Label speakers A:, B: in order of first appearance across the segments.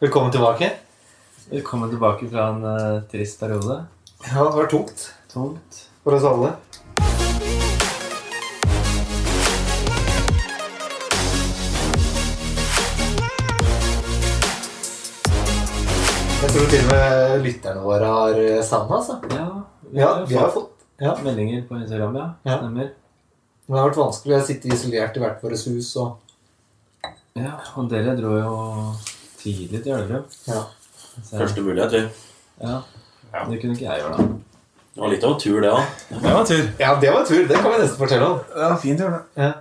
A: Velkommen tilbake.
B: Velkommen tilbake fra en eh, trist periode.
A: Ja, det var tungt
B: Tomt.
A: for oss alle. Jeg tror til og med lytterne våre har eh, savnet oss. da.
B: Ja, vi
A: Ja,
B: har
A: vi har
B: fått
A: fått ja.
B: meldinger på Instagram, ja.
A: Ja.
B: Stemmer.
A: Men det har vært vanskelig å sitte isolert i hvert vårt hus og
B: Ja, og dere dro jo tidlig til Elverum.
A: ja.
B: så-
C: Første mulighet, vi.
B: Ja.
D: Ja.
B: Det kunne ikke jeg gjøre, da.
C: Det var litt av en tur, det òg.
D: Det var tur.
A: ja, det var tur. Det kan vi nesten fortelle om.
D: Det var fin tur, det.
A: Ja.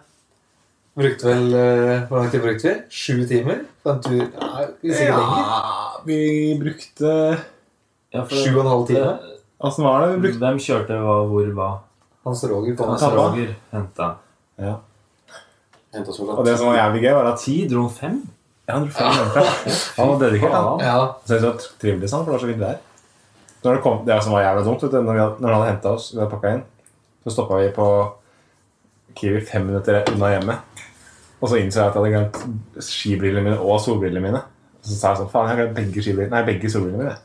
A: Brukte vel eh, Hvor lang tid brukte vi? Sju timer? På en tur ja, Sikkert lenger.
D: Ja, vi brukte
B: Ja, for-
A: Sju og en halv time.
B: Eh,
D: Åssen var det? Vi brukte
B: Hvem kjørte hva, hvor, hva?
A: Hans Roger på
B: Hans
A: meg.
D: Pappa?
B: Roger henta.
D: Og det som var jævlig gøy, var at
B: Ti? Dro han fem?
D: Ja, han dro fem ganger. Han var dedikert, han.
B: Faen.
A: Ja,
D: Så det var trivelig, sånn, for det var så vidt der. Når det, kom, det som var jævla dumt, vet du, når, vi hadde, når han hadde henta oss, vi hadde pakka inn, så stoppa vi på Kiwi fem minutter unna hjemmet. Og så innså jeg at jeg hadde glemt skibrillene mine og solbrillene mine. Så sa jeg sånn Faen, jeg har glemt begge skibrillene Nei, begge solbrillene mine.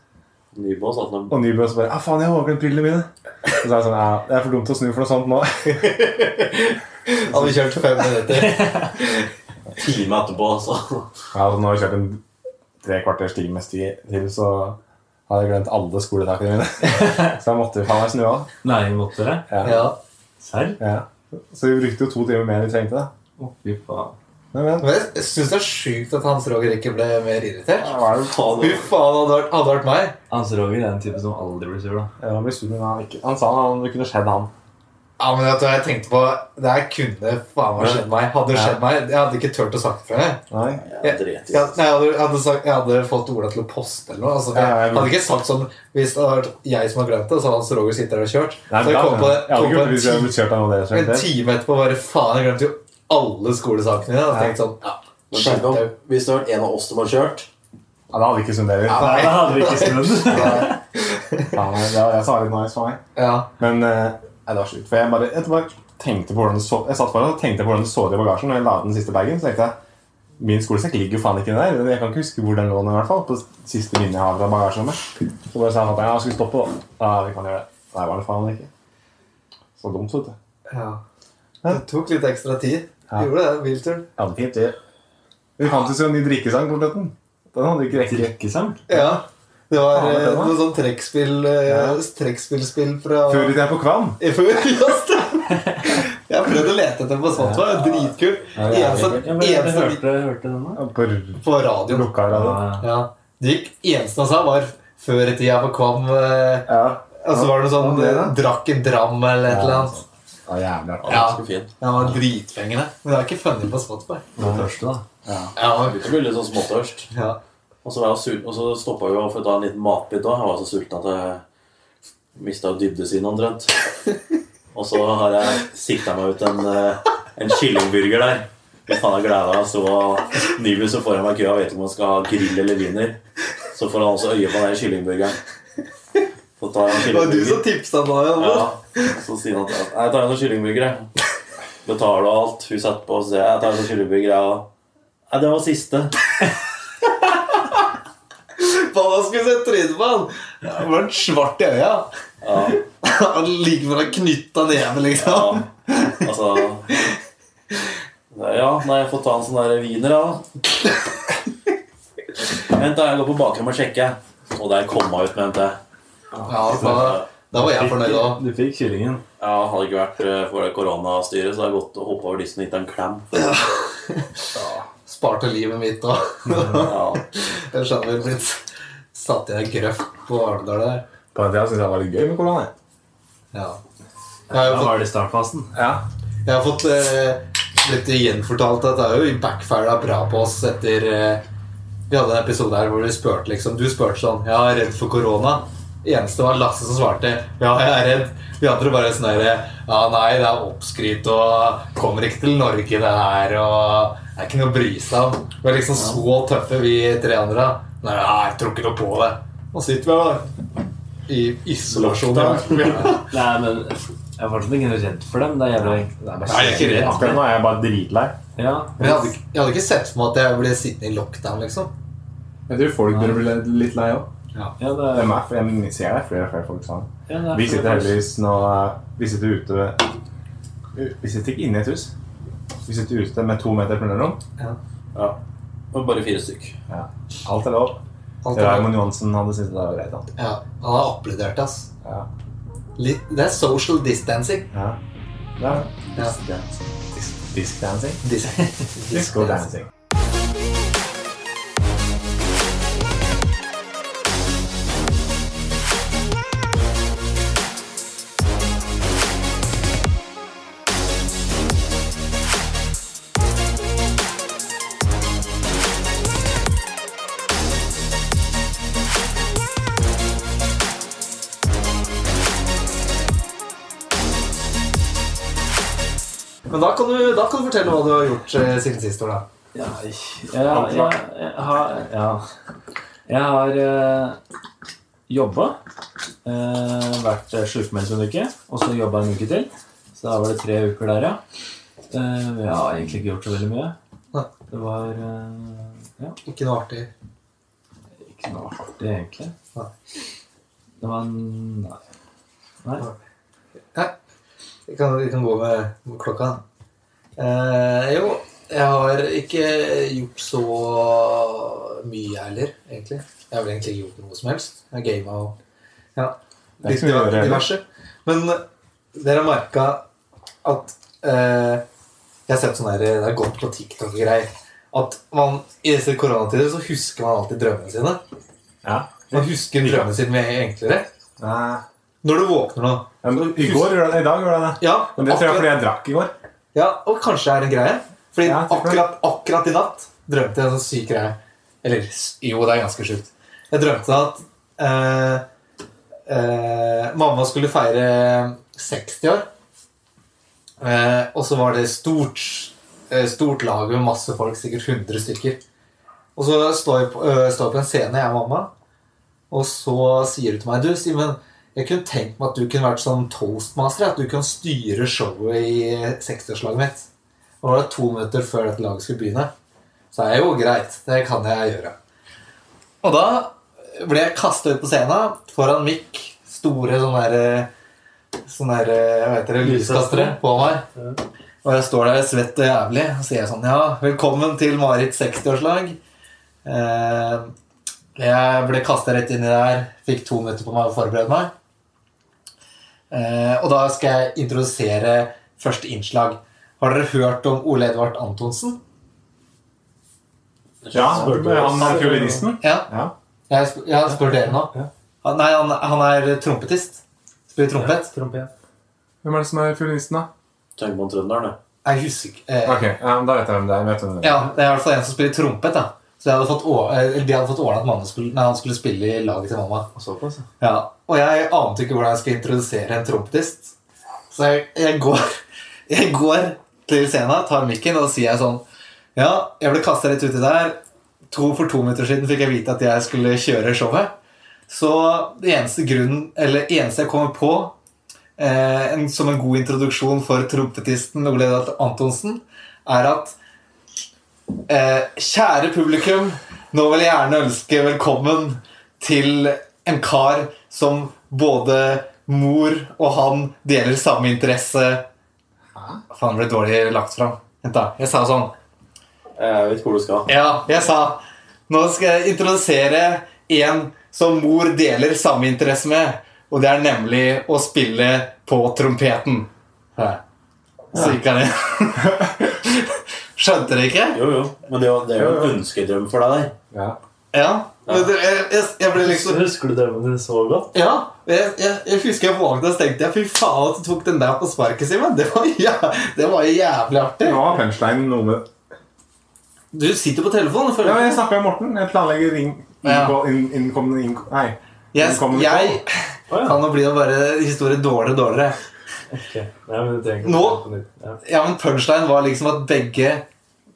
C: Nybå satt dem.
D: Og Nybø så bare Ja, faen, jeg har også glemt brillene mine. Så sa jeg sånn Ja, det er for dumt å snu for noe sånt nå.
A: Hadde kjørt fem minutter.
C: En time etterpå, altså.
D: Ja, altså, nå har jeg kjørt en tre kvarters time sti til, så har jeg glemt alle skoletakene mine. så jeg måtte jo faen meg snu av.
B: Nei, måtte dere?
D: Ja.
A: Ja.
B: Serr?
D: Ja. Så vi brukte jo to timer mer enn vi trengte. da.
B: Å, fy faen.
D: Men, men,
A: Men jeg syns det er sjukt at Hans Roger ikke ble mer irritert.
D: hva er det?
C: Faen,
A: Fy faen, hadde vært, hadde vært meg.
B: Hans Roger er en type som aldri blir sur, da.
D: Ja, Han ble sur, men han, ikke, han sa han det kunne skjedd han.
A: Ja, men vet du hva jeg tenkte på? Det her kunne faen meg skjedd meg. Hadde det skjedd meg, Jeg hadde ikke turt å sagt det fra meg.
D: Nei.
C: Jeg driter i
A: Jeg, nei, jeg, hadde, jeg, hadde sagt, jeg hadde fått Ola til å poste eller noe. Altså,
D: Ja, ja,
A: jeg
D: jeg-
A: hadde ikke sagt sånn Hvis det hadde vært jeg som hadde glemt det, så hadde Hans Roger sittet der og kjørt.
D: Nei,
A: Så jeg
D: bra,
A: kom på,
D: men- jeg hadde
A: kom på
D: ikke gjort det hvis jeg hadde
A: en,
D: blitt kjørt av noen av dere.
A: ti, en
D: skjønte jeg.
A: time etterpå bare Faen, jeg glemte jo alle skolesakene dine. Og tenkte sånn ja,
C: Men
A: shit,
C: tenk om,
A: jeg-
C: hvis det var en av oss som hadde kjørt
D: Ja, det hadde ikke sunderer.
A: Ja,
D: Ja,
A: Nei.
B: det hadde vi ikke skrevet.
D: det var jeg som var litt nice for meg.
A: ja.
D: Men eh, nei, det var sjukt. For jeg bare, jeg bare tenkte på hvordan det så Jeg satt foran og tenkte på hvordan det så ut i bagasjen. Når jeg la den siste bagen, så tenkte jeg Min skolesekk ligger jo faen ikke der. Jeg kan ikke huske hvor den lå nå, i hvert fall. På siste minne jeg har fra bagasjerommet. Så bare sa han at ja, skal vi stoppe, da? Ja, vi kan gjøre det. Nei, var det faen ikke. Så dumt, vet du.
A: ja. Det tok litt ekstra tid.
D: Ja.
A: Gjorde det, bilturen.
D: Jeg hadde fint, det. Vi fant oss jo en ny drikkesang på slutten. Den hadde vi ikke rekke.
B: Drikkesang?
A: Ja. Det var
D: Faen, det
A: eh,
D: var.
A: noe sånn trekkspill eh,
D: Ja.
A: trekkspillspill fra
D: Før i tida på Kvam.
A: I før, ja, stemmer. Jeg har prøvd å lete etter den på Spotify. det er Dritkult.
D: Ja, det er
A: Eneste,
B: Ja, men jeg
A: eneste
B: hørte, hørte den, da.
D: Ja, På r-
A: på radioen
D: lukka radio.
A: ja. Det gikk, eneste han sa, var før i tida på Kvam eh,
D: Ja.
A: Og så var det noe sånn
D: Ja, det
A: eh,
D: da.
A: Drakk en dram eller et
D: Ja, altså.
A: eller annet.
D: ja jævlig artig.
A: Ja.
C: Ganske fin.
A: Ja, Han var dritfengende. Men det er ikke funnet på Spotify.
B: Det første, da.
A: Ja,
C: Jeg begynte å bli litt sånn småtørst.
A: ja.
C: Og så, var jeg sulten, og så stoppa vi for å ta en liten matbit da. Jeg var så sulten at jeg mista dybdesynet omtrent. Og så har jeg sikta meg ut en, eh, en kyllingburger der. Fy faen, jeg gleda meg så Nyby så foran meg i køa, vet ikke om han skal ha grill eller wiener. Så får han også øye på den der kyllingburgeren. Så tar han
A: Det var du som
C: kyllingburger.
A: tipsa da,
C: Ja,
A: Jan.
C: så sier han at jeg tar en sånn kyllingburger, jeg. Betaler og alt. Hun setter på og sier jeg tar en sånn kyllingburger, jeg òg. Nei, det var siste.
A: Faen, han skulle sett trynet på han! Det var en svart i øya.
C: Ja.
A: Han like før han knytta neven,
C: Ja,
A: liksom.
C: altså Nei, Ja, nei, jeg får ta en sånn der wiener, da. Vent, da. Jeg går på bakrommet og sjekker. Og der kom hun ut med en til.
A: Ja, altså, da, da var jeg fornøyd òg.
B: Du fikk kyllingen.
C: Ja, Hadde det ikke vært eh, for det koronastyret, så hadde jeg gått og hoppa over dissen og gitt henne en klem.
A: Sparte livet mitt òg.
C: Ja.
A: Jeg skjønner vel litt. Satt jeg i grøft på Arendal der.
D: På den tida syntes jeg det var litt gøy med korona. jeg.
A: Ja. Jeg
B: Da
A: har jo fått,
B: var det startfasen.
D: Ja.
A: jeg har fått eh, litt gjenfortalt at det er jo backfira bra på oss etter eh, Vi hadde en episode her hvor vi spurte liksom Du spurte sånn Ja, jeg er redd for korona. Eneste var Lasse som svarte Ja, jeg er redd. Vi andre bare sånn herre Ja, nei, det er oppskryt og kommer ikke til Norge, det her, og det er ikke noe å bry seg om. Vi var liksom så tøffe, vi tre andre. Nei, jeg tror ikke noe på det. Og så sitter vi her, da. I isolasjon. Ja.
B: Nei, men jeg er fortsatt ikke redd for dem. Det er jævla det er bare
A: Nei, jeg er ikke redd.
D: Akkurat nå er jeg bare dritlei.
B: Ja.
A: Men jeg hadde, ikke- jeg hadde ikke sett for meg at jeg ble sittende i lockdown, liksom.
E: Jeg tror folk burde bli litt lei òg.
B: Ja, det
D: Det er
B: er,
D: meg, for Jeg ser det er flere og flere folk sånn.
B: ja, det er
D: Vi sitter heldigvis nå eh, Vi sitter ute Vi sitter ikke inne i et hus. Vi sitter ute med to meter mellomrom.
C: Ja. Men bare fire stykk.
D: Alt er lov.
A: Alt er,
D: Raymond Johansen hadde syntes det var greit. da.
A: ja, han har applaudert, ass.
D: Ja.
A: Litt, det er social distancing.
D: Ja. Ja.
A: Ja.
D: Dis disc dancing.
A: Dis
D: Disco dancing.
A: Men da kan, du, da kan du fortelle hva du har gjort eh, siden sist år, da.
B: Ja, jeg, jeg, jeg, jeg har ja. Jeg har eh, jobba. Eh, vært eh, sjukmeldt en uke, og så jobba en uke til. Så da var det tre uker der, ja. Eh, jeg har egentlig ikke gjort så veldig mye.
A: Nei.
B: Det var eh, ja,
A: Ikke noe artig.
B: ikke noe artig, egentlig.
A: Nei.
B: Det var en Nei. nei.
A: Vi kan, vi kan gå med klokka. da. Eh, jo, jeg har ikke gjort så mye, jeg heller, egentlig. Jeg har vel egentlig ikke gjort noe som helst. Jeg har gama og ja,
D: Det er
A: litt
D: ikke så mye å gjøre,
A: diverse. Men eh, dere har merka at eh, Jeg har sett sånn her, det er godt på TikTok og greier. At man i disse koronatider så husker man alltid drømmene sine.
D: Ja.
A: Man husker drømmene sine mye enklere.
D: Nei.
A: Når du våkner nå
D: Ja, men I går gjorde jeg det. I dag gjorde jeg det.
A: Ja,
D: Men det tror jeg
A: akkurat-
D: fordi jeg drakk i går.
A: Ja, og kanskje det er en greie. Fordi
D: Ja, sikkert.
A: akkurat, akkurat i natt drømte jeg en sånn syk greie. Eller s- jo, det er ganske sjukt. Jeg drømte at eh, eh, mamma skulle feire 60 år. Eh, og så var det stort, eh, stort lag med masse folk, sikkert 100 stykker. Og så står jeg på, eh, står jeg på en scene, jeg og mamma, og så sier du til meg Du, Simen, jeg kunne tenkt meg at du kunne vært sånn toastmaster. At du kunne styre showet i 60-årslaget mitt. Og det var to minutter før dette laget skulle begynne. Så er jeg jo greit. Det kan jeg gjøre. Og da ble jeg kasta ut på scenen foran Mick. Store sånn sånne der, sånne der hva heter det, lyskastere på meg. Og jeg står der svett og jævlig og sier sånn Ja, velkommen til Marits 60-årslag. Eh, jeg ble kasta rett inn i det her. Fikk to minutter på meg å forberede meg. Eh, og da skal jeg introdusere første innslag. Har dere hørt om Ole Edvard Antonsen?
D: Ja, Han er fiolinisten.
A: Ja.
D: Ja.
A: Jeg, sp jeg spør dere nå.
E: Ja.
A: Han, nei, han, han er trompetist. Spiller trompet.
E: Trompet.
D: Hvem er det som er fiolinisten, da?
C: Tøngmann Trønderen, det.
A: Jeg husker ikke, eh,
D: Ok, ja, men Da vet jeg hvem det er. Vet du hvem det er.
A: Ja, det er i hvert fall en som spiller trompet. da Så jeg hadde fått å- eh, eller De hadde fått ordna at mamma skulle, nei, han skulle spille i laget til mamma.
C: Såpass,
A: Ja, og jeg ante ikke hvordan jeg skulle introdusere en trompetist. Så jeg, jeg, går, jeg går til scenen, tar mikken og sier jeg sånn Ja, jeg ble kasta litt uti der. To for to minutter siden fikk jeg vite at jeg skulle kjøre showet. Så det eneste grunnen, eller eneste jeg kommer på eh, en, som en god introduksjon for trompetisten Ole Edvard Antonsen, er at eh, Kjære publikum, nå vil jeg gjerne ønske velkommen til en kar som både mor og han deler samme interesse Faen, det ble dårlig lagt fram. Vent, da. Jeg sa sånn
C: Jeg vet hvor du skal.
A: ja, jeg sa Nå skal jeg introdusere en som mor deler samme interesse med. Og det er nemlig å spille på trompeten. Ja. Så gikk han inn. Skjønte dere ikke?
C: Jo, jo. Men det er jo- det er jo en ønskedrøm for deg, der.
D: Ja.
A: Ja. Men det, jeg, jeg, jeg ble liksom
E: Husker du drømmen din så godt?
A: Ja. Jeg, jeg, jeg husker jeg våkna og så tenkte jeg, fy faen at du tok den der på sparket, Simen. Det var, ja, det var jævlig artig.
D: Nå var punchline noe med
A: Du sitter på telefonen.
D: Ja,
A: Føler
D: men
A: jeg.
D: Jeg snakker med Morten. Jeg planlegger inn,
A: Ja.
D: inngå- inn, innkommende inn, Nei.
A: Jeg,
D: Innkommende
A: jeg
D: call.
E: Å, ja.
A: kan nå bli det bare historie dårligere og dårligere.
E: Ok. Nei, men du trenger ikke
A: Nå?
E: å ta det på nytt. Ja.
A: Ja, men punchline var liksom at begge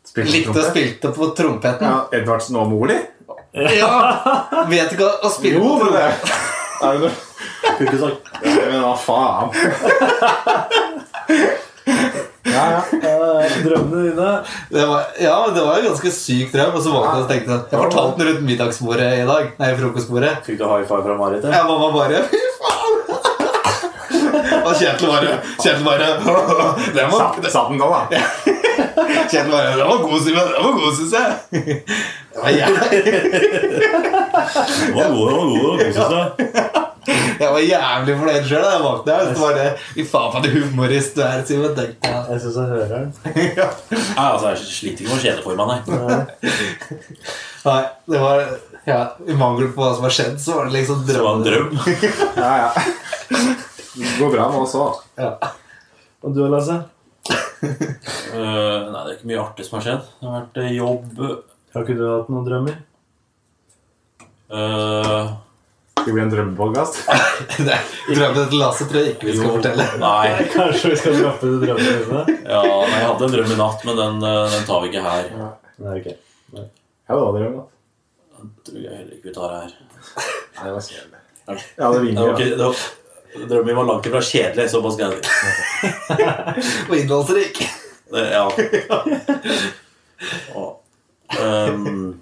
D: Spilte
A: likte å
D: trompet.
A: spilte på trompeten.
D: Ja, Edvardsen og Moli?
A: Ja. Vet ikke å spille på
D: men det
A: trompeten.
D: er det noe-
C: Kunne ikke sagt
D: Nei, Men hva faen? Ja, Ja, ja.
E: Eh, Drømmene dine
A: Det var, ja, men det var en ganske syk drøm. Og så våknet jeg og tenkte jeg, jeg fortalte den rundt middagsbordet i dag. Nei, frokostbordet.
C: Fikk du high five fra Marit? eller?
A: Ja, mamma bare Fy faen! Og Kjetil bare Kjetil bare Det var,
D: Satt, satt den da, da?
A: Kjetil bare Det var god, Simen. Det var god, syns jeg. Det var jævlig,
C: Det var gode, det var gode, det var gode, synes jeg.
A: jeg var jævlig fornøyd sjøl da jeg våkna. Så var det Fy faen, for en humorist du er, Simen. tenkte jeg.
E: Jeg syns jeg hører den.
C: Nei, altså, jeg sliter ikke med å kjede for meg, nei.
E: Eh,
A: Nei, det var ja, I mangel på hva som har skjedd, så var det liksom
C: Det var en
A: drømmen.
C: drøm.
D: Ja, ja. Det går bra med oss òg.
E: Og du, Lasse?
C: Eh, nei, det er ikke mye artig som har skjedd. Det har vært eh, jobb
E: Har ikke du hatt noen drømmer?
C: eh,
D: Det blir en drømmepodkast.
A: Nei, Drømmen til Lasse tror jeg ikke vi skal
C: jo,
A: fortelle.
C: Nei.
E: Kanskje vi skal droppe de drømmene dine?
C: Ja, nei, jeg hadde en drøm i natt, men den, eh, den tar vi ikke her.
E: Nei, ok.
D: Ja, det var drøm, da.
C: Jeg tror jeg heller ikke vi tar det her.
D: Nei, det var kjedelig. Ja, det
C: Det var
D: vinner, ja.
C: ikke, det var, drømmen min var langt ifra kjedelig. Såpass kan jeg si.
A: Og innholdsrik.
C: Det- Ja. Og, ehm,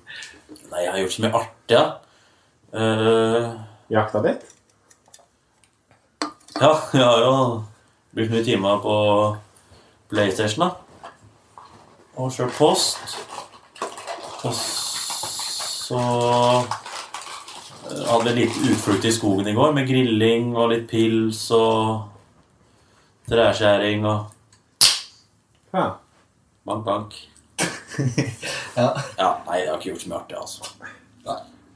C: nei, jeg har gjort så mye artig, ja. Eh,
D: Jakta litt.
C: ja, jeg har jo brukt mye timer på PlayStation, da. Og kjørt post. Og så eh, hadde vi litt utflukt i skogen i går med grilling og litt pils og treskjæring og
D: Ja.
C: bank, bank.
A: Ja.
C: Ja, nei, jeg har ikke gjort så mye artig, altså.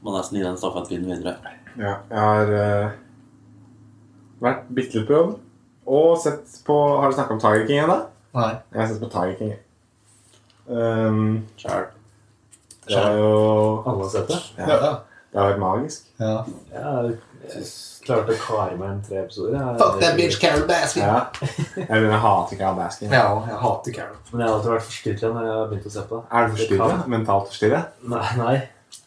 C: Må nesten gi den stafettpinnen videre.
D: ja jeg har eh, vært bitte litt på jobb. Og sett på Har du snakka om Tiger King ennå?
A: Nei.
D: Jeg har sett på Tiger King. jeg. Um,
C: Sjæl.
D: det er jo
E: Alle har sett det?
A: Ja. ja.
D: Det har vært magisk.
A: ja.
E: Ja, jeg klarte å kare meg en tre episoder. jeg.
A: Fuck that bitch Carol Baskin.
D: Ja. Jeg begynner å hate Carol Baskin.
A: Ja, jeg hater Carol.
E: Men jeg har alltid vært forstyrra når jeg har begynt å se på det.
D: Er du forstyrret?
E: kan.
D: Mentalt forstyrret?
E: Nei, nei.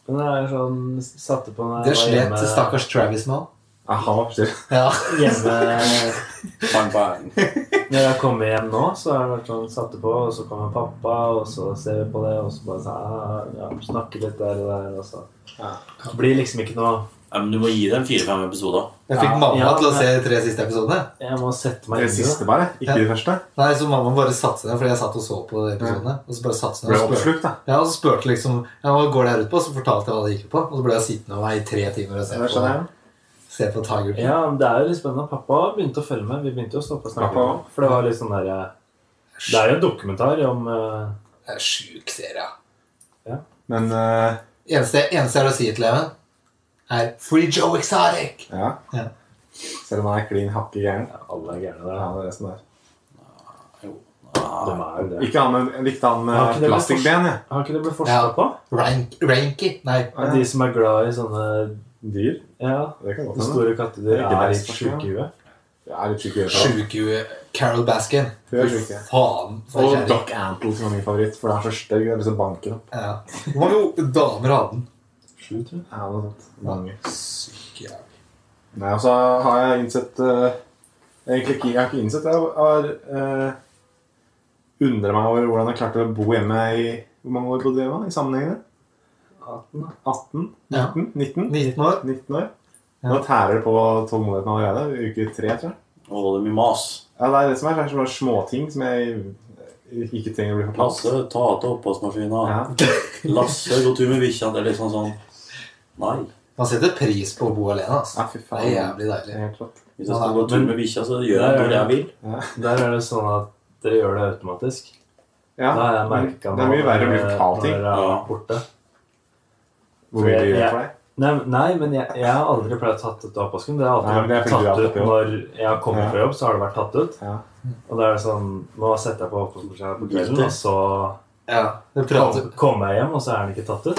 E: Men jeg er sånn, satte på når
A: Det
E: jeg
A: slet
E: var hjemme,
A: stakkars Travis med òg.
D: Ja, han var forstyrret.
A: Ja.
E: hjemme
C: Bang, bang.
E: Når jeg kommer hjem nå, så har jeg vært sånn satte på, og så kommer pappa, og så ser vi på det, og så bare sånn ja, ja, snakker litt der og der, og så
D: Ja.
E: Det blir liksom ikke noe
C: Nei, men du må gi dem fire-fem episoder.
A: Jeg fikk
D: Ja,
A: mamma
E: ja,
A: til å
E: men-
A: se de tre siste episodene.
E: Jeg må sette meg
D: Det
E: inn i
D: siste,
E: det.
D: bare. Ikke
A: Ja.
D: det første.
A: Nei, så mamma bare satte seg ned, fordi jeg satt og så på de episodene. Og så bare satte seg
D: Ble
A: ned og spurte.
D: oppslukt, da.
A: Ja, og så spurte liksom ja, hva går det her ut på? Så fortalte jeg hva det gikk ut på. Og så ble jeg sittende og være i tre timer og se
D: Det skjønner
A: på,
D: jeg.
A: se på Tiger King.
E: Ja, men det er jo litt spennende. Pappa begynte å følge med. Vi begynte jo å stoppe og snakke.
D: Pappa
E: litt, For det var litt sånn der eh, Det er jo en dokumentar om eh,
A: Det er en sjuk serie. ja.
D: Men eh,
A: Eneste, eneste jeg har å si til Even, er Free Joe Exotic!
D: ja.
A: Ja.
D: Selv om han er klin hakke gæren.
E: ja, Alle er gærne
D: Ja,
E: der.
D: det er det som er.
E: De er jo det.
D: Ikke han med likte han
E: Har ikke det
D: med
E: vært
D: plastikkben, ja.
E: Har ikke det blitt forska
A: Ja.
E: på?
A: Rank, ranky. Nei.
E: At de som er glad i sånne
D: Dyr.
E: Ja,
D: Det kan godt hende.
E: store kattedyr,
D: Det er ikke
E: er
D: det
E: litt
D: jeg
E: sjuke i huet.
D: Det er litt sjuke øyne.
A: Sjuke Carol Baskin.
D: Hun er sjuk, ja.
A: Faen. for
D: Og
A: kjæring.
D: Doc Antle som er min favoritt, for det er så stygg. Det er liksom banken opp.
A: Ja. Hvor mange damer hadde den?
E: Sju, tror jeg.
D: Ja, noe sånt. Mange.
A: Syk jævlig.
D: Nei, og så har jeg innsett eh, Egentlig ikke, jeg har ikke innsett det. Jeg har uh, undret meg over hvordan jeg klarte å bo hjemme i Hvor mange år bodde jeg hjemme i sammenhengende?
E: 18, da.
D: 18?
A: Ja.
D: 19? 19,
A: 19 år.
D: 19 år?
A: Ja.
D: Nå tærer det på tålmodigheten allerede. Uke tre, tror jeg.
C: Å, det er mye mas.
D: Ja, det er det som er, det er sånne småting som jeg ikke trenger å bli fortalt.
C: Lasse, ta til oppvaskmaskina.
D: Ja.
C: Lasse, gå tur med bikkja. Det er litt sånn sånn Nei.
A: Man setter pris på å bo alene. Altså.
D: ja, fy
A: Det er
D: faen.
A: jævlig
D: Det
A: deilig.
D: er helt rått.
C: Hvis jeg skal gå tur med bikkja, så gjør jeg
E: Nei,
C: hvor jeg vil.
E: Der er det sånn at dere gjør det automatisk.
D: Ja,
E: da har jeg
D: men
E: merket eh,
D: det er mye
E: nå
D: verre å bli
E: når-
D: fortalt ting.
E: når jeg har
C: Ja.
E: vært borte.
D: Hvor mye det gjør
E: Ja.
D: for deg.
E: Nei, nei, men jeg, jeg har aldri pleid å tatt ut oppvasken. Det har
D: Nei,
E: alltid
D: men det er
E: vært
D: fordi du
E: tatt
D: har
E: ut
D: tatt det
E: når jeg har kommet
D: Ja.
E: fra jobb. så har det vært tatt ut.
D: Ja.
E: Og da er det sånn Nå setter jeg på oppvaskmaskinen på kvelden,
C: Guilty.
E: og så
A: Ja. Jeg pratet,
E: kom- kommer jeg hjem, og så er den ikke tatt ut.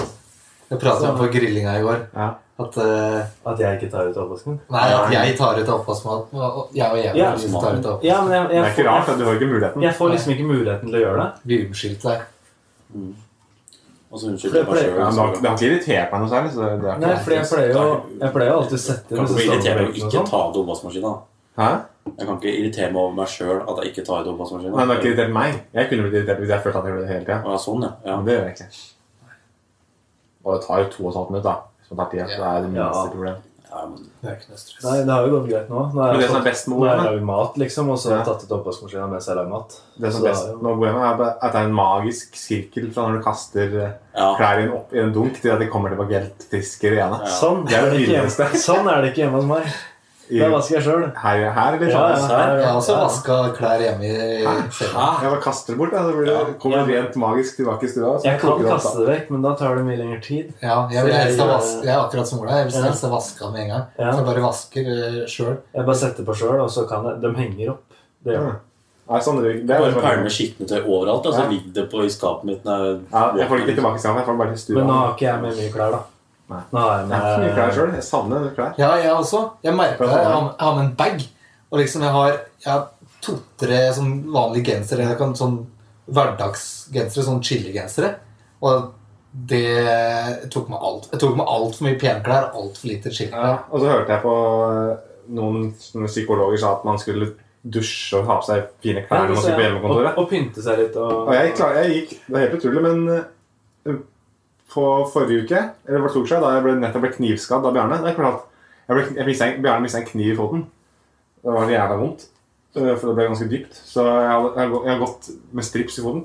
A: jeg pratet om på grillinga i går
D: Ja.
A: at eh,
E: At jeg ikke tar ut oppvasken.
A: Nei, at jeg tar ut oppvaskmaten. og- og- Jeg og Even
E: Ja,
A: faktisk tar ut opp.
E: Ja, men jeg,
D: Det
E: jeg,
D: er ikke rart, for
E: får, jeg,
D: du har ikke muligheten.
E: jeg får liksom ikke muligheten til å gjøre det.
A: Vi unnskyldte deg.
C: Og så
E: Det
C: unnskylder jeg meg
E: pleier-
D: Ja, men det har-
C: sjøl.
D: det har ikke irritert meg noe særlig. Så det er ikke
E: Nei, fordi jeg pleier jo jeg pleier jo alltid å sette
C: Kan
E: med sånn-
C: ikke bli irritert
E: sesongbrøken
C: og
E: og
C: ikke
E: sånn.
C: ta til oppvaskmaskina.
D: Hæ?
C: Jeg kan ikke irritere meg over meg sjøl at jeg ikke tar i tobakkmaskinen.
D: Men det har ikke irritert meg. Jeg kunne blitt irritert hvis jeg følte at jeg gjorde det hele tida.
C: Ja, sånn, ja. ja.
D: Men det gjør jeg ikke. Og det tar jo to og et halvt minutt, da. Hvis man tar tida. så Det er det minste
E: Ja.
D: problemet.
C: ja men,
A: Det er ikke noe stress.
E: Nei, det har jo gått greit nå. Nå har
D: Men det
E: jeg,
D: som er
E: fått,
D: best med
E: nå har jeg
D: Olema,
E: laget mat, liksom, og så har jeg
D: Ja.
E: tatt ut oppvaskmaskina mens jeg lager mat.
D: det som
E: Så
D: er
E: det
D: best
E: er jo-
D: med Olema, er bare at det er en magisk sirkel fra når du kaster eh,
C: ja.
D: klær i en, opp, i en dunk, til at de kommer tilbake helt friske rene.
C: Ja.
E: Sånn,
D: Det er det
E: ikke hjemme-
D: billigste.
E: sånn er det ikke hjemme hos meg.
D: I,
E: Da vasker jeg sjøl.
D: her, her, eller
E: Ja,
D: sånn.
E: ja, her,
A: Jeg har også
E: ja.
A: vaska klær hjemme i senga.
D: Jeg bare kaster det bort, ja, så blir det,
C: Ja.
D: kommer det
E: Ja.
D: rent magisk tilbake i stua. så
E: Jeg kan
D: plukker det opp,
E: kaste det vekk, men da tar det mye lengre tid.
A: Ja, jeg, vil
E: Så jeg
A: helst ha
E: gjør-
A: vas- jeg er akkurat som Ola. Jeg vil
E: Ja.
A: helst ha vaska den med en gang.
E: Ja.
A: Så jeg bare vasker eh, sjøl.
E: Jeg bare setter på sjøl, og så kan jeg De henger opp. Det
D: da.
E: gjør
D: Ja.
E: de.
D: Nei, sånn, det, det er
C: Bare
D: sånn-
C: pælmer skittentøy overalt, og så
D: Ja.
C: ligger det på i skapet mitt. når
D: Ja, jeg får det ikke tilbake sammen, jeg får det bare til stua.
E: Men nå har ikke jeg med mye klær, da.
D: Nei.
E: Nå har jeg
D: Jeg har ikke mye klær
E: med
D: selv, Jeg savner klær.
A: Ja, jeg også. Jeg merker det. Jeg har, jeg har med en bag. Og liksom jeg har, jeg har to-tre sånn vanlige gensere. Jeg kan sånn hverdagsgensere, sånn chiligensere. Og det tok meg alt. Jeg tok med altfor mye penklær og altfor lite
D: Ja,
A: chiliklær.
D: og så hørte jeg på eh, noen sånne psykologer sa at man skulle dusje og ha på seg fine klær når man skulle på hjemmekontoret.
E: Og, og pynte seg litt og,
D: Og jeg, klar, jeg gikk, det er helt utrolig, men eh, på forrige uke, eller hva det tok seg, da jeg ble, nettopp ble knivskadd av Bjarne, det er klart at jeg ble, jeg mistet en, Bjarne mistet en kniv i foten. Det var jævla vondt, eh, for det ble ganske dypt. Så jeg har, jeg har gå- jeg har gått med strips i foten,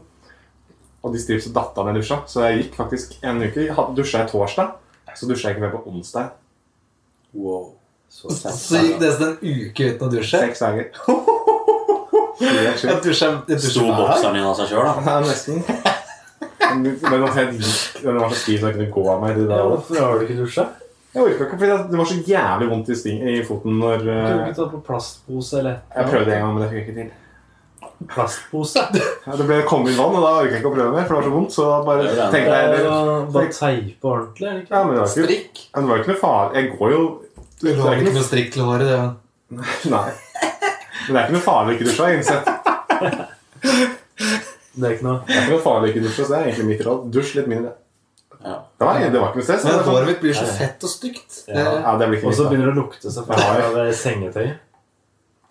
D: og de stripsene datt av når jeg dusja. Så jeg gikk faktisk en uke, jeg hadde- dusja jeg torsdag, så dusja jeg ikke mer på onsdag.
C: Wow. Så
A: Så gikk det nesten en uke uten å dusje.
D: Seks dager. Helt sjukt.
A: Jeg dusja jeg dusja
C: Sto
A: hver dag.
C: bokseren din av seg sjøl, da?
D: Ja, nesten. Men den var helt lik. Den var så stiv så jeg kunne gå av meg. Det
E: ja,
D: der.
E: Hvorfor har du ikke dusja?
D: Jeg orka ikke, fordi det var så jævlig vondt i, sting, i foten når
E: Du kunne
D: eh,
E: ikke tatt på plastpose eller
D: Jeg prøvde en gang, men det fikk jeg ikke til.
E: plastpose.
D: Ja, det ble kommet inn vann, og da orka jeg ikke å prøve mer, for det var så vondt. Så da bare
C: Det er jo det.
E: Eh,
D: tenkte jeg det,
E: Bare teipe ordentlig, eller
D: ja,
E: ikke?
D: men det, var ikke,
A: Strikk.
D: ja, det var ikke noe farlig. Jeg går jo
A: Det
D: Det
A: lå
D: er
A: ikke
D: ikke
A: noe strikk til håret. Det.
D: Nei. Men det er ikke noe farlig å ikke dusje, har jeg innsett.
E: Det er ikke noe.
D: Det er ikke noe farlig å ikke dusje, så det er egentlig mitt råd. Dusj litt mindre.
C: Ja.
D: Det var, det var ikke noe stress.
A: Men
D: det var
A: håret mitt blir så
E: Ja, ja.
A: fett og stygt. Det,
E: Ja.
D: ja, det blir ikke
E: Og
D: mitt,
E: så
D: da.
E: begynner det å lukte så fælt av det sengetøyet.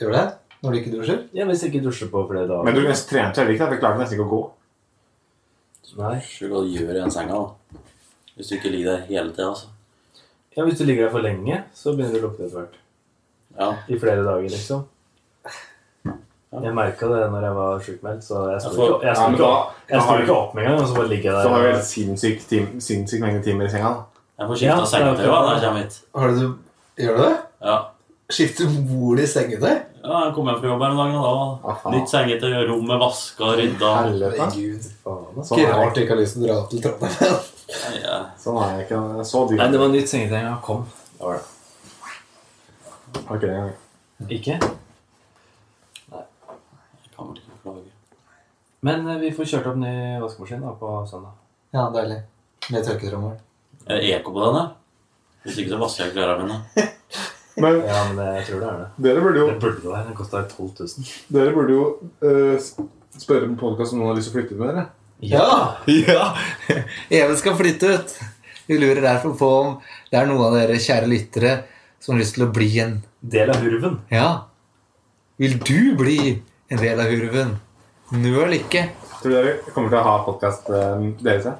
A: Gjør det? Når du ikke dusjer?
E: Ja, hvis jeg ikke dusjer på flere dager.
D: Men du nesten trente deg ikke, da, for jeg klarte nesten ikke å gå.
E: Nei.
C: Sjukt hva du gjør i den senga, da. Hvis du ikke ligger der hele tida, altså.
E: Ja, hvis du ligger der for lenge, så begynner det å lukte etter hvert.
C: Ja.
E: I flere dager, liksom.
C: Ja.
E: Jeg merka det når jeg var sjukmeldt, så jeg sto
C: Ja, for-
E: ikke, jeg
D: Ja,
E: sto
D: men
E: ikke,
D: da-
E: opp- jeg sto ikke opp med en gang, og så bare ligger
D: Så har vi
E: jeg der.
D: helt sinnssyk, tim, sinnssyk mengde timer i senga. da.
C: Jeg får
E: Ja,
C: skifta
E: det
C: sengetøy
E: er
C: da
E: bra.
C: når jeg kommer hit.
A: Har du, gjør du det?
C: Ja.
A: Skifter bol i sengetøy?
C: ja, jeg kom hjem fra jobb her en dag, og da var
D: Ah, faen.
C: nytt sengetøy, rommet vaska, rydda
D: Helvete.
A: Herregud.
E: Faen, altså. ass.
D: Sånn
A: Ikke
D: er jeg
A: rart du ikke har lyst til å dra til Trondheim.
C: Nei, ja.
D: Sånn er jeg ikke. Jeg er Så dyr
E: Nei,
D: var
E: det var nytt sengetøy jeg kom. Det var det.
D: ikke det engang.
E: Ikke?
C: Jeg kan vel ikke klage.
E: Men eh, vi får kjørt opp ny vaskemaskin da, på søndag.
A: Ja, deilig. Med tørketrommel.
C: Er det eko på den, da? Hvis ikke så vasker jeg klærne mine.
D: Men
E: Ja, men det, jeg tror det er det.
D: dere burde jo,
E: Det burde det være. Den kosta 12 000.
D: dere burde jo eh, spørre på podkast om noen har lyst til å flytte med dere.
A: Ja! ja. Even skal flytte ut. Vi lurer derfor på om det er noen av dere kjære lyttere som har lyst til å bli en
E: Del av hurven.
A: Ja. Vil du bli en del av hurven? Nøl ikke.
D: Tror dere kommer til å ha podkast deres? Ja?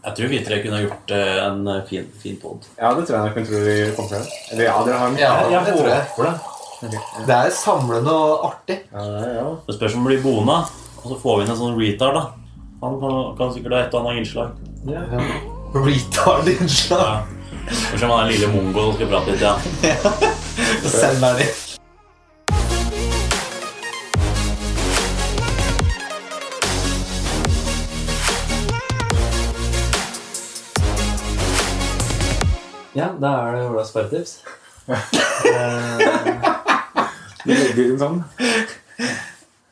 C: Jeg tror vi tre kunne gjort eh, en eh, fin, fin pod.
D: ja, det tror jeg nok hun tror dere kommer til å gjøre. Eller ja, dere har en.
A: Ja,
E: Jeg, jeg
A: det tror jeg.
E: håper det.
A: Det er samlende og artig.
D: Ja, ja.
C: Det spørs om det blir boende, og så får vi inn en sånn retard, da. Han kan, kan sikkert ha et og annet innslag.
E: Ja.
A: Retard-innslag.
C: Ja. Kanskje han er lille mongo som skal prate litt, ja.
A: Send deg dit.
E: Ja, da er det Olas sperretips. Eh,
D: Vi legger inn sånn.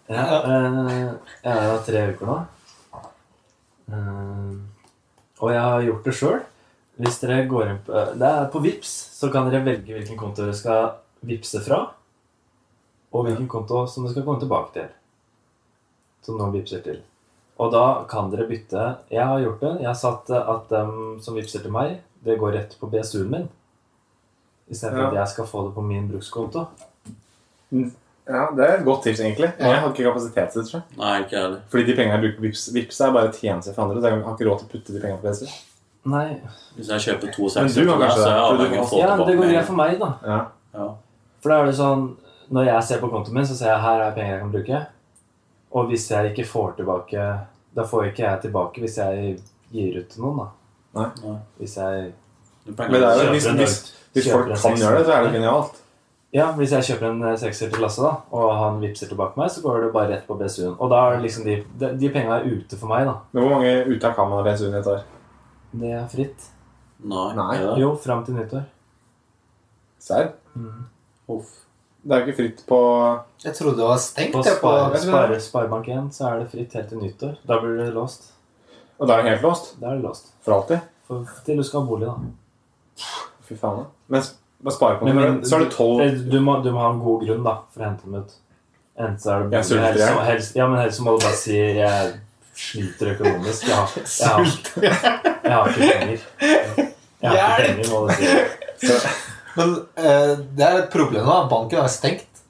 E: ja, eh, jeg er jo tre uker nå. Eh, og jeg har gjort det sjøl. Hvis dere går inn på eh, Det er på Vips, så kan dere velge hvilken konto dere skal vippse fra. Og hvilken konto som dere skal komme tilbake til. Som noen vippser til. Og da kan dere bytte Jeg har gjort det. Jeg har satt eh, at dem som vippser til meg, det går rett på BSU-en min. Istedenfor
D: Ja.
E: at jeg skal få det på min brukskonto.
D: Ja, Det er et godt tips, egentlig.
A: Ja.
D: Jeg har ikke kapasitet til det. tror jeg.
C: Nei, ikke jeg heller.
D: Fordi de pengene jeg bruker på Vipps, Vipps er bare tjenester for andre. Så jeg har ikke råd til å putte de pengene på Venstre.
E: Nei.
C: Hvis jeg kjøper to
D: Men du
C: sekser,
D: har
C: til deg,
D: kanskje
C: så er jeg
D: det.
C: avhengig av å få
E: Ja, men det
C: tilbake
E: går greit
C: med.
E: for meg, da.
D: Ja.
C: Ja.
E: For da er det sånn Når jeg ser på kontoen min, så ser jeg her er penger jeg kan bruke. Og hvis jeg ikke får tilbake Da får ikke jeg tilbake hvis jeg gir ut til noen, da.
D: Nei.
C: Nei.
E: Hvis jeg
C: Du penger
D: Men det er
C: til å
D: jo,
C: kjøpe
D: hvis,
C: en
D: hvis,
C: øl.
D: hvis folk
E: Kjøper en
D: kan gjøre det, så er det genialt.
E: Ja, hvis jeg kjøper en eh, sekser til Lasse, da, og han vippser tilbake meg, så går det bare rett på BSU-en. Og da er det liksom de, de, de penga er ute for meg, da.
D: Men hvor mange uttak kan man av BSU-en i et år?
E: Det er fritt.
C: Nei.
D: Nei.
C: er det?
E: Jo, fram til nyttår.
D: Serr?
E: Mm.
C: Uff.
D: Det er jo ikke fritt på
A: Jeg trodde det var stengt.
E: På
A: jeg, på,
E: spare,
D: vet du hva?
E: spare, Sparebank1 så er det fritt helt til nyttår. Da blir det låst.
D: Og da er det helt låst.
E: Da er det låst.
D: For alltid.
E: For, til du skal ha bolig, da.
D: Fy faen. da. Men s- bare spare på det. Så er det tolv
E: du, Eh, du, må, du må ha en god grunn da for å hente dem ut. Enten så er det
D: Jeg sulter,
E: helst-
D: jeg.
E: helst, Ja, men helst så må du bare si jeg sliter økonomisk. Jeg har, jeg har, jeg har ikke penger. Jeg har ikke penger, må du si.
A: Men eh, det er et problem nå. Banken er stengt.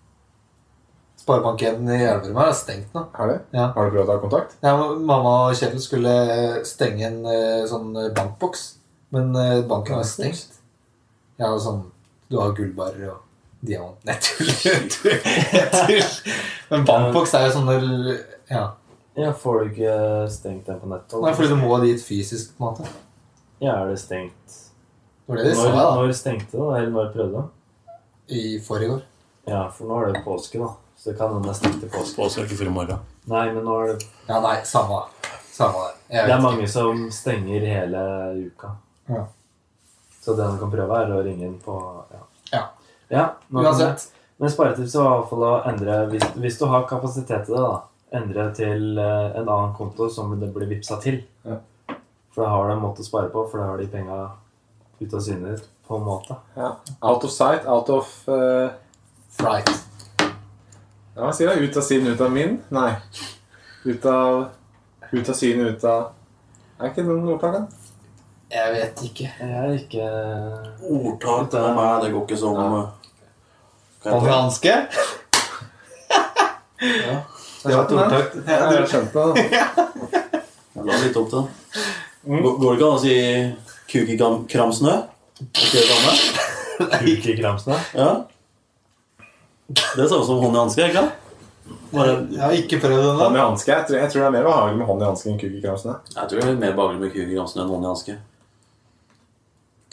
A: Sparebanken i Elverum er stengt nå.
D: Er det?
A: Ja.
D: Har du prøvd å ha kontakt?
A: Ja, men mamma og Kjell skulle stenge en eh, sånn bankboks, men eh, banken var stengt. Ja, og sånn Du har gullbarer og diamant Nei, tull! tull, tull. Men bankboks er jo sånn der Ja.
E: Ja, får du ikke eh, stengt den på
A: Nei, fordi
E: nettet?
A: du må dit fysisk, på en måte.
E: Ja, er det stengt?
A: Det var det de sa,
E: Når,
A: da.
E: når stengte det, eller når prøvde det?
A: I forrige år.
E: Ja, for nå er det påske, da. Så det kan hende det er stengt til påske.
C: Påske er ikke før i morgen.
E: Nei, men nå er det
A: Ja, nei, samme Samme det. Jeg
E: Det er
A: vet
E: mange som stenger hele uka.
A: Ja.
E: Så det han kan prøve, er å ringe inn på Ja.
A: Ja.
E: ja nå kan
A: Uansett.
E: jeg- Men sparetipset var i hvert fall å endre hvis, hvis du har kapasitet til det, da. Endre til eh, en annen konto som det blir vippsa til.
D: Ja.
E: For da har du en måte å spare på, for da har de penga ute av syne, på en måte.
D: Ja. Out of sight, out of eh,
A: ikke. Right.
D: Ja, hva sier jeg? Ut av siden, ut av min? Nei. Ut av Ut av siden, ut av Er ikke noen ordtak, da?
A: Jeg vet ikke.
E: Jeg er ikke
C: Ordtak til meg, det går ikke sånn
D: Ja.
C: Kan jeg ta-
A: hanske? Det var et ordtak.
D: Ja, du har skjønt det, da.
C: Jeg la litt opp til den. Går går det ikke an å si kuk i gam- kram snø? Er ikke det samme?
E: kuk i kramsene.
C: Ja. Det er samme som hånd i hanske, ikke sant? Bare,
A: Jeg har ikke prøvd det
D: Hånd
A: ennå.
D: i hanske. Jeg, tror- jeg tror det er mer behagelig med hånd i hanske enn kuk i kramsene.
C: jeg tror det er mer behagelig med kuk i kram snø enn hånd i hanske.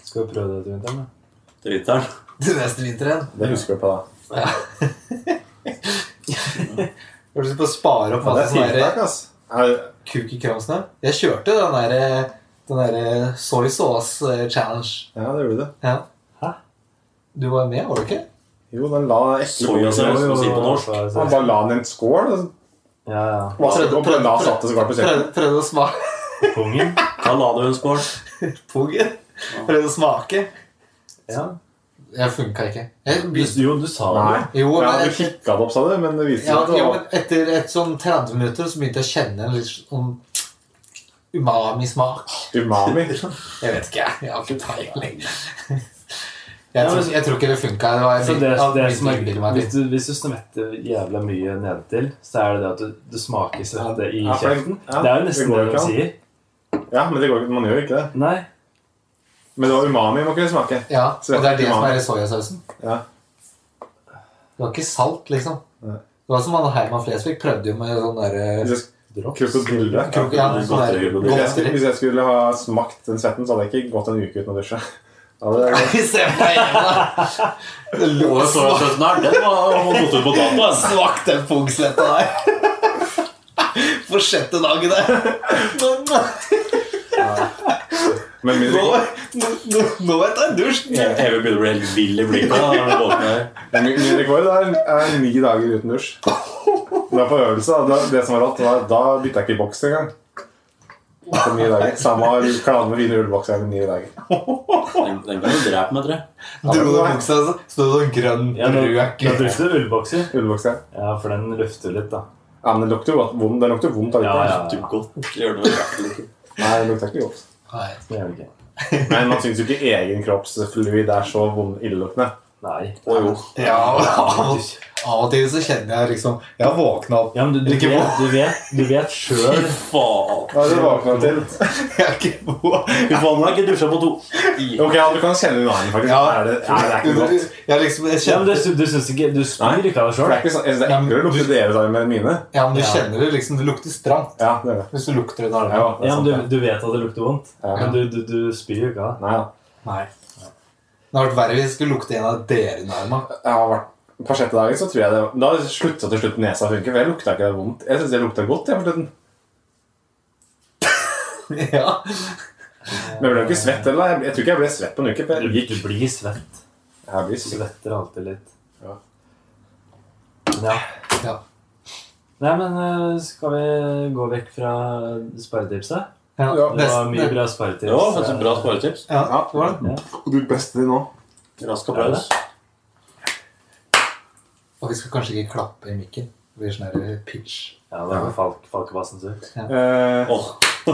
E: Skal vi prøve det til vinteren? da?
C: Til vinteren.
A: Til neste vinteren.
D: Det husker du på, da.
A: Ja. Har du lyst på å spare opp
D: Ja, det
A: masse
D: er
A: sånne der
D: tiltak, ass. Er,
A: kuk i kramsene? Jeg kjørte den der, den der soy sauce eh, challenge.
D: ja, det gjorde du.
A: Ja.
E: Hæ?
A: Du var med, var du ikke?
D: Jo, den la ekle
C: Soyasaus, som man sier på norsk.
D: Han bare la den i en skål. altså. og så-
E: Ja, ja.
D: Hva skal du på? La satt det så klart på kjeften.
A: prøvde, prøvde å smake
E: Pungen.
C: Da la du en skål.
A: Pungen. Prøvde å smake.
E: Ja.
A: Jeg funka ikke. Jeg
E: Du,
A: begynte
E: jo, du sa det.
D: Nei.
A: Jo,
D: ja,
A: men-
D: du kikka det opp, sa du, men det viste
A: ja,
D: seg at det
A: ja,
D: var
A: men Etter et sånn 30 minutter så begynte jeg å kjenne en litt sånn umami-smak.
D: umami.
A: Jeg vet ikke, jeg. Jeg har ikke peiling.
E: Ja,
A: Jeg, tror-
E: men-
A: jeg tror ikke det funka. Det var
E: Så Altså,
A: jeg
E: det, det
A: begynte
E: som
A: å
E: er,
A: innbille meg
E: hvis,
A: litt.
E: du, hvis du smetter jævla mye nedentil, så er det det at du, du smaker svette i
D: Ja, for det-
E: kjeften.
D: ja,
E: Det er jo
D: det
E: nesten
D: går
E: det
D: jo
E: de
D: ikke an.
E: sier.
D: Ja, men det går ikke, man gjør jo ikke det.
E: Nei,
D: Men det var umami man kunne smake.
A: Ja, og det er det som er i soyasausen.
D: Ja.
A: Det var ikke salt, liksom.
D: Nei.
A: Det var som han Herman Flesvig prødde jo med sånn
D: Hvis
A: derre
D: jeg, krokodille.
A: Krok- ja,
C: det er
A: sånn der-
C: godteri, godteri.
D: Hvis jeg, skulle,
A: godteri.
D: hvis jeg skulle ha smakt den svetten, så hadde jeg ikke gått en uke uten å dusje. Da hadde jeg-
A: Se på øynene! Det lå
C: Og
A: så
C: soyasausen her, den var var gått ut på dato. ass.
A: svakt, den pungsletta der. For sjette dagen der. Nå, nå,
D: Men min,
A: nå, nå, nå vet jeg dusj.
C: Even begynner å bli helt vill i blikket. da, når du våkner her.
D: min, min rekord er, er ni dager uten dusj. Det var på øvelse. da. Det, det som var rått, var at da bytta jeg ikke boks engang. På ni dager. Samme klamme, fine ullbokser i ni dager.
C: Den den kan du drepe med, tror jeg.
A: Dro du buksa, så sto det sånn grønn
E: ja, nå, nå
A: røk
E: dufter det ullbokser.
D: Ullbokser.
E: Ja, for den lufter litt, da.
D: Ja, men det lukter jo godt- vondt. Det lukter vondt av
E: Ja,
D: ullbokser.
E: ja,
C: Du
E: ja.
C: godt gjør det vel.
D: Nei, det lukter ikke godt.
A: Nei.
E: Det gjør det ikke.
D: Men man syns jo ikke egen kroppsfluid er så vond illeluktende.
E: Nei.
C: Å jo.
A: Ja, av
D: Ah.
A: og- av og til så kjenner jeg liksom Jeg har våkna opp
E: Ja, men du, du,
A: Ikke
E: vet, du vet, du vet
C: Fy
E: sjøl
C: faen.
D: Hva er det du våkna til?
A: Jeg er ikke våken.
C: Fy faen, jeg har ikke dusja på to I-
D: Ok, ja, du kan kjenne en annen, faktisk.
A: Ja.
D: Er det, nei, det er ikke godt.
A: Jeg liksom, jeg
E: ja, men
A: kjenner,
E: du, du syns ikke Du
D: Nei.
E: spyr ikke av deg
D: For
E: sjøl?
D: det er ikke sånn, det er eklere å lukte deres arm enn mine.
A: ja, men du
E: Ja.
A: kjenner det liksom. Det lukter stramt
D: Ja, det er det.
A: hvis du lukter en arm.
D: sånn, Ja, det
E: Ja,
D: er
E: men
D: sant,
E: du,
D: det.
E: du vet at det lukter vondt,
D: Ja.
E: men du, du, du spyr jo ikke av det.
D: Nei, da.
A: Nei. Det hadde vært verre hvis jeg skulle lukte en av dere i armen.
D: jeg har vært på sjette dagen, så tror jeg det Da slutta til slutt nesa å funke. For jeg lukta ikke det vondt. Jeg synes jeg lukta godt. Jeg, på slutten.
A: Ja.
D: Men jeg ble jo ikke svett heller. Jeg, jeg tror ikke jeg ble svett på en uke. For
E: Du,
D: jeg gikk
E: du blir svett.
D: Jeg blir
E: Du
D: svett.
E: svetter alltid litt.
D: Ja.
E: Men ja.
A: Ja.
E: Nei, men eh, skal vi gå vekk fra sparetipset?
A: Ja,
D: Ja,
E: Det var
A: nesten.
E: mye bra
C: Det
E: sparetips.
C: var faktisk et bra sparetips.
A: Ja.
D: Ja, det var det. Du beste til nå.
C: Rask applaus.
A: Og vi skal kanskje ikke klappe i mikken. Det blir sånn her pitch.
E: Ja, det var falk, Falkebassen sur.
D: Eh,
C: Åh.
D: ja,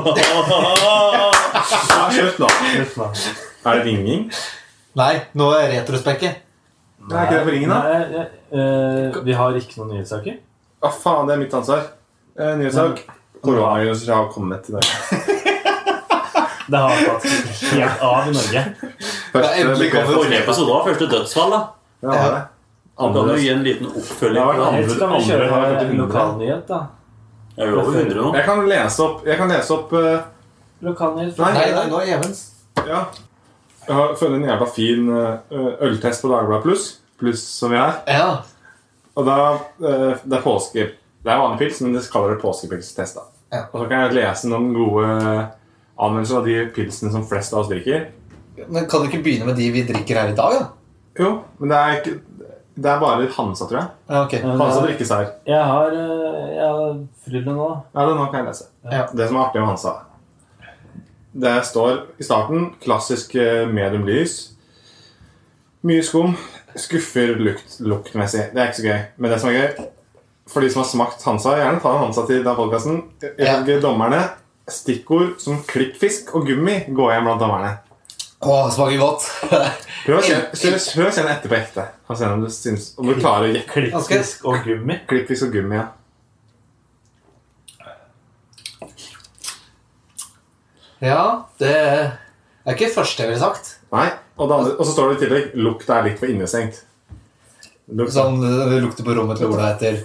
D: slutt nå.
E: Slutt nå.
D: Er det ringing?
A: Nei, nå er retrospekket.
D: Nei, er ikke det på ringen, da?
E: Nei, ja, eh, vi har ikke noen nyhetssaker.
D: Å, faen, det er mitt ansvar. Eh, Nyhetssak.
C: Mm.
D: Koronaviruset har kommet til Norge.
E: Det har tatt helt av i
A: Det
E: Norge.
A: er endelig kommet.
D: bekreftet-
C: Forrige episode var første dødsfall, da.
D: eh, Ja, det var det.
C: Da kan du
D: Andre-
C: gi en liten oppfølging.
D: Det har
C: på det.
D: vært andre-
E: Eller skal vi
D: andre har
E: kjøre
D: vært
E: en
D: under.
E: lokalnyhet, da?
C: Jeg er jo over 100 nå.
D: Jeg kan lese opp, jeg kan lese opp eh,
E: Lokalnyhet fra
D: Nei,
A: Nei, nei, nå er Evens.
D: Ja. Jeg har funnet en jævla fin eh, øltest på Dagbladet Pluss, pluss som vi er.
A: Ja.
D: Og da, eh, det er påske... Det er vanlig pils, men det kaller det påskepilstest. da.
A: Ja.
D: Og så kan jeg lese noen gode eh, anmeldelser av de pilsene som flest av oss drikker.
A: Men kan du ikke begynne med de vi drikker her i dag, da?
D: Jo, men det er, ikke, det er bare Hansa, tror jeg.
A: Ja, ok.
E: Ja,
D: Hansa
E: men jeg-
D: drikkes her.
E: Jeg har, eh, jeg har Frydenlund nå.
D: Ja, det nå kan jeg lese.
A: Ja.
D: Det som er artig med Hansa Det står i starten klassisk eh, medium lys. Mye skum. Skuffer lukt, luktmessig. Det er ikke så gøy. Men det som er gøy For de som har smakt Hansa, gjerne ta en Hansa til den podkasten. Ifølge dommerne stikkord som klippfisk og gummi går igjen blant dommerne.
A: Å, det smaker godt.
D: Prøv å kjenne, prøv å kjenne etter på ekte. Og se om du, syns, om du klarer å jekke
E: Klippfisk og gummi.
D: klippfisk og gummi. Ja.
A: ja, det er ikke første jeg ville sagt.
D: Nei, og, det andre, og så står det i tillegg lukta er litt for innestengt. Lukta
A: Sånn eh, det lukter på rommet til Ola etter.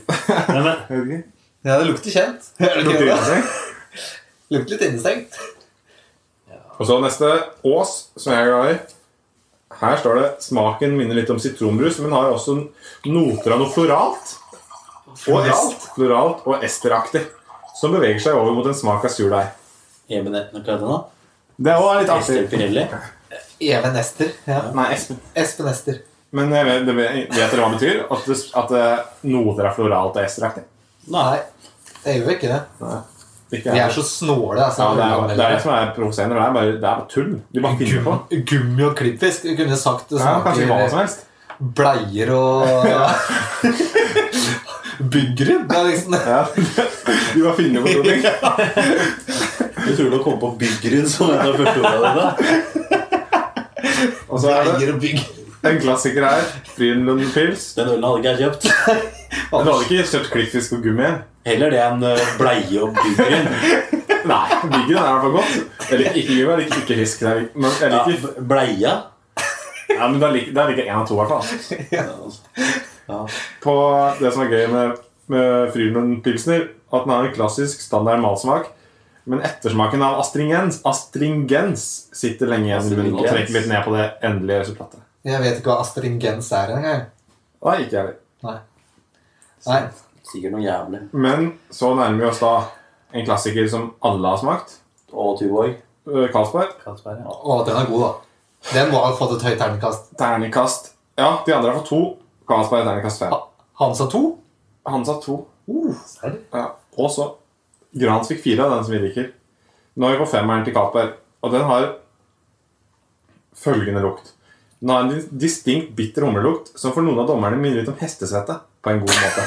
E: Nei, men,
D: Jeg vet ikke.
A: Ja, det lukter kjent. Er det
D: Lukter
A: ikke det?
D: innestengt.
A: Lukter litt innestengt.
D: Og så neste Ås, som jeg er glad i. Her står det smaken minner litt om sitronbrus, men har også noter av noe floralt. Og
A: Floralt?
D: est, floralt og esteraktig. Som beveger seg over mot en smak av surdeig.
C: Even Etne, hva er det nå?
D: Det er også litt artig.
C: Esther Pirelli.
A: Even Ester. Ja.
D: Nei, Espen.
A: Espen Ester.
D: Men jeg vet, det vet vet dere hva det betyr? At, det, at det, noter er floralt og esteraktig.
A: Nei, det gjør jo ikke det.
D: Ikke
A: Vi er så snåle. Altså,
D: ja, det, er, det er det som er provoserende. Det er bare, det er bare tull. De bare finner på.
A: Gum- Gummi og klippfisk. Vi kunne sagt det
D: Ja, kanskje hva
A: smaker
D: som helst.
A: bleier og Byggrunn. Det er liksom
D: Ja. De bare finner på sånne ting.
C: Utrolig å komme på Byggrunn som en av første ordene dine.
D: Og så er det
A: bleier og bygg.
D: en klassiker her. Frydenlund Pils.
C: Den ølen hadde ikke jeg kjøpt.
D: Du hadde ikke kjøpt klippfisk og gummi?
C: Heller det enn eh, bleie og Byggrunn.
D: Nei, Biggen er i hvert fall godt. Jeg liker ikke gummi, jeg liker ikke fisk. Det er- Men jeg
C: Ja,
D: liker,
C: b- bleia.
D: ja, men da liker, da liker jeg én av to, i hvert fall.
C: Ja.
D: På det som er gøy med, med Frydenlund Pilsner, at den har en klassisk standard malsmak. Men ettersmaken av astringens, astringens sitter lenge igjen i munnen og trekker litt ned på det endelige resultatet.
A: Jeg vet ikke hva astringens er engang.
D: Nei, ikke jeg heller.
A: Nei. Nei.
C: Sikkert noe jævlig.
D: Men så nærmer vi oss da en klassiker som alle har smakt.
C: Og Tuborg.
D: øh, Carlsberg.
E: Karlsberg, ja.
A: Å, den er god, da. Den må ha fått et høyt terningkast.
D: Terningkast Ja, de andre har fått to. Carlsberg terningkast fem.
A: Hansa Uh. 2?
D: Han sa to.
E: Serr?
D: Ja. Og så Grans fikk fire av den som vi liker. Nå er vi på femmeren til Carlsberg, og den har følgende lukt. Den har en dis- distinkt bitter humlelukt som for noen av dommerne minner litt om hestesvette. På en god måte.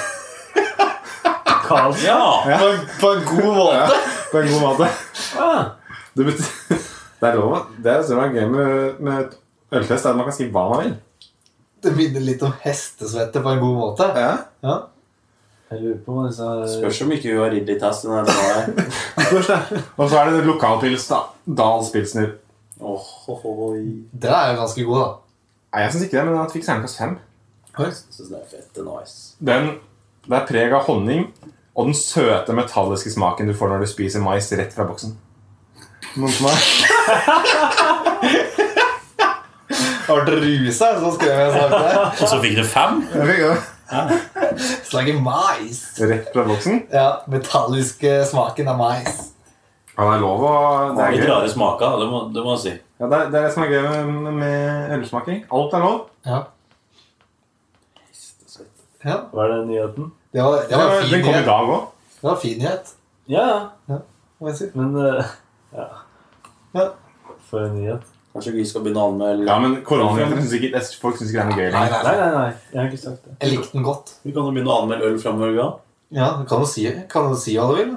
E: Karls-
C: Ja!
D: På, en god måte! på en god måte.
E: Ah,
D: Det, betyr, det er lov. å- Det er det som er gøy med, med et øltest, er at man kan si hva man vil.
A: Det minner litt om hestesvette på en god måte.
D: Ja.
A: Ja.
E: Jeg lurer på hva disse
C: Spørs om ikke hun har ridd litt hest. den her dagen her.
D: Spørs det. Og så er det lokalpils, da. Dahls pilsner.
C: Åh, oh,
A: Den er jo ganske god, da.
D: Nei, jeg syns ikke det, men den fikk terningkast fem.
C: Jeg syns det er fett. Nice.
D: Den, det er preg av honning og den søte metalliske smaken du får når du spiser mais rett fra boksen. Noen som er
A: Har vært rusa, så skrev jeg en sak der.
C: Og så fikk du fem?
A: Slaget mais.
D: Rett fra boksen?
A: Ja, metalliske smaken av mais.
D: Ja, det er lov å
C: Det
D: Det er
C: er litt
D: gøy.
C: rare smaker, det må, det må jeg si.
D: Ja, det, er, det er det som er gøy med, med ølsmaking. Alt er lov.
A: Ja. ja.
E: Var det nyheten?
A: Det var, det var en fin
D: Den kom i
A: nyhet.
D: dag òg.
A: Det var en fin nyhet,
E: Ja, ja.
A: må jeg si.
E: Men eh,
A: Ja.
E: For en nyhet.
C: Kanskje vi skal begynne å anmelde
D: Ja, men koronaen syns ikke folk syns ikke det er noe gøy
A: Nei,
D: lenger.
A: nei,
E: Nei,
A: nei.
E: nei, nei. Jeg har ikke sagt det.
A: Jeg likte den godt.
C: Vi kan jo begynne å anmelde øl framover. Ja.
A: Ja, du kan jo si, kan jo si hva du vil.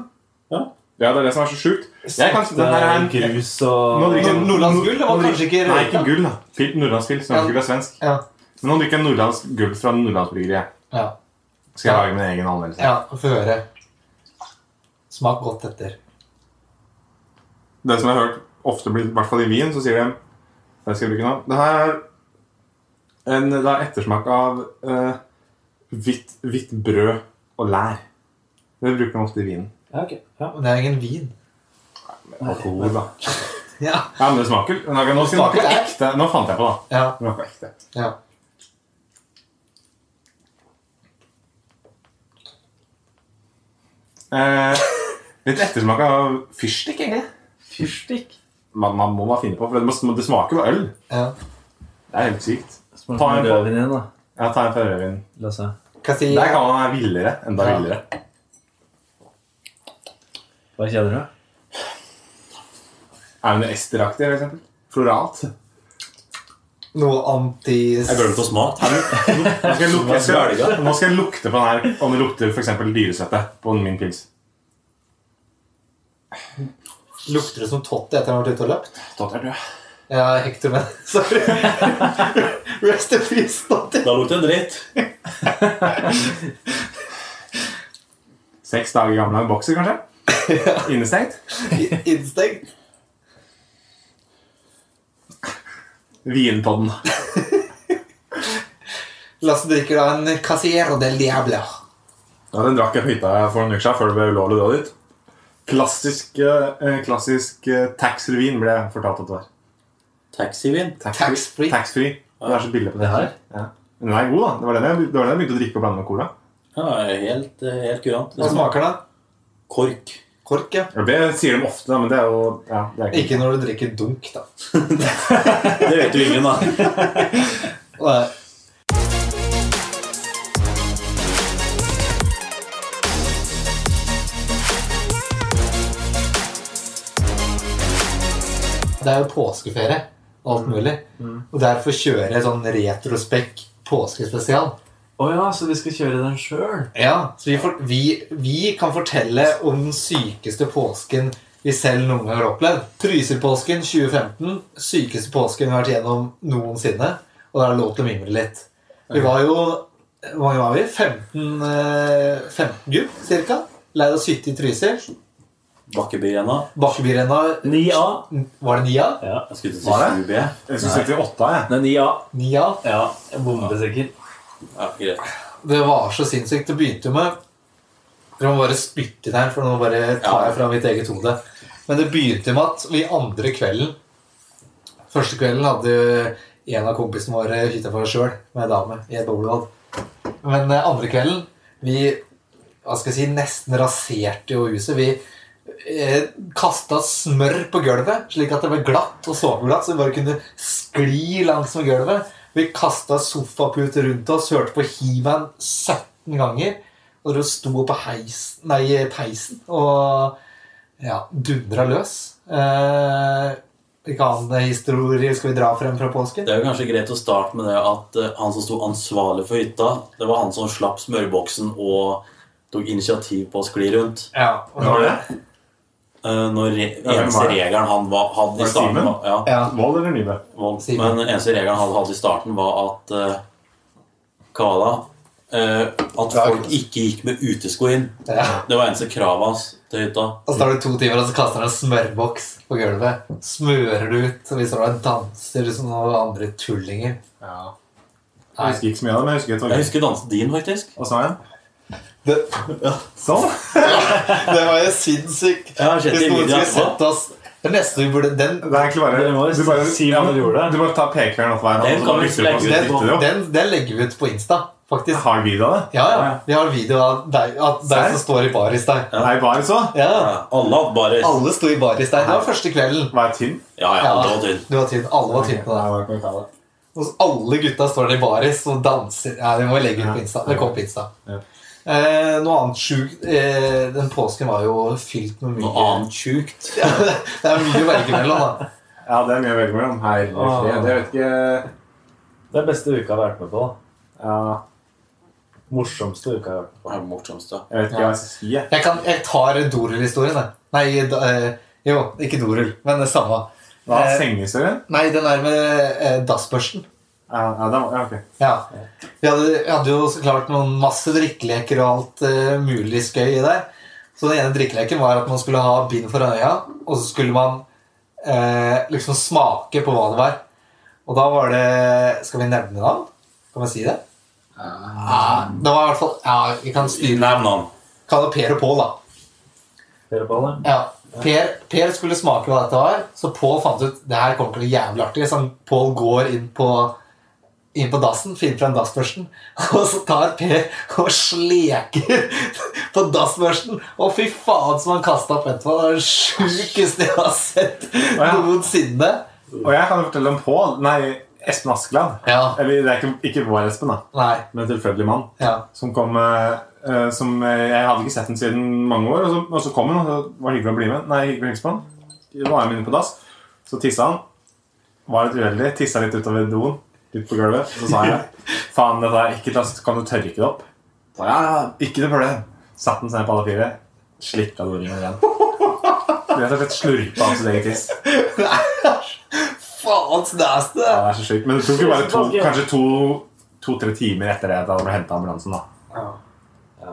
A: da.
D: Ja, det er det som er så sjukt. Jeg kan, den her er en
E: grus og
D: Nå drikker jeg-
A: Nordlands gull, det var
D: Nå drikker-
A: kanskje ikke-
D: Nei, ikke gull, da. Fil- Nordlandsfil. så Nordlandsgull er svensk.
A: Ja.
D: Men nå drikker jeg Nordlands gull fra Nordlandsbryggeriet.
A: Ja.
D: Skal jeg lage min egen anmeldelse.
A: ja Få høre. Smak godt etter.
D: Det som jeg har hørt ofte blir, i hvert fall i Wien, så sier de Det skal jeg bruke nå. Det her er en det er ettersmak av eh, hvitt, hvitt brød og lær. Det bruker man ofte i vinen.
E: Ja, ok. Ja.
A: Men det er ingen vin.
D: Alkohol, da.
A: Ja.
D: Ja, men det smaker Nå, nå, nå,
A: smaker det.
D: ekte. nå fant jeg på, da.
A: Ja.
D: Det smaker ekte.
A: ja.
D: Eh, litt ettersmak av fyrstikk, egentlig.
E: Fyrstikk.
D: Man, man må bare finne på, for det, må, det smaker jo øl.
A: ja.
D: Det er helt sykt.
E: Smak
D: Ta en
E: på rødvin igjen, da.
D: Ja, ta en fra rødvin.
E: La oss se.
A: Kan jeg si
D: Der kan man være villere. Enda
A: Ja.
D: villere.
E: Hva kjenner du?
D: Er det noe esteraktig, for eksempel? Floralt.
A: noe anti...
C: Jeg glemte å smake.
D: Nå skal jeg lukte, jeg skal, nå skal jeg lukte på den her om det lukter f.eks. dyresvette på min pils.
A: Lukter det som Totti etter at han har vært ute og løpt?
D: Tatt er død.
A: Ja, Hector men Sorry. Rest in peace, Totti.
C: Da lukter det dritt.
D: Seks dager gammel av en bokser, kanskje? Innestengt.
A: Instinkt.
D: Vinpodden.
A: Lasse drikker da en Casiero del Diablo.
D: Ja, den drakk jeg på hytta for noen uker siden før det ble ulovlig å dra dit. Klassisk, eh, klassisk eh, taxfree-vin ble jeg fortalt at det var.
C: Taxivin.
A: Taxfree?
D: Taxfree. Det er så billig på det
E: her?
D: Ja. Men den er god, da. Det var den jeg, det var den jeg begynte å drikke og blande med cola.
C: Ja, helt, eh, helt kurant.
A: Hva
C: Det smaker
A: smaker det?
C: kork.
A: Kork, ja.
D: Ja, Det sier de ofte, da, men det er jo ja, det er
A: Ikke når du drikker dunk, da.
C: Det vet jo ingen, da.
A: Nei. Det er jo påskeferie og alt mulig. Og derfor kjører jeg sånn retrospekk påskespesial.
E: Å ja, så vi skal kjøre den sjøl?
A: Ja, så vi, for, vi, vi kan fortelle om den sykeste påsken vi selv noen gang har opplevd. Trysilpåsken 2015. Sykeste påsken vi har vært gjennom noensinne. Og da er det lov til å mimre litt. Vi var jo hvor mange var vi? 15, eh, 15 gutt, cirka. Leid oss hytte i Trysil.
C: Bakkebyrenna.
A: Bakkebyrenna
E: 9A.
A: Var det Nia?
E: Ja.
C: Jeg skulle til
D: Var
C: å si
D: det?
C: 7B.
D: Jeg skulle sette i åtta, jeg.
E: Det er 9A.
A: Nia.
E: Ja, jeg bomber sikkert.
C: Ja, greit.
A: Det var så sinnssykt. Det begynte jo med Dere må bare spytte inn her, for nå bare tar jeg fra mitt eget hode. Men det begynte med at vi andre kvelden Første kvelden hadde en av kompisene våre hytta for seg sjøl med ei dame i et bowlingbad. Men eh, andre kvelden Vi hva skal jeg si, nesten raserte jo huset. Vi eh, kasta smør på gulvet, slik at det ble glatt og soveglatt, så vi bare kunne skli langsom gulvet. Vi kasta sofaputer rundt oss, hørte på He-Man 17 ganger. Og dere sto på heisen, nei, peisen og ja, dundra løs. Eh, hvilke andre historier skal vi dra frem fra påsken?
C: Det er jo kanskje greit å starte med det at eh, han som sto ansvarlig for hytta, det var han som slapp smørboksen og tok initiativ på å skli rundt.
A: Ja, og
D: Var det?
C: Eh, Når re eneste
D: var det?
C: regelen han var, hadde
D: Var
C: i
D: det
C: starten
D: Simen?
C: var, ja,
A: Ja,
D: Vold eller Nybø?
C: vold.
A: Simen.
C: Men eneste regelen han hadde i starten, var at eh, Kala eh, at folk ikke gikk med utesko inn.
A: Ja.
C: Det var eneste kravet hans til hytta.
A: Og så tar det to timer, og så kaster han en smørboks på gulvet. Smører det ut, og vi står der og danser som noen andre tullinger.
D: Ja. Jeg husker ikke så mye av det, men jeg husker et
C: Jeg
D: øyeblikk.
C: husker dansen din, faktisk.
D: Hva sa jeg?
A: Det,
D: Sånn.
A: det var jo sinnssykt.
C: Jeg har sett det
A: Hvis
C: i
A: noen
C: videoen
A: skulle
C: etterpå.
A: sett oss Det neste vi burde Den,
D: Det er egentlig bare
E: Dere må jo
D: Du bare,
E: si hva
D: men
E: dere gjorde.
D: Du bare tar pekeren opp veien.
C: Den kan vi legge
A: den,
C: ut
D: ut.
A: den, den legger vi ut på Insta, faktisk.
D: Har du video av det?
A: Ja, ja. Vi har en video av deg, av deg
D: Serr?
A: som står i baris der.
C: Ja.
D: Nei, bare så.
A: Ja,
C: Ja, Alle hadde baris.
A: Alle sto i baris der. Det var første kvelden.
D: Vær tynn.
C: Ja, ja, alle var tynn.
A: Du var tynn. Alle var tynne på deg. Og alle gutta står der i baris og danser. Ja, det må vi legge ut på Insta. Det kom på Insta.
D: Ja.
A: Eh, noe annet sjukt eh, Den påsken var jo fylt med mye
C: Noe annet sjukt.
A: Ja, det er mye å velge mellom, da.
D: Ja, det er mye å velge mellom. Hei,
E: Åh.
D: jeg vet ikke
E: Det er beste uka jeg har vært med på. da.
D: ja,
E: Morsomste uka jeg har vært med på.
C: Hva er det morsomste?
D: Jeg vet ikke hva jeg skal si. jeg.
A: Jeg, kan, jeg tar Dorull-historien, jeg. Nei, da- eh, jo, ikke Dorull, men det samme.
D: Hva
A: Eh,
D: er sengeserien?
A: Nei, den er med eh, dassbørsten.
D: Ja, ja, den var- ja, ok.
A: Ja. Vi hadde, vi hadde jo så klart noen masse drikkeleker og alt eh, mulig skøy i der. Så den ene drikkeleken var at man skulle ha bind foran øya, og så skulle man eh, liksom smake på hva det var. Og da var det Skal vi nevne navn? Kan man si det? Ja, det var i hvert fall Ja, vi kan styre
C: Nevn han.
A: Kall det Per og Pål, da.
E: Dere på alle?
A: Ja. Per, per skulle smake hva dette var, så Pål fant ut det her kommer til å bli jævlig artig. Så han- Pål går inn på, inn på dassen, finner frem dassbørsten, og så tar Per og sleker på dassbørsten. Og fy faen som han kasta opp etterpå. Det er det sjukeste jeg har sett
D: ja.
A: noensinne.
D: Og jeg kan jo fortelle om Pål Nei, Espen Askeland.
A: Ja.
D: Eller det er ikke, ikke vår Espen, da,
A: Nei.
D: men en tilfeldig mann.
A: Ja.
D: Som kom eh, eh, som, eh, Jeg hadde ikke sett den siden mange år, og så, og så kom han, og så var det hyggelig å bli med. Nei, hyggelig å hilse på han. Da var jeg med inne på dass. Så tissa han. Var litt uheldig. Tissa litt utover doen. Litt på gulvet. Så sa jeg faen, dette er ekkelt, ass. Kan du tørke det opp? Så, ja, ja, ikke noe problem. Satt den seg på alle fire. Slikka doringen igjen. Rett og slett slurpa av sitt eget tiss.
A: Faen så nasty!
D: Ja,
A: det.
D: det er så sjukt. Men det tok jo bare to, kanskje to- to-tre timer etter det da det ble henta ambulansen, da.
E: Ja,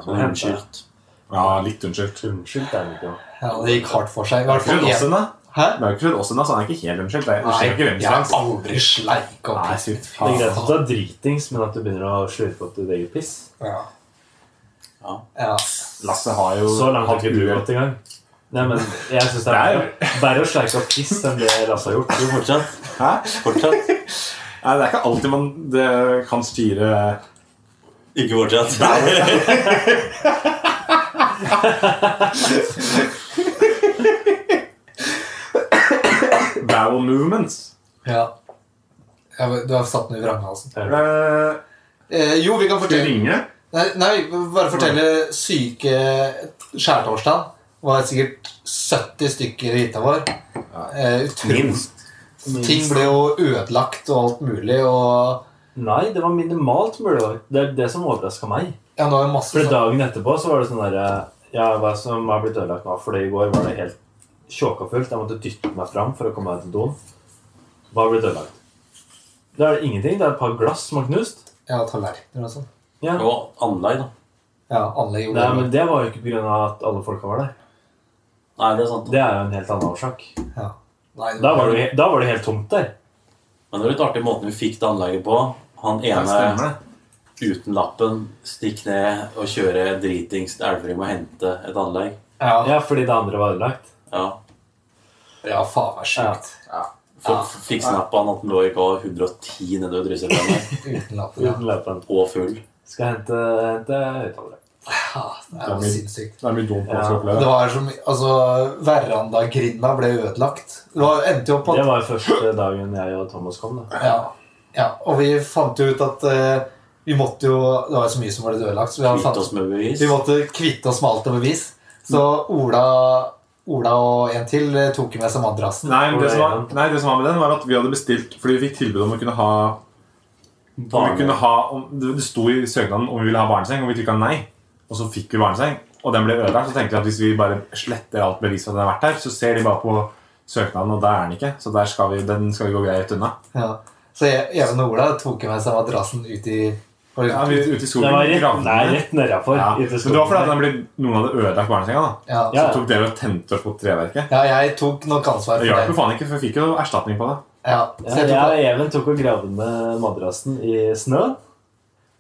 C: Som henskilt.
D: Ja, litt unnskyldt.
E: Unnskyld, det er det ikke. da.
A: Ja, det gikk hardt for seg. I hvert fall
D: Fred
A: én.
D: Aasen, da?
A: Hæ?
D: Det er jo ikke Fred Aasen, da, så han er ikke helt unnskyldt. Det det
A: Nei,
D: skjer jo ikke hvem
A: jeg
D: som
A: har
D: helst.
A: aldri sleika
D: Nei,
A: opp.
D: fy
E: Det er
D: faen.
E: greit at du er dritings, men at du begynner å slurpe opp ditt eget piss
A: Ja.
C: Ja.
A: Ja.
D: Lasse har jo
E: Så langt har
D: hatt
E: ikke du
D: uhell.
E: gått engang. Nei, men jeg synes det
D: Nei.
E: er verre- verre å sleike opp piss enn det Lasse har gjort.
C: Jo, fortsett.
D: Hæ?
C: Fortsett.
D: Nei, det er ikke alltid man det kan styre
C: Ikke fortsett.
D: bowel eh, movements.
A: ja. Ja, men Du har satt den i altså. vranghalsen.
D: Eh,
A: Eh, jo, vi kan
D: Skal vi
A: fortelle
D: ringe?
A: Nei, nei bare fortelle syke skjærtorsdag. Det var sikkert 70 stykker i hytta vår. Eh, utrolig-
D: Minst.
A: Ting ble jo ødelagt og alt mulig. Og
E: Nei, det var minimalt mulig. Det er det som overraska meg.
A: ja, nå er det masse
E: For
A: sånn
E: dagen etterpå så var det sånn derre Ja, hva som har blitt ødelagt nå? For i går var det helt tjåkafullt. Jeg måtte dytte meg fram for å komme meg til doen. Hva har blitt ødelagt? Da er det ingenting. Det er et par glass som har knust.
A: ja, tallerkener og sånn.
E: Ja.
C: Og anlegg, da.
A: Ja, anlegg gjorde
E: Nei,
A: det.
E: men det var jo ikke pga. at alle folka var der.
C: Nei, det er sant.
E: Det er jo en helt annen årsak.
A: Ja. Nei,
E: Da var det, da var det helt tomt der.
C: Men det er litt artig måten vi fikk det anlegget på. Han
D: Ja,
C: ene
D: stemmer det.
C: uten lappen, stikk ned og kjøre dritings til Elverum og hente et anlegg.
A: ja,
E: Ja, fordi det andre var ødelagt.
C: Ja.
A: ja, faen meg sjukt. Ja.
C: F- Fikk snapp av han at han lå i K 110 nedover Drysseblandet
A: Uten lappen. Ja.
E: Uten løpen.
C: og full.
E: Skal hente, hente høyttalere.
A: Ja, det er
D: Ja,
A: jo
D: men-
A: sinnssykt.
D: Det er mye dumt man skal
E: Ja.
A: Det
D: oppleve.
A: var som Altså, verandagrinda ble ødelagt. Det var, endte jo opp med at
E: Det var jo første dagen jeg og Thomas kom. da.
A: Ja. ja. Og vi fant jo ut at eh, vi måtte jo Det var jo så mye som var litt ødelagt, så vi, hadde
C: Kvitt
A: fant,
C: oss med bevis.
A: vi måtte kvitte oss med alt over bevis. Så Ola, Ola og en til eh, tok med seg madrassen.
D: Nei, men det som, var, nei, det som var med den, var at vi hadde bestilt Fordi vi fikk tilbud om å kunne ha, om vi kunne ha om, Det det sto i søknaden om vi ville ha barneseng, og vi trykka nei. Og så fikk vi barneseng, og den ble ødelagt. Så tenkte vi at hvis vi bare sletter alt bevis for at den har vært her, så ser de bare på søknaden, og der er den ikke. Så der skal vi, den skal vi gå greit unna.
A: E- Ja. Så Even og Ola tok med seg madrassen ut i Var det-
D: Ja, vi er ute i
E: Det
D: skogen.
E: var rett,
D: gravde
E: nei,
D: ned.
E: rett nedafor.
D: Ja.
E: i
D: Men
E: til
D: det
E: skogen.
D: var fordi at den ble, noen hadde ødelagt barnesenga. da
A: Ja.
E: Ja.
D: Så tok dere og tente opp mot treverket.
A: ja, jeg tok nok ansvar for
D: Det hjalp jo
A: det.
D: faen ikke, for vi fikk jo erstatning på det.
A: Ja, så
E: Ja,
A: jeg
E: jeg
A: tok,
E: og Even tok og gravde med madrassen i snøen.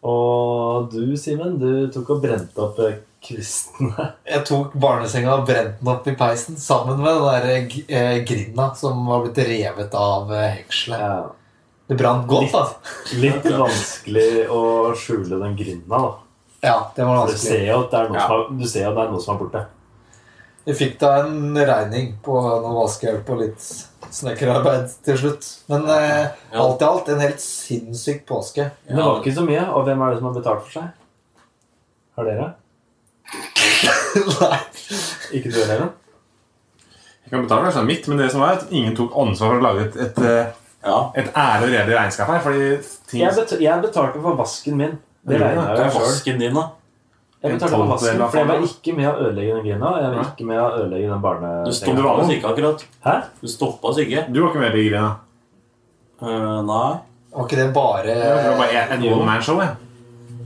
E: Og du, Simen, du tok og brente opp eh, kvistene.
A: jeg tok barnesenga og brente den opp i peisen sammen med den der g- eh, grinda som var blitt revet av eh, hekselet.
E: Ja.
A: Det brant godt, altså. da.
E: Litt vanskelig å skjule den grinda, da.
A: Ja, det var
E: For du ser
A: vanskelig.
E: jo at det er noe,
D: Ja.
E: som, er, du ser jo at det er noe som er borte.
A: Vi fikk da en regning på noe vaskehjelp og litt snekkerarbeid til slutt. Men eh,
C: Ja.
A: alt i alt en helt sinnssyk påske.
E: Men det var ikke så mye. Og hvem er det som har betalt for seg? Har dere?
A: Nei.
E: Ikke du heller?
D: Jeg kan betale kanskje mitt, men det som var at ingen tok ansvar for å lage et, et, eh,
C: Ja.
D: et ærlig og redelig regnskap her. Fordi ting
E: Jeg, bet jeg betalte for vasken min. Det
D: Ja,
E: regner
C: Det
E: jeg
C: er
E: sjøl.
C: vasken din, da.
E: Jeg
D: En
E: betalte for
D: tolvdel
E: vasken,
D: av
E: for jeg var
D: faen.
E: ikke med å ødelegge den grinda. og Jeg var
D: Nei.
E: ikke med å ødelegge den
C: Du
E: barnesenga.
D: det
C: stoppa
D: var
C: oss
D: noe.
C: ikke akkurat.
E: Hæ?
C: Du stoppa oss ikke.
D: Du var ikke med i Grina.
C: Eh, nei.
A: Var ikke det bare
D: Det var bare et, et
E: Jo.
D: one man show. Jeg.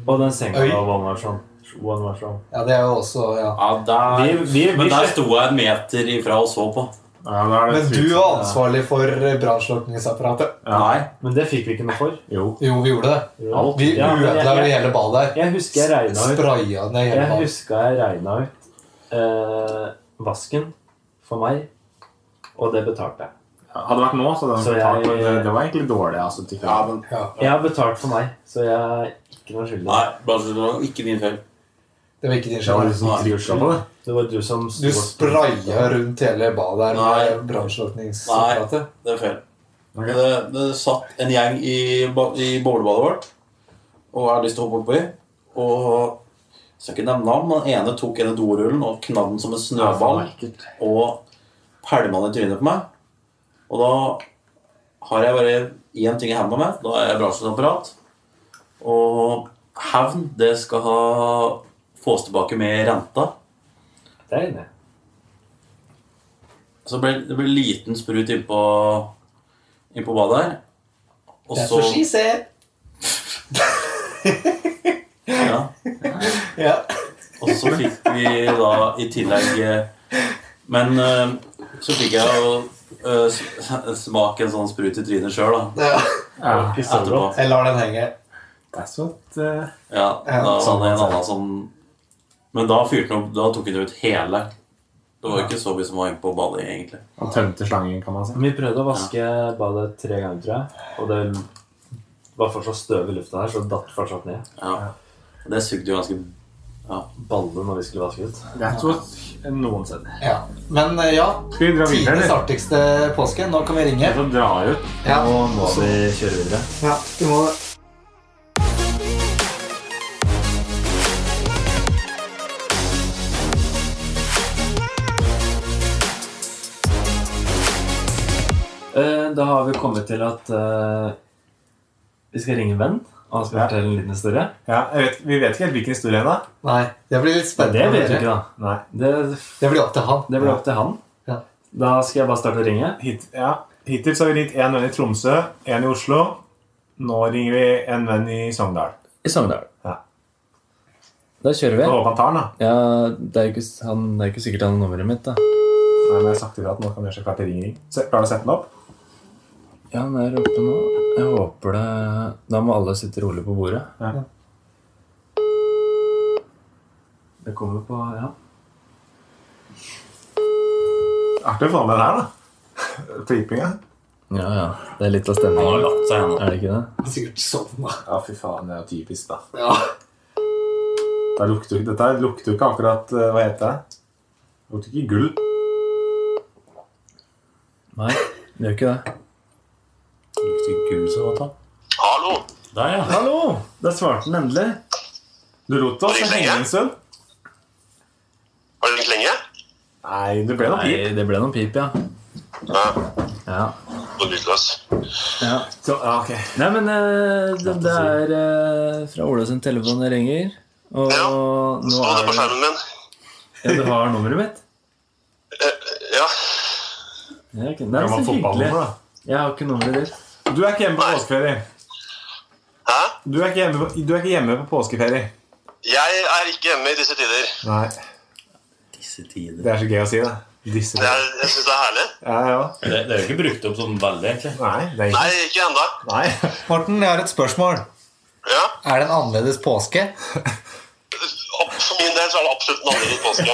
E: Og den senga
A: Oi.
E: var sånn. one man show. One man show.
A: Ja, det er jo også ja.
C: Ja, der,
E: Vi- vi- vi-
C: men der sto jeg en meter ifra og så på.
D: Ja, da er det
A: Men du
D: tvilsomt.
A: var ansvarlig for eh, brannslukningsapparatet.
D: Ja.
C: Nei.
E: Men det fikk vi ikke noe for.
D: Jo.
A: Jo, vi gjorde det.
E: Alt.
A: Vi
E: Ja, men jeg-
A: ødela jo
E: jeg-
A: hele badet her.
E: Jeg husker jeg regna ut
A: Spraya ned hele
E: Jeg
A: badet.
E: husker jeg regna ut eh, vasken for meg, og det betalte jeg.
D: Hadde det vært nå, så,
E: Så
D: hadde
E: jeg-
D: jeg... men det, det var egentlig dårlig. Altså, til-
C: Ja, men
A: Ja,
E: Jeg har betalt for meg, så jeg er ikke noe skyldig.
C: Nei, Brasil, ikke din feil.
A: det var ikke din
D: det var
A: skyld.
D: liksom trivsel på det.
E: Det var du som
A: Du spraya rundt hele badet her
C: Nei.
A: med brannslukningsapparatet.
C: Det er feil.
D: Ok.
C: Det, det satt en gjeng i, ba- i bowlebadet vårt, og jeg har lyst til å hoppe oppi. Og jeg skal ikke nevne navn, men den ene tok en i dorullen og knadde den som en snøball. Og pælma den i trynet på meg. Og da har jeg bare én ting i hendene med. Da er jeg bransjeapparat. Og hevn, det skal ha fås tilbake med renta.
E: Det er inne.
C: Så ble, det ble liten sprut innpå, innpå badet her. Og
A: That's what she said.
C: ja,
A: Ja.
C: Og så fikk vi da i tillegg eh, Men eh, så fikk jeg jo eh, s- smake en sånn sprut i trynet sjøl, da.
A: Ja.
D: Ja.
E: Ikke så
C: Etterpå.
E: godt.
A: Jeg lar den henge.
D: That's what eh,
C: Ja, da var det en annen som Men da fyrte han opp Da tok han ut hele. Det var ikke så mye som var inne på badet, egentlig.
D: Han tømte slangen, kan man si.
E: Vi prøvde å vaske badet tre ganger, tror jeg. Og det var fortsatt støv i lufta der, så det datt fortsatt ned.
C: Ja. Det sugde jo ganske
E: Balle når vi skulle vaske ut.
D: That's what noensinne.
A: Ja. Men eh, ja,
D: Skal vi dra videre,
A: tidenes
D: eller?
A: artigste påske. Nå kan vi ringe.
D: Så drar jeg ut.
A: Ja.
E: Nå må vi kjøre videre.
A: Ja, du må det.
E: Eh, Da har vi kommet til at eh, vi skal ringe en venn. Og han skal
D: Ja.
E: fortelle en liten historie.
D: Ja, jeg vet, vi vet ikke helt hvilken historie ennå.
A: Nei, det blir litt
E: Men
A: spennende.
E: det
A: å
E: vet vi
A: høre.
E: ikke,
D: Nei.
E: da. Det,
A: Det blir opp til han.
E: det ble opp til han.
A: Ja.
E: Da skal jeg bare starte å ringe.
D: Hit, ja. Hittil så har vi ringt én venn i Tromsø, én i Oslo. Nå ringer vi en venn i Sogndal.
F: I Sogndal.
D: Ja.
F: Da kjører vi.
D: Jeg håper han tar den, da.
F: Ja, det er jo ikke, han, det er jo ikke sikkert han har nummeret mitt, da.
D: Nei, men jeg har sagt ifra at nå kan jeg gjøre seg klar til ring-ring. Se, Klarer du å sette den opp?
F: Ja, han er oppe nå. Jeg håper det Da må alle sitte rolig på bordet.
E: Det kommer på Ja.
D: Artig å få med den her, da. Pipinga.
F: Ja, ja. Det er litt av stemningen.
C: latt seg ennå.
F: Er det ikke det?
A: Han har sikkert sovna.
D: Ja, fy faen, det er jo typisk, da.
A: Ja.
D: Det lukter, jo ikke- dette her lukter jo ikke akkurat eh, Hva heter det? Det lukter ikke gull. Det
F: Nei, det gjør ikke det.
C: Lukter gull så godt, da. Hallo! Der, ja.
D: Hallo! Der svarte den endelig. Du lot oss
G: Var det lenge?
D: henge en stund.
G: Var det litt lenge?
D: Nei, det ble noe pip.
F: Nei, det ble noen pip, ja.
G: Ja,
F: ja.
G: på lydløs.
F: ja.
D: Så, ja, ok.
F: Nei, men eh, det, det er eh, fra Ola sin telefon det ringer. Og
G: Ja.
F: nå
G: Sto det
F: er
G: på
F: det
G: skjermen min?
F: Ja, du har nummeret mitt?
G: Ja.
F: Ja, ok. Nei,
D: Det var
F: så hyggelig.
D: fotballnummer, da.
F: Jeg har ikke nummeret ditt.
D: Du er ikke hjemme på påskeferie.
G: Hæ?
D: Du er ikke hjemme på, du er ikke hjemme på påskeferie.
G: Jeg er ikke hjemme i disse tider.
D: Nei,
C: Disse tider.
D: Det er så gøy å si, det. Disse
G: Det er, jeg syns det er herlig.
D: Ja, ja.
C: Det, det er jo ikke brukt opp sånn veldig, egentlig.
D: Nei, det er ikke
G: Nei, ikke ennå.
D: Nei.
A: Morten, jeg har et spørsmål.
G: Ja.
A: Er det en annerledes påske?
G: Opp- For min del så er det absolutt en annerledes påske.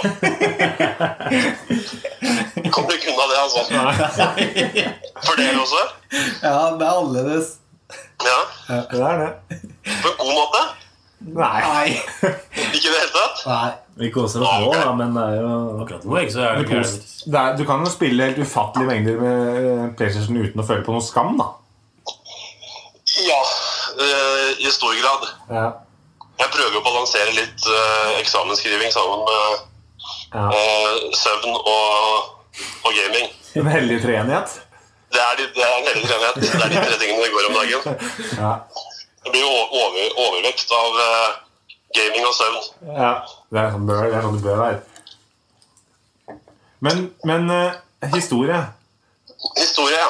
G: Kommer ikke unna det, altså. For dere også?
A: Ja, det er annerledes.
G: Ja.
D: Det er det.
G: På en god måte?
D: Nei.
A: Nei.
G: Ikke i det hele tatt?
A: Nei.
B: Vi koser oss nå, da, men det er jo
C: Akkurat nå ikke, så er det
D: Men
C: gærent.
D: Det er, du kan jo spille helt ufattelige mengder med eh, PlayStation uten å føle på noe skam, da.
G: Ja. eh, I stor grad.
D: Ja.
G: Jeg prøver jo å balansere litt eh, eksamensskriving sammen med
D: Ja.
G: eh, søvn og, og gaming.
D: En hellig treenighet.
G: Det er, de, det er en hellig treenighet. Det er de tre tingene det går om dagen.
D: Ja.
G: Det blir jo o- over, overvekt av eh, gaming og søvn.
D: Ja, det er sånn, bør, det er sånn det bør være. Men, men eh, historie
G: Historie, ja.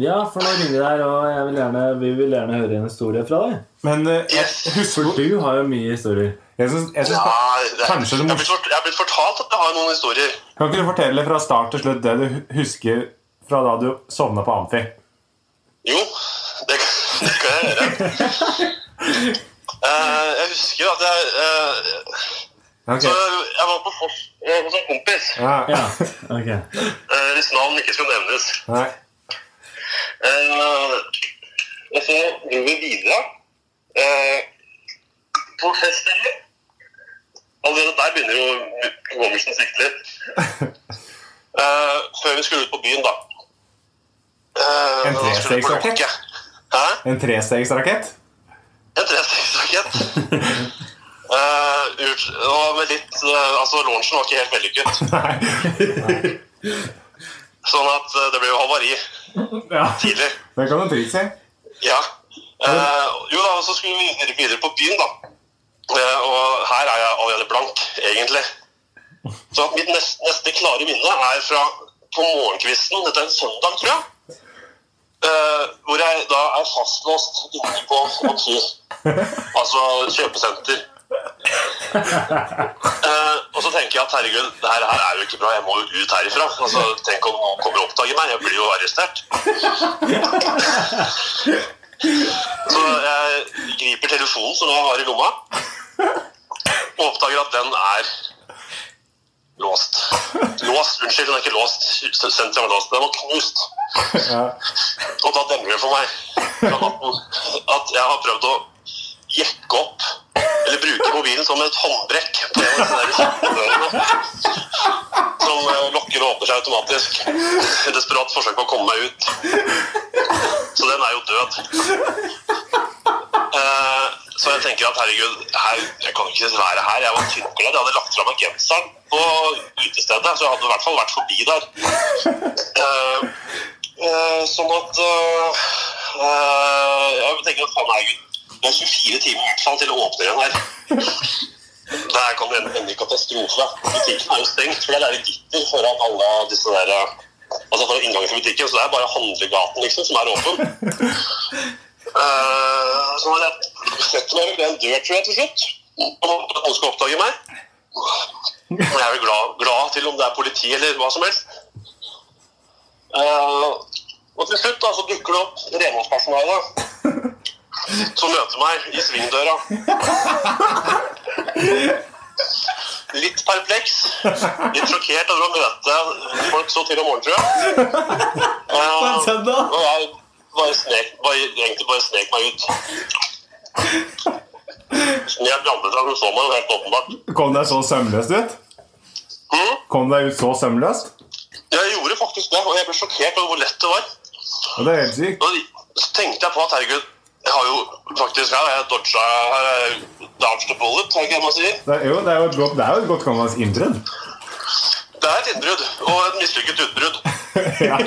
B: Ja, for nå ringer det her, og jeg vil gjerne, vi vil gjerne høre en historie fra deg.
D: Men eh, jeg,
G: Yes.
D: husker du
B: Du har jo mye historier.
D: jeg synes, jeg synes,
G: Nei, det, jeg,
D: Kanskje du må-
G: er blitt fort, jeg er blitt fortalt at jeg har noen historier.
D: Kan ikke du fortelle fra start til slutt det du hu- husker fra da du sovna på Amfi?
G: Jo, det, kan- det kan jeg gjøre. Eh, jeg husker at jeg eh,
D: Ok.
G: Så jeg var på Fors eh, hos en kompis.
D: Ja.
B: Ja, ok.
G: eh, Hvis navn ikke skal nevnes.
D: Nei.
G: Eh, og så dro vi videre eh, på feststedet. Allerede der begynner jo hukommelsen å svikte litt. Eh, før vi skulle ut på byen, da. Eh,
D: En
G: da skulle vi på
D: trestegsrakett?
G: Løkke. Hæ?
D: En trestegsrakett?
G: En trestegsrakett. Eh, ut- og med litt eh, Altså, launchen var ikke helt vellykket.
D: Nei.
G: Sånn at eh, det ble jo havari
D: Ja.
G: tidlig.
D: Det kan du trygt si.
G: Ja. Eh, jo da, og så skulle vi videre, videre på byen, da. Eh, og her er jeg allerede blank, egentlig. Så at mitt neste, neste klare minne er fra på morgenkvisten, dette er en søndag, tror jeg. Eh, hvor jeg da er fastlåst inne på Oppsy. Altså kjøpesenter. Eh, og så tenker jeg at herregud, det her, her er jo ikke bra, jeg må jo ut herifra. Altså, tenk om noen kommer og oppdager meg, jeg blir jo arrestert. Så jeg griper telefonen som jeg har i lomma, og oppdager at den er låst. Låst, unnskyld, den er ikke låst. Senteret var låst. Den var knust.
D: Ja.
G: Og da demrer det for meg at- at jeg har prøvd å jekke opp eller bruke mobilen som et håndbrekk på en av disse der kjempedørene som eh, lokker og åpner seg automatisk. Et desperat forsøk på å komme meg ut. Så den er jo død. Eh, Så jeg tenker at herregud, her, jeg kan ikke være her. Jeg var tynnkledd. Jeg hadde lagt fra meg genseren på utestedet, så jeg hadde i hvert fall vært forbi der. Eh, Eh, sånn at eh, eh, Jeg tenker at faen herregud, det er 24 timer i hvert fall til det åpner igjen her. Det her kan ende ende i katastrofe. Butikken er jo stengt, for det er gitter foran alle disse der eh, Altså foran inngangen til butikken, så det er bare handlegaten liksom som er åpen. Eh, så når jeg setter meg ved en dør, tror jeg, til slutt, og håper at noen skal oppdage meg Men jeg er vel glad, glad til om det er politi eller hva som helst. Eh, og til slutt da, så dukker det opp renholdspersonale som møter meg i svingdøra. Litt perpleks, litt sjokkert over å møte folk så til om morgenen, tror jeg. Eh, og jeg bare snek, bare, egentlig bare snek meg ut. Men jeg blandet at hun så meg jo helt åpenbart.
D: Kom deg så sømløst ut?
G: Mhm.
D: Kom deg ut så sømløst?
G: Jeg gjorde faktisk det, og jeg ble sjokkert over hvor lett det var.
D: Og det er helt sykt.
G: Og så tenkte jeg på at herregud, jeg har jo faktisk her, har jeg dodga her er dodge the bullet, er ikke det man sier?
D: Det er jo, det er jo et godt, det er jo et godt gammelt innbrudd.
G: Det er et innbrudd, og et mislykket utbrudd.
C: Men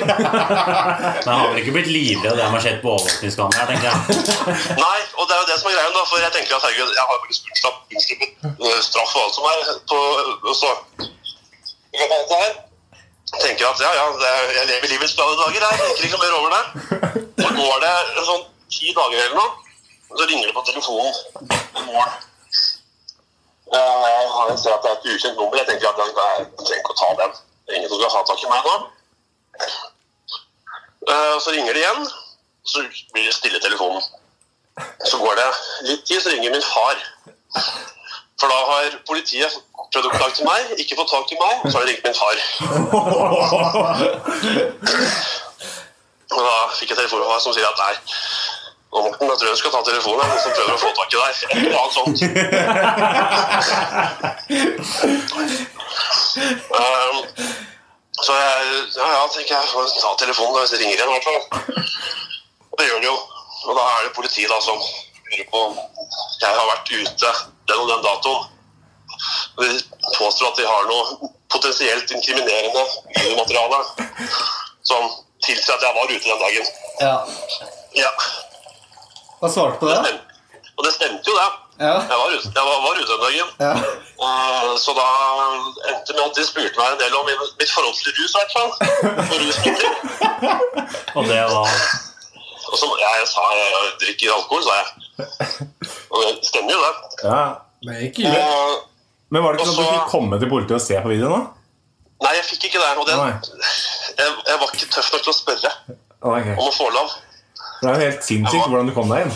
C: han har vel ikke blitt livredd av det han har sett på overvåkningskamera, tenker jeg.
G: Nei, og det er jo det som er greia, da, for jeg tenker at herregud, jeg har jo faktisk unnsluppet, unnsluppet eh, straff og alt som er på og Så Jeg kan ta alt det her. Tenker at ja, ja, det er, jeg lever livets glade dager, jeg tenker ikke noe mer over det. Så går det en sånn ti dager eller noe, Og så ringer det på telefonen i morgen. Eh, Han ser at det er et ukjent nummer. Jeg tenker at jeg trenger ikke å ta den. Det er ingen som skal ha tak i meg nå. Eh, Så ringer det igjen. Så blir det stille i telefonen. Så går det litt tid, så ringer min far. For da har politiet prøvd å få tak i meg, ikke fått tak i meg, og så har de ringt min far. Og da fikk jeg telefon fra meg som sier at nei, nå Morten, jeg tror jeg skal ta telefonen. Det er noen som prøver å få tak i deg. Et eller annet sånt. um, så jeg, ja, ja, tenker jeg, får ta telefonen hvis det ringer igjen, i hvert fall. Og det gjør det jo. Og da er det politiet da som lurer på om jeg har vært ute den og den datoen. Og de påstår at de har noe potensielt inkriminerende videomateriale som tilsier at jeg var ute den dagen.
A: Ja.
G: Ja.
A: Hva svarte du på det?
G: Og det stemte jo, det.
A: Ja.
G: Jeg var ute, jeg var, var ute den dagen.
A: ja.
G: Og så da endte det med at de spurte meg en del om min- mitt forhold til rus, i hvert fall. Og rusmidler.
C: Og det var
G: Og så ja, jeg sa jeg, jeg drikker alkohol, sa jeg. Og det stemmer jo, Eh, det.
D: Ja.
A: Det gikk jo.
G: Og,
D: Men var det ikke
G: Og
D: sånn at du
G: så-
D: fikk komme til politiet og se på videoen? da?
G: nei, jeg fikk ikke det. Og det,
D: Nei.
G: jeg, jeg var ikke tøff nok til å spørre
D: Ah, ok.
G: om å få lov.
D: Det er jo helt sinnssykt hvordan du kom deg inn.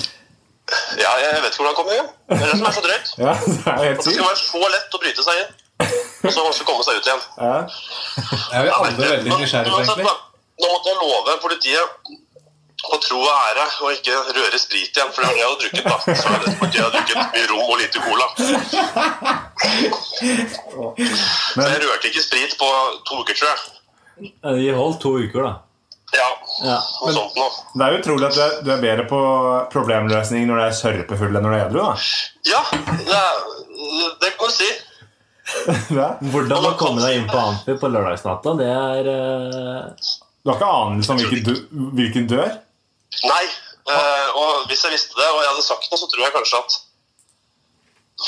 G: Ja, jeg vet ikke hvordan jeg kom igjen. Det er det som er så drøyt.
D: Ja, det er jo
G: At
D: helt
G: det skal
D: sykt.
G: være så lett å bryte seg inn. Og så vanskelig å komme seg ut igjen.
D: Ja.
A: Jeg er jo alle veldig
G: Men
A: nysgjerrige, på,
G: uansett,
A: egentlig.
G: da, altså, Nå måtte jeg love politiet på tro og ære å ikke røre sprit igjen, for det var det jeg hadde drukket. da. Så var det fordi jeg hadde drukket mye rom og lite cola. Så jeg rørte ikke sprit på to uker, tror jeg.
B: De holdt to uker, da.
G: Ja,
B: Ja.
G: noe sånt nå.
D: Det er jo utrolig at du er, du er bedre på problemløsning når du er sørpefull enn når du er edru. da.
G: Ja, det, det kan du si.
D: Det er-
B: Hvordan man komme deg inn på Amfi på lørdagsnatta, det er eh,
D: Du har ikke anelse om hvilken, du, hvilken dør?
G: Nei. eh, og hvis jeg visste det, og jeg hadde sagt noe, så tror jeg kanskje at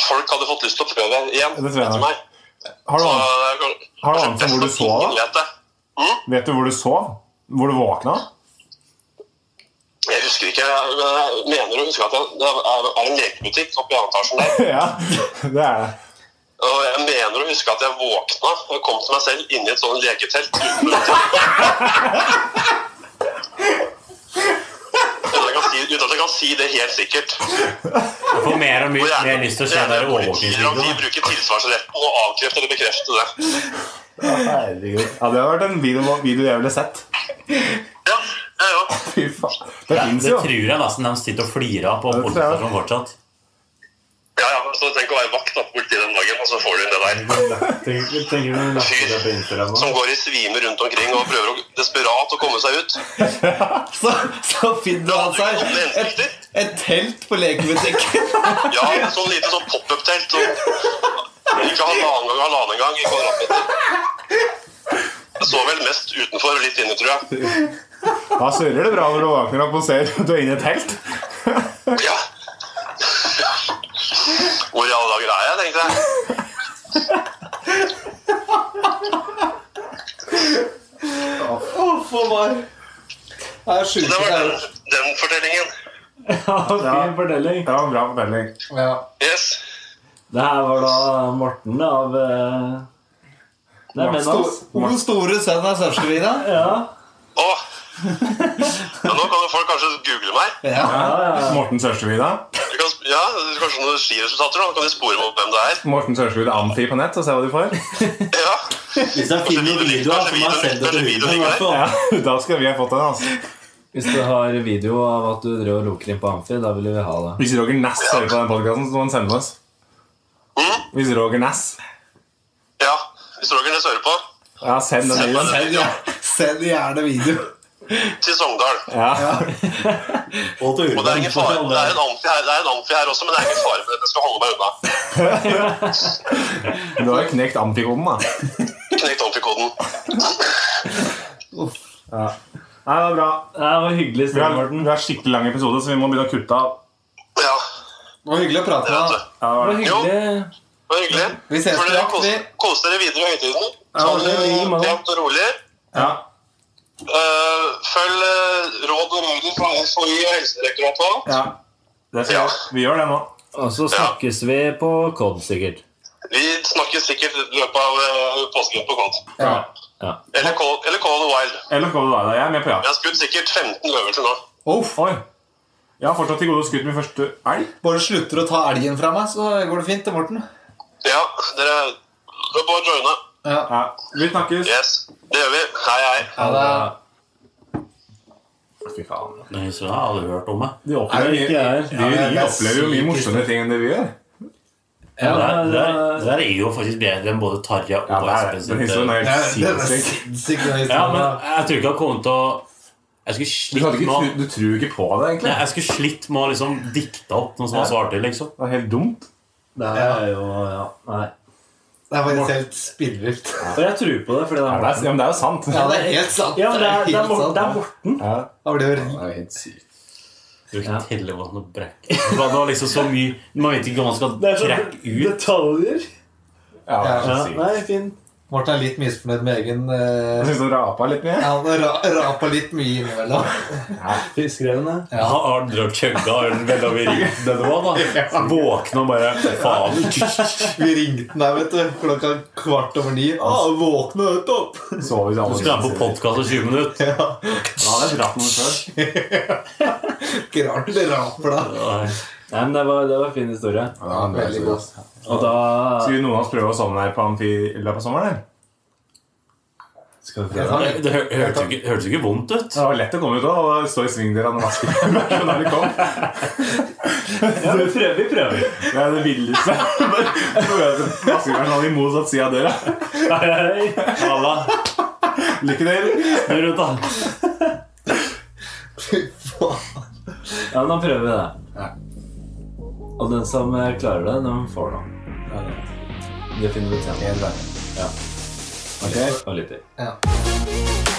G: folk hadde fått lyst til å prøve igjen.
D: Det tror jeg nok.
G: meg.
D: Har du,
G: Så,
D: an-
G: det er kan-
D: har du anelse
G: kanskje
D: om hvor du
G: best at
D: sov?
G: ingen
D: da?
G: vet det.
D: Vet du hvor du sov? Hvor du våkna?
G: Jeg husker ikke. Jeg jeg mener å huske at jeg- det er er en lekebutikk oppe i andre etasjen der.
D: Ja, det er det.
G: Og jeg mener å huske at jeg våkna og kom til meg selv inni et sånt leketelt. uten å- Uten at jeg kan si- uten at jeg kan si det helt sikkert.
C: Jeg får mer og
G: Hvor
C: mye
G: gjerne-
C: mer lyst til å se
G: hvor
C: det
G: gjerne politier og de
C: overvåkningsvideoen.
G: bruker tilsvarsretten og avkrefter eller bekrefter det.
D: Herregud. Ja, det har vært en video, video jeg ville sett.
G: Ja, ja, ja.
D: Fy faen. Det
C: Det,
D: fins
C: det
D: jo.
C: tror jeg nesten de sitter og flirer av på
D: Ja, det tror jeg.
C: politistasjonen fortsatt.
G: ja, ja. Så tenk å være vakt da, på politiet den dagen, og så får du det der.
B: Tenker tenker du noe
G: Fyr Sånn.
B: på Instagram nå?
G: som går i svime rundt omkring og prøver å, desperat å komme seg ut.
A: Så, så finner han
G: Hadde du
A: seg
G: ikke noen
A: et,
G: hensikter?
A: et telt på lekebutikken.
G: Ja, en sånn liten sånn pop-up-telt. som- Ikke halvannen gang, halvannen gang i kvadratmeter. Jeg så vel mest utenfor og litt inne, tror jeg.
D: Da surrer det bra når du våkner opp og ser at du er inne i et telt.
G: Ja. Hvor i alle dager er jeg, tenkte jeg.
A: Huff og mar. Det er
G: Det
A: sjukeste
G: var
A: jeg har
G: den,
A: hørt.
G: den fortellingen.
B: Fin fortelling.
D: Det var en bra fortelling.
A: Ja.
G: Yes.
B: Det her var da Morten av eh, Det er med oss.
A: Sto- Hvor store sønn er Sørskevina?
B: Ja,
G: Å. Ja, nå kan jo folk kanskje google meg.
A: Ja.
D: Morten Sørstevida.
G: Du kan, ja, Kanskje noen skiresultater. Da Da kan de spore meg opp hvem det er.
D: Morten Sørstevida Amfi på nett, og se hva du får.
G: Ja,
C: Hvis jeg
G: Kanskje
C: finner
G: videoen-
C: videoer
G: kanskje
C: som har
G: videoen-
C: sendt det
G: kanskje
C: til
G: videoen
C: videoen, i
G: ligger
C: hvert fall.
D: Ja, da skal vi ha fått den. altså.
B: Hvis du har video av at du drev og loker inn på Amfi, da vil vi ha det.
D: Hvis Roger Næss hører på den podkasten, så må han sende oss. Hvis Roger Næss
G: ja. Hvis Roger Næss hører på,
D: Ja, send den videoen.
A: Send, ja. Send gjerne video.
G: til Sogndal.
D: Ja.
C: Og til
G: Og det er ingen fare.
C: Urban.
G: Det er en amfi her, det er en amfi her også, men det er ingen fare for at jeg skal holde meg unna.
D: Du har jo knekt Amfi-koden, da.
G: Knekt amfi-koden.
D: Nei, det er bra.
B: Ja, Det var hyggelig
D: Vi
B: stille,
D: har,
B: Morten.
D: vi har skikkelig lang episode, så vi må begynne å kutte av.
G: Ja,
A: Det var hyggelig å prate
G: det
A: med
G: vet
A: deg.
G: du.
D: Ja, det
B: Det
D: var det.
B: var hyggelig.
G: Det var hyggelig.
A: Vi ses
G: Får
A: på
G: dere
A: jakt,
G: kose,
A: vi.
G: kose dere videre i høytiden.
B: Ja,
G: Ta
B: det er
G: det
B: like måte.
G: pent og rolig.
D: Ja.
G: Eh, følg eh, råd og regler fra FHI og Helsedirektoratet.
D: Ja. Det skal,
G: Ja.
D: Vi gjør det nå.
H: Og så snakkes vi på Cod, sikkert.
G: Vi snakkes sikkert i løpet av eh, påsken på Cod.
A: Ja.
G: Eller Call eller Call of the Wild.
D: Eller skal du være der? Jeg er med på ja.
G: Jeg har skutt sikkert 15 løver til nå.
D: Oi. Jeg har fortsatt til gode å skutt min første elg.
A: Bare slutter å ta elgen fra meg, så går det fint til Morten.
G: Ja, dere Det er bare å joine.
A: Ja.
D: Ja. Vi snakkes.
G: Yes, det gjør vi. Hei, hei.
A: Ja, det er...
D: Fy faen.
C: Nei, så jeg hadde hørt om det.
D: De opplever,
E: ikke jeg.
D: de,
A: Ja, det
D: de
A: er
D: opplever jo mye
A: sykt.
D: morsommere ting enn det vi gjør.
E: Ja,
C: det, der,
E: det-
C: det, der, det der er jo faktisk bedre enn både Tarja og
D: eh, Ja, det er,
C: Espen sitt,
D: den historien er
A: Det
D: helt
A: er- det er
D: sinnssyk.
A: sinnssykt den
C: Ja, men
A: historien.
C: jeg tror ikke jeg kommer til å Jeg skulle
D: Du, hadde
C: slitt
D: ikke,
C: med å
D: tru- du tror ikke på det,
C: Nei,
D: egentlig?
C: jeg skulle slitt med å liksom dikte opp noe som var så artig, liksom.
D: Det er helt dumt.
E: Det her er jo ja, Nei.
A: Det er faktisk helt spinnvilt.
E: For jeg tror på det, fordi det
D: Ja,
E: er
D: det er,
E: Morten.
D: ja, men det er jo sant.
A: Ja, det er helt sant.
E: Ja, men det er, det er,
A: helt
E: Morten,
A: sant.
E: det er Morten.
D: Ja,
A: Da blir det jo
D: det er helt sykt.
C: Brukte
E: Ja.
C: tellevann og brekk. Det var det var liksom så mye Man vet ikke hva man skal
E: Det er så
C: trekke ut.
E: detaljer.
D: Ja, det er
A: Ja.
D: helt
E: Ja,
D: sykt.
E: nei, fin.
A: Morten er litt misfornøyd med egen
D: Jeg
A: eh,
D: synes du rapa litt mye.
A: Han ra rapa litt mye innimellom.
E: Fiskerevne.
A: Ja.
C: Har har dere chugga ølen mellom i ryggen det var, da? Våkne og bare Faen.
A: Vi ringte den der, vet du. Klokka kvart over ni. Å, våkne høyt opp!
D: Så vi alle
C: Du skulle være på podkast i 20 minutter.
A: Ja,
D: Ja, det er dratt noe før.
A: ikke rart det raper da.
E: Nei, men det var, det var en fin historie.
D: Ja, det er
A: Veldig
D: veldig
A: godt.
E: Og da
D: Skulle noen av oss prøve å sovne her på Amfi i løpet av sommeren? eller?
E: Skal vi
A: Jeg
E: prøve?
A: tar
C: Det
A: litt.
C: det hør- hørtes jo ikke, hørtes jo ikke vondt ut.
D: Det var lett å komme ut også, og stå i svingdøra når man skulle når vi kom.
E: Ja, vi prøver, vi prøver.
D: Det er det villeste. Vaskepersonen hadde sånn i motsatt side av døra.
E: Hei, hei.
C: Halla.
D: Lykke til.
C: Snu rundt, da.
A: Fy faen.
E: Ja, nå prøver vi det. Og den som eh, klarer det, den får noe. Det finner vi ut senere. Ja.
D: Ok.
E: Og litt til.
A: Ja.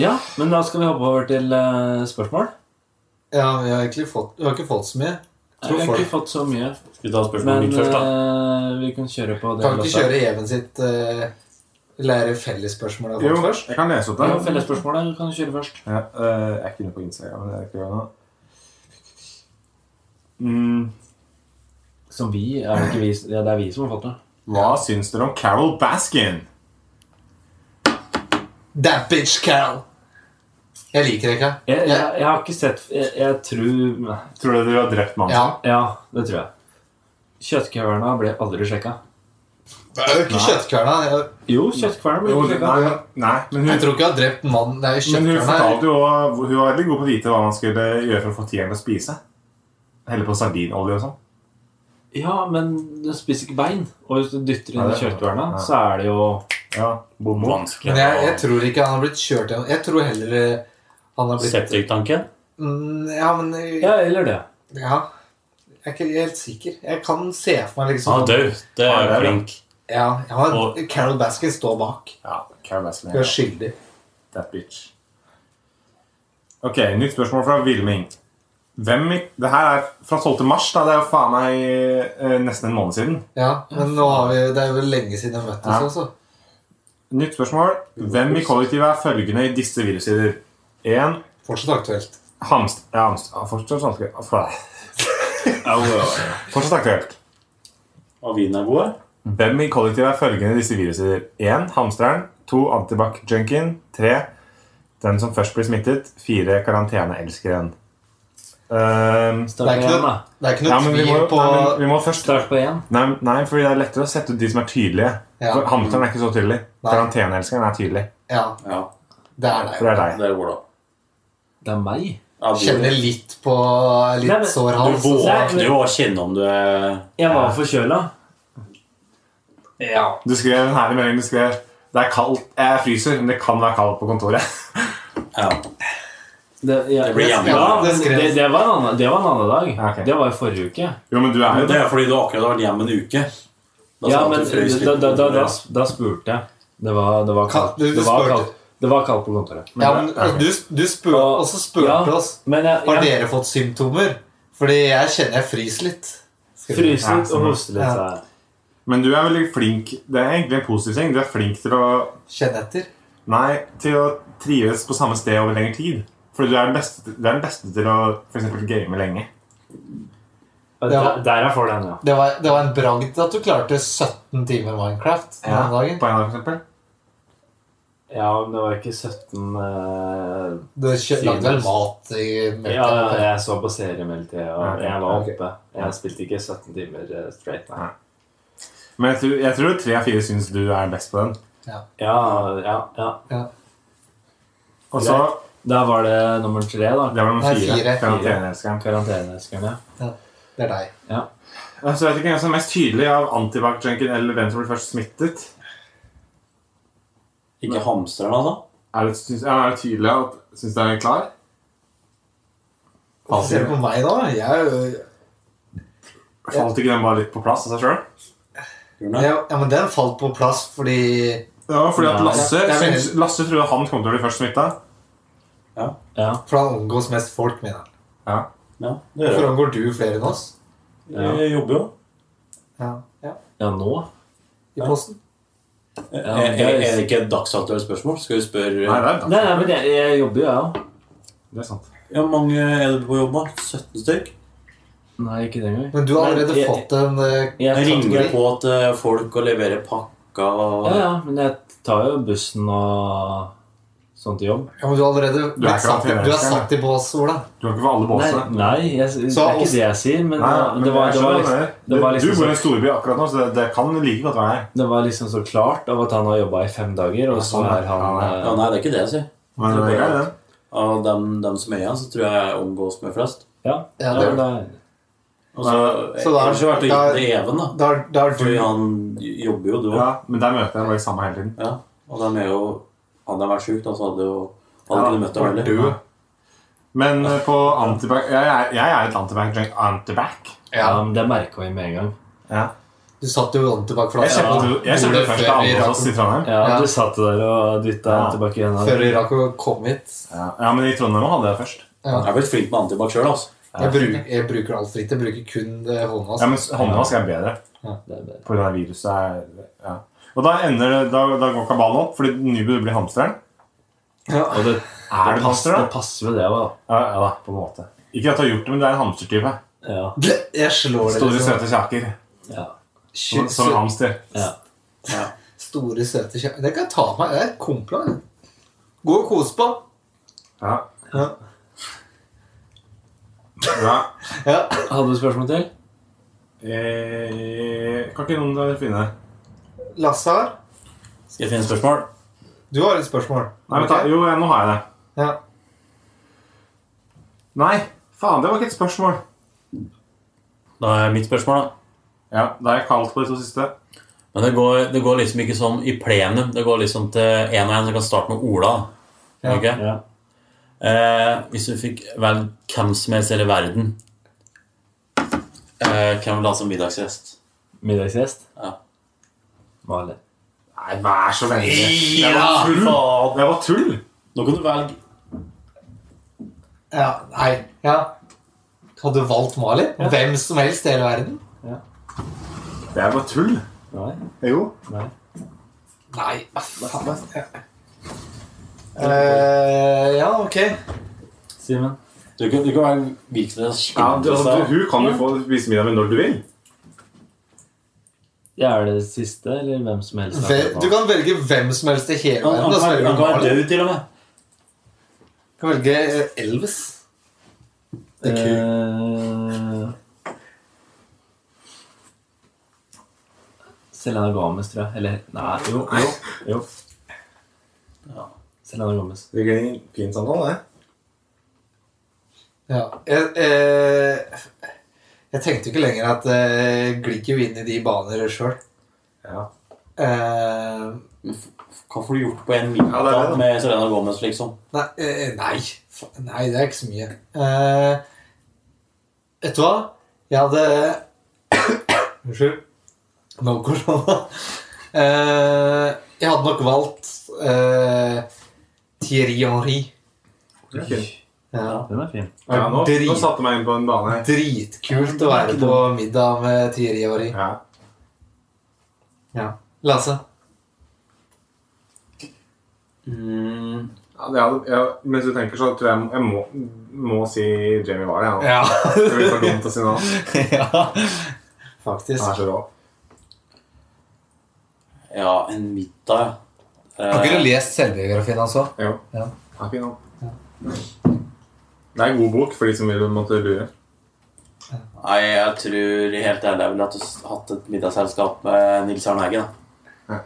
E: Ja, men da skal vi hoppe over til eh, spørsmål.
A: ja, vi har egentlig fått, vi har ikke fått så mye.
E: Jeg
A: Tror
E: har
A: folk
E: ikke fått så mye,
C: Skal vi ta
E: men
C: spørsmålet ditt først, da?
E: eh, vi kan kjøre på det.
A: Kan ikke
E: låta.
A: kjøre Even sitt eh, lære fellesspørsmål av
D: Jo,
A: folk først?
D: jeg kan lese opp
E: Ja,
D: det.
E: Fellesspørsmålet kan du kjøre først.
D: Ja, eh, jeg er ikke inne på Instagram. men Jeg er ikke det nå. Mm,
E: Som vi, er det ikke vi ja, Det er vi som har fått det.
D: hva syns dere om Carol Baskin?
A: That bitch Carol! Jeg liker det ikke.
E: Jeg, jeg, jeg har ikke sett Jeg, jeg tror
D: Tror dere dere har drept mannen?
A: Ja.
E: Ja, det tror jeg. Kjøttkverna ble aldri sjekka.
A: Det er jo ikke kjøttkverna. Jeg,
E: Jo, kjøttkverna ble
D: Jo,
E: ikke
D: det-
E: sjekka.
D: nei, nei, men
A: jeg
D: hun,
A: tror ikke jeg har drept mannen. Det er jo
D: men hun
A: kjøttkverna.
D: fortalte jo også- Hun var veldig god på å vite hva man skulle gjøre for å få tigeren til å spise. Helle på sardinolje og sånn.
E: Ja, men den spiser ikke bein. Og hvis du dytter inn
D: Nei,
E: i
D: det-
E: kjøttkverna,
D: nei.
E: så er det jo
D: Ja, bombo.
C: Vanskelig.
A: Men jeg, jeg
C: å-
A: tror ikke han har blitt kjørt gjennom. Jeg tror heller eh, han har blitt
C: Septiktanken?
A: mm, Ja, men eh,
E: Ja, eller det.
A: Ja. Jeg er ikke helt sikker. Jeg kan se for meg liksom
C: Han er død. Det
D: Ja,
C: er
D: det er
C: jo
D: det.
C: flink.
A: Ja, jeg har,
C: Og-
A: Carol Baskin står bak.
D: Ja, Carol Baskin.
A: Hun
D: Ja.
A: er skyldig.
D: That bitch. Ok, nytt spørsmål fra Vilming. Hvem i, det her er fra 12. mars, da. Det er jo faen meg eh, nesten en måned siden.
A: Ja, men nå har vi, det er jo lenge siden vi møttes altså.
D: Ja.
A: også.
D: Nytt spørsmål. Hvem i kollektivet er følgende i disse virusider? 1.
A: Fortsatt aktuelt.
D: Hamst... Ja, hamst... Ja, fortsatt aktuelt. Ja, for- Fortsatt aktuelt.
C: Og vinen er god?
D: Hvem i kollektivet er følgende i disse virusider? 1. Hamsteren. 2. Antibac-junkien. 3. Den som først blir smittet. 4. Karantene-elskeren. Ehm,
A: Det er
E: Start på
A: ikke
E: én, da.
A: noe, det er ikke noe
D: ja, men vi
A: tvil
D: må,
A: på
D: nei, men vi må først
E: Start på én.
D: nei, nei, fordi det er lettere å sette ut de som er tydelige.
A: Ja.
D: For Hamsteren er ikke så tydelig.
A: Nei.
D: Karanteneelskeren er tydelig.
A: Ja,
C: Ja.
A: det er
D: For det
A: deg.
D: er deg.
C: Det er god, da.
E: Det er meg.
C: Ja, du-
A: Kjenner litt på litt
E: Nei, men-
A: sår
C: Du
A: hals. og sånn.
C: våkner jo og kjenner om du er
E: Jeg var forkjøla.
A: Ja.
D: Du skrev den her i meldingen. Du skrev det er kaldt. Jeg fryser, men det kan være kaldt på kontoret.
C: Ja.
E: Det, jeg-
C: Det blir jævlig.
E: Ja,
A: Det skrev-
E: men det, det, var en annen, det var en annen dag.
D: Ja, ok.
E: Det var i forrige uke.
D: Jo, men du er jo
C: Men det er fordi du akkurat har vært hjemme en uke.
E: Ja,
C: Da skal
E: men
C: du frøs litt
E: da, da,
C: på
E: da, da,
C: kontoret.
E: da spurte jeg. Det var, det var kaldt.
A: Du- du
E: Det var
A: spurte.
E: kaldt, det var kaldt på kontoret.
A: ja, men du, du spør, og så spurte du
E: Ja,
A: oss
E: Men jeg,
A: Har
E: jeg
A: dere fått symptomer. Fordi jeg kjenner jeg fryser litt. Skriver du.
D: sånn.
E: fryser litt og hoster litt.
A: Ja.
E: så jeg-
D: Men du er veldig flink Det er egentlig en positiv ting. Du er flink til å
A: Kjenn etter.
D: Nei, til å trives på samme sted over lengre tid. Fordi du er den beste, du er den beste til å for eksempel, game lenge.
A: Ja.
E: Ja. Der, der er fordelen, ja.
A: Det var, det var en bragd at du klarte 17 timer Minecraft den
D: Ja, På
A: dagen.
D: en dag, for eksempel.
E: Ja, men det var ikke 17 eh,
A: Du kjø- lagde vel mat i
E: ja, ja,
A: mellomtiden.
E: jeg så på serie hele tida, og
D: Ok,
E: jeg var
D: ok.
E: oppe. Jeg spilte ikke 17 timer eh, straight. Nei.
D: Men jeg tror, jeg tror tre av fire syns du er best på den.
E: Ja, ja, ja.
D: Og så
B: Da var det nummer tre, da.
D: Det var nummer
A: Nei,
D: fire.
A: fire.
D: Karanteneelskeren.
B: Karanteneelskerne.
A: Det er deg.
D: Altså, jeg vet ikke hvem som er mest tydelig av antibac-junken eller hvem som blir først smittet.
C: Ikke hamsteren, altså?
D: Er det, syns, ja, er det tydelig at Syns dere er klar?
A: Hvorfor ser du på meg da? Jeg, er jo-
D: Falt ikke den bare litt på plass av seg sjøl?
C: Gjorde den det?
A: ja, ja, men den falt på plass fordi
D: Ja, fordi at
B: Nei.
D: Lasse,
A: Jeg- jeg mener-
D: syns- Lasse trodde han kom til å bli først smitta.
A: For han omgås mest folk, mener han.
C: Ja, det gjør
A: Hvorfor
C: jeg.
A: omgår du flere enn oss?
C: Jeg jobber jo.
A: Ja. ja.
B: Ja, nå?
A: I posten.
C: Er,
D: Eh,
C: er, er det ikke et dagsaktuelt spørsmål? Skal vi spørre
D: Nei, det er
B: Nei, nei, men jeg, jeg jobber jo, jeg òg.
D: Det er sant.
C: Ja, mange er det på jobb, da? 17 stykk?
B: Nei, ikke det engang.
A: Men du har
B: Men
A: allerede
B: jeg-
A: fått en eh,
B: Jeg
C: Jeg ringer
A: kategori.
C: på til folk og leverer pakker og
B: Ja, ja, men jeg tar jo bussen og sånn til jobb.
A: ja, men Du har allerede
D: Du er
A: blitt satt,
D: karakterist,
A: du er satt i bås, Ola.
D: Du har ikke for alle
B: Nei,
D: båsene.
B: nei jeg, det
A: Så
B: er ikke
A: oss-
B: det jeg sier, men,
D: Nei,
B: det-
D: men
B: det, var,
D: jeg
B: det, var
D: skjønner
B: liksom,
D: det.
B: det var liksom
D: Du bor
B: så-
D: i en storby akkurat nå, så det, det kan like godt være her.
B: det var liksom så klart av at han har jobba i fem dager, og så
D: sånn,
B: er
D: ja, ja.
C: Ja,
B: han eh,
C: Nei, det er ikke det jeg sier. Det
D: Men
C: er
D: det er
C: bare-
D: greit, det.
C: Av dem, dem som er igjen, så tror jeg jeg omgås med flest.
A: Ja,
B: ja,
A: det,
B: det er-
C: Og så,
A: Så da-
C: ellers har jeg vært og
A: da-
C: gitt det Even, da.
A: da, er- da er
C: Fordi
A: du
C: han jobber jo, du òg.
D: Ja, men der møter jeg bare samme hele tiden.
C: Ja. Og dem er jo Hadde jeg vært sjuk, da, så hadde jo Hadde ikke du møtt dem heller.
D: Ja. Men eh, på antibac jeg, er- jeg er et antibac-drink. Antibac?
B: ja,
A: Ja,
B: men det merka vi med en gang.
A: du satt jo ordentlig bak
D: Jeg
A: flasken.
D: kjøpte jeg kjøpte
A: Bordet
D: først
A: før
D: av
A: vi
D: alle
A: rakk-
D: oss i Trondheim.
B: Ja,
A: Ja.
B: Du satt der og dytta
D: Ja.
B: tilbake igjen.
A: Før vi rakk å komme hit.
D: Ja. ja, men i Trondheim også hadde jeg først.
A: Ja.
C: Jeg er blitt flink med antibac sjøl, altså.
A: Jeg bruker, jeg bruker alt fritt. Jeg bruker kun eh, hånda.
D: Ja,
A: Altså.
D: men s- Håndvask er bedre.
B: Det er bedre.
D: På grunn av viruset er, ja. Og da, ender det, da, da går kabalen opp, fordi Nubu blir hamsteren.
B: Og det,
D: Er
B: det,
D: du
B: passer,
D: hamster,
B: det
D: da?
B: passer vel, det, da.
D: Ja, ja da, på en måte. Ikke at du har gjort det, men du er en hamstertype.
B: Ja.
A: Ble- Jeg slår dere
D: Store,
B: liksom-
A: som-
D: søte kjaker.
A: Tju-
D: Som, som en hamster.
A: Store, søte kjære. Det kan jeg ta på meg. Det er et kompliment. Gå og kos på.
D: Ja.
A: Ja.
D: Bra.
A: Ja.
B: Hadde du spørsmål til?
D: Eh, kan ikke noen der finne
A: Lasse har.
C: Skal jeg finne spørsmål?
A: Du har et spørsmål.
D: Nei, vent da. Jo, ja, nå har jeg det.
A: Ja.
D: Nei, faen, det var ikke et spørsmål.
C: Da er mitt spørsmål, da.
D: Ja, Da er jeg kaldt på de to siste.
C: Men det går, det går liksom ikke sånn i plenum. Det går liksom til en og en som kan starte med Ola.
A: Ja.
C: Ok?
B: Ja.
C: Eh, hvis du fikk velge hvem som helst i hele verden, eh, hvem vil du ha som middagsgjest?
B: Middagsgjest?
C: Ja.
B: Mali.
D: Nei, vær så vennlig. Det var tull! Det var tull.
C: Nå kan du velge.
A: ja. Nei. Ja. Hadde du valgt Mali? Hvem som helst i hele verden?
D: Det var tull.
B: Nei.
D: Jo.
A: Nei, hva faen. Ja. Eh, ja, ok.
B: Simen?
C: Du kan, du kan velge hvilken som helst.
D: Ja, du, altså, du, hun kan jo få spise middag med når du vil.
B: Ja, er det siste, eller hvem som helst?
A: Ve- Du kan velge hvem som helst i hele
C: Han,
A: verden. og
C: han,
A: så
C: kan være-
A: velger
C: han
A: du
C: kan være
A: Mali.
C: død, til og med.
A: Du kan velge eh, Elvis. Det er kult.
B: Eh, Selena Gomez, tror jeg. Eller Nei, jo. jo, jo. Selena Gomez.
D: Det blir en fin samtale, det.
A: Ja. Jeg, eh, jeg tenkte jo ikke lenger at eh, jeg glir jo inn i de baner sjøl.
D: Ja.
A: Eh,
C: Hva får du gjort på en middag
D: Ja, det er det, da.
C: med Selena Gomez, liksom?
A: nei, eh, nei. Fa- Nei, det er ikke så mye. Eh, vet du hva? Jeg hadde Unnskyld. Nå går det Eh, jeg hadde nok valgt eh, Thierry Henry.
D: Det er fint.
A: Ja.
B: Den er fin.
D: Ja, nå, nå satte du meg inn på en bane.
A: Dritkult å være på middag med Thierry Henry.
D: Ja.
A: Ja. Lasse?
C: Mm,
D: Ja, det hadde, ja, mens du tenker, så tror jeg jeg må, må si Jamie Vardy. Ja.
A: Ja.
D: Det blir for dumt å si noe annet.
A: ja.
D: Han
A: Faktisk.
D: er så rå.
C: ja, en middag. Eh,
A: Har ikke du lest selvbiografien hans òg?
D: Jo.
A: Ja.
D: Han er fin, han. Det er en god bok for de som vil måtte lure.
C: Nei, jeg tror helt ærlig jeg ville hatt, hatt et middagsselskap med Nils Arne Eggen. da.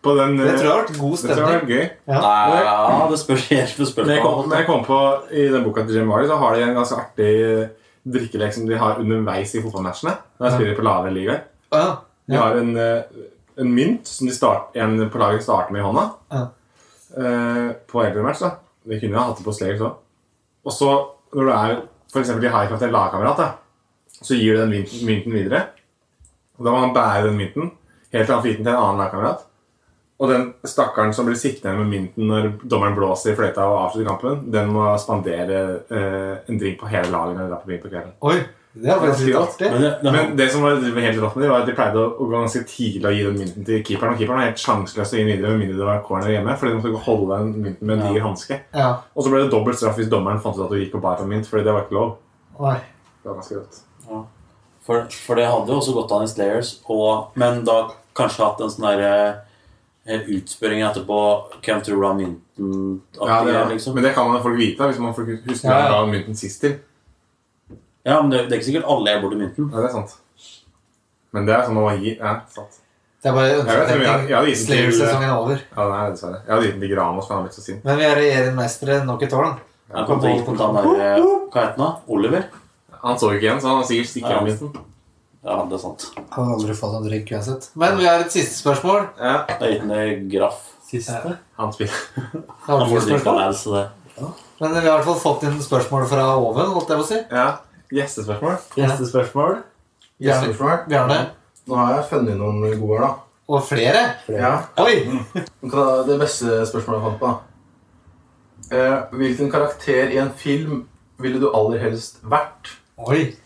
D: På den,
A: Det tror jeg
D: eh,
A: har vært god
D: det tror jeg
A: stemning.
D: var gøy.
A: Ja.
C: Nei, ja, det spørs helt det spørs
D: Når jeg,
C: på.
D: kom, når jeg kom på I den boka til Jim Vardy så har de en ganske artig eh, drikkelek som de har underveis i fotballmatchene. Når de spiller på lavere ligaer.
A: Ja.
D: De har en, eh, en mynt som de start, en på laget starter med i hånda.
A: Ja.
D: Eh, på eldre match, da. De kunne jo hatt det på Slayers òg. Og så, når du er for eksempel i high five til en lagkamerat, da, så gir du den mynten, mynten videre. Og da må han bære den mynten helt til han får gitt den til en annen lagkamerat. Og den stakkaren som blir sittende med mynten når dommeren blåser i fløyta og avslutter kampen, den må spandere eh, en drink på hele laget når de drar på byen på kvelden.
A: Oi, det er faktisk litt artig.
C: Men det, det,
D: Men det som var helt rått med det, var at de pleide å, å gå ganske tidlig å gi den mynten til keeperen. Og keeperen var helt sjanseløs å gi den videre med mindre det var corner hjemme. Fordi de måtte gå og holde den mynten med en diger hanske.
A: Ja.
D: Og så ble det dobbelt straff hvis dommeren fant ut at du gikk på bar for mynt. Fordi det var ikke lov.
A: Oi.
D: Det var ganske rått.
C: for, for det hadde jo også gått an i Slayers, og, men da kanskje hatt en sånn derre eh, utspørring etterpå Hvem tror du har mynten?
D: Ja, det er,
C: liksom.
D: Men det kan man jo folk vite hvis man folk husker
A: Ja,
D: ja,
A: ja.
D: ja. mynten sist til.
C: ja, men det, det er ikke sikkert alle er borti mynten.
D: Ja, det er sant. Men det er sånn å gi Ja, sant.
A: Det er bare
D: vet ikke om jeg- jeg hadde
A: ønsketenkning.
D: gitt den til-
A: Slayer-sesongen er over.
D: Ja, det er dessverre. Jeg hadde gitt den til Granos, for han ble så sint.
A: Men vi er regjerende mestere nok et år, da.
C: Jeg kom til å gi den til han der eh, Hva het han da? Oliver?
D: Han så ikke igjen, så han har sikkert stikket
C: Ja.
D: av mynten.
C: Ja, det er sant.
A: Kan aldri få noen drink uansett. Men vi har et siste spørsmål.
D: Ja,
C: Jeg har gitt den til Graff.
E: Siste?
D: han spiller.
A: Det er
C: Han får
A: alltid
C: drikke
A: spørsmål.
C: av det, så det.
A: Men vi har i hvert fall fått inn spørsmål fra oven, holdt jeg på å si.
D: Ja. Gjestespørsmål?
A: Bjarne,
E: Gjestespørsmål?
I: Gjestespørsmål?
A: Bjarne.
I: Nå har jeg funnet noen gode her, da.
A: Og flere.
I: Ja.
A: Oi!
I: Men hva er Det beste spørsmålet jeg fant på. da? Eh, hvilken karakter i en film ville du aller helst vært?
A: Oi.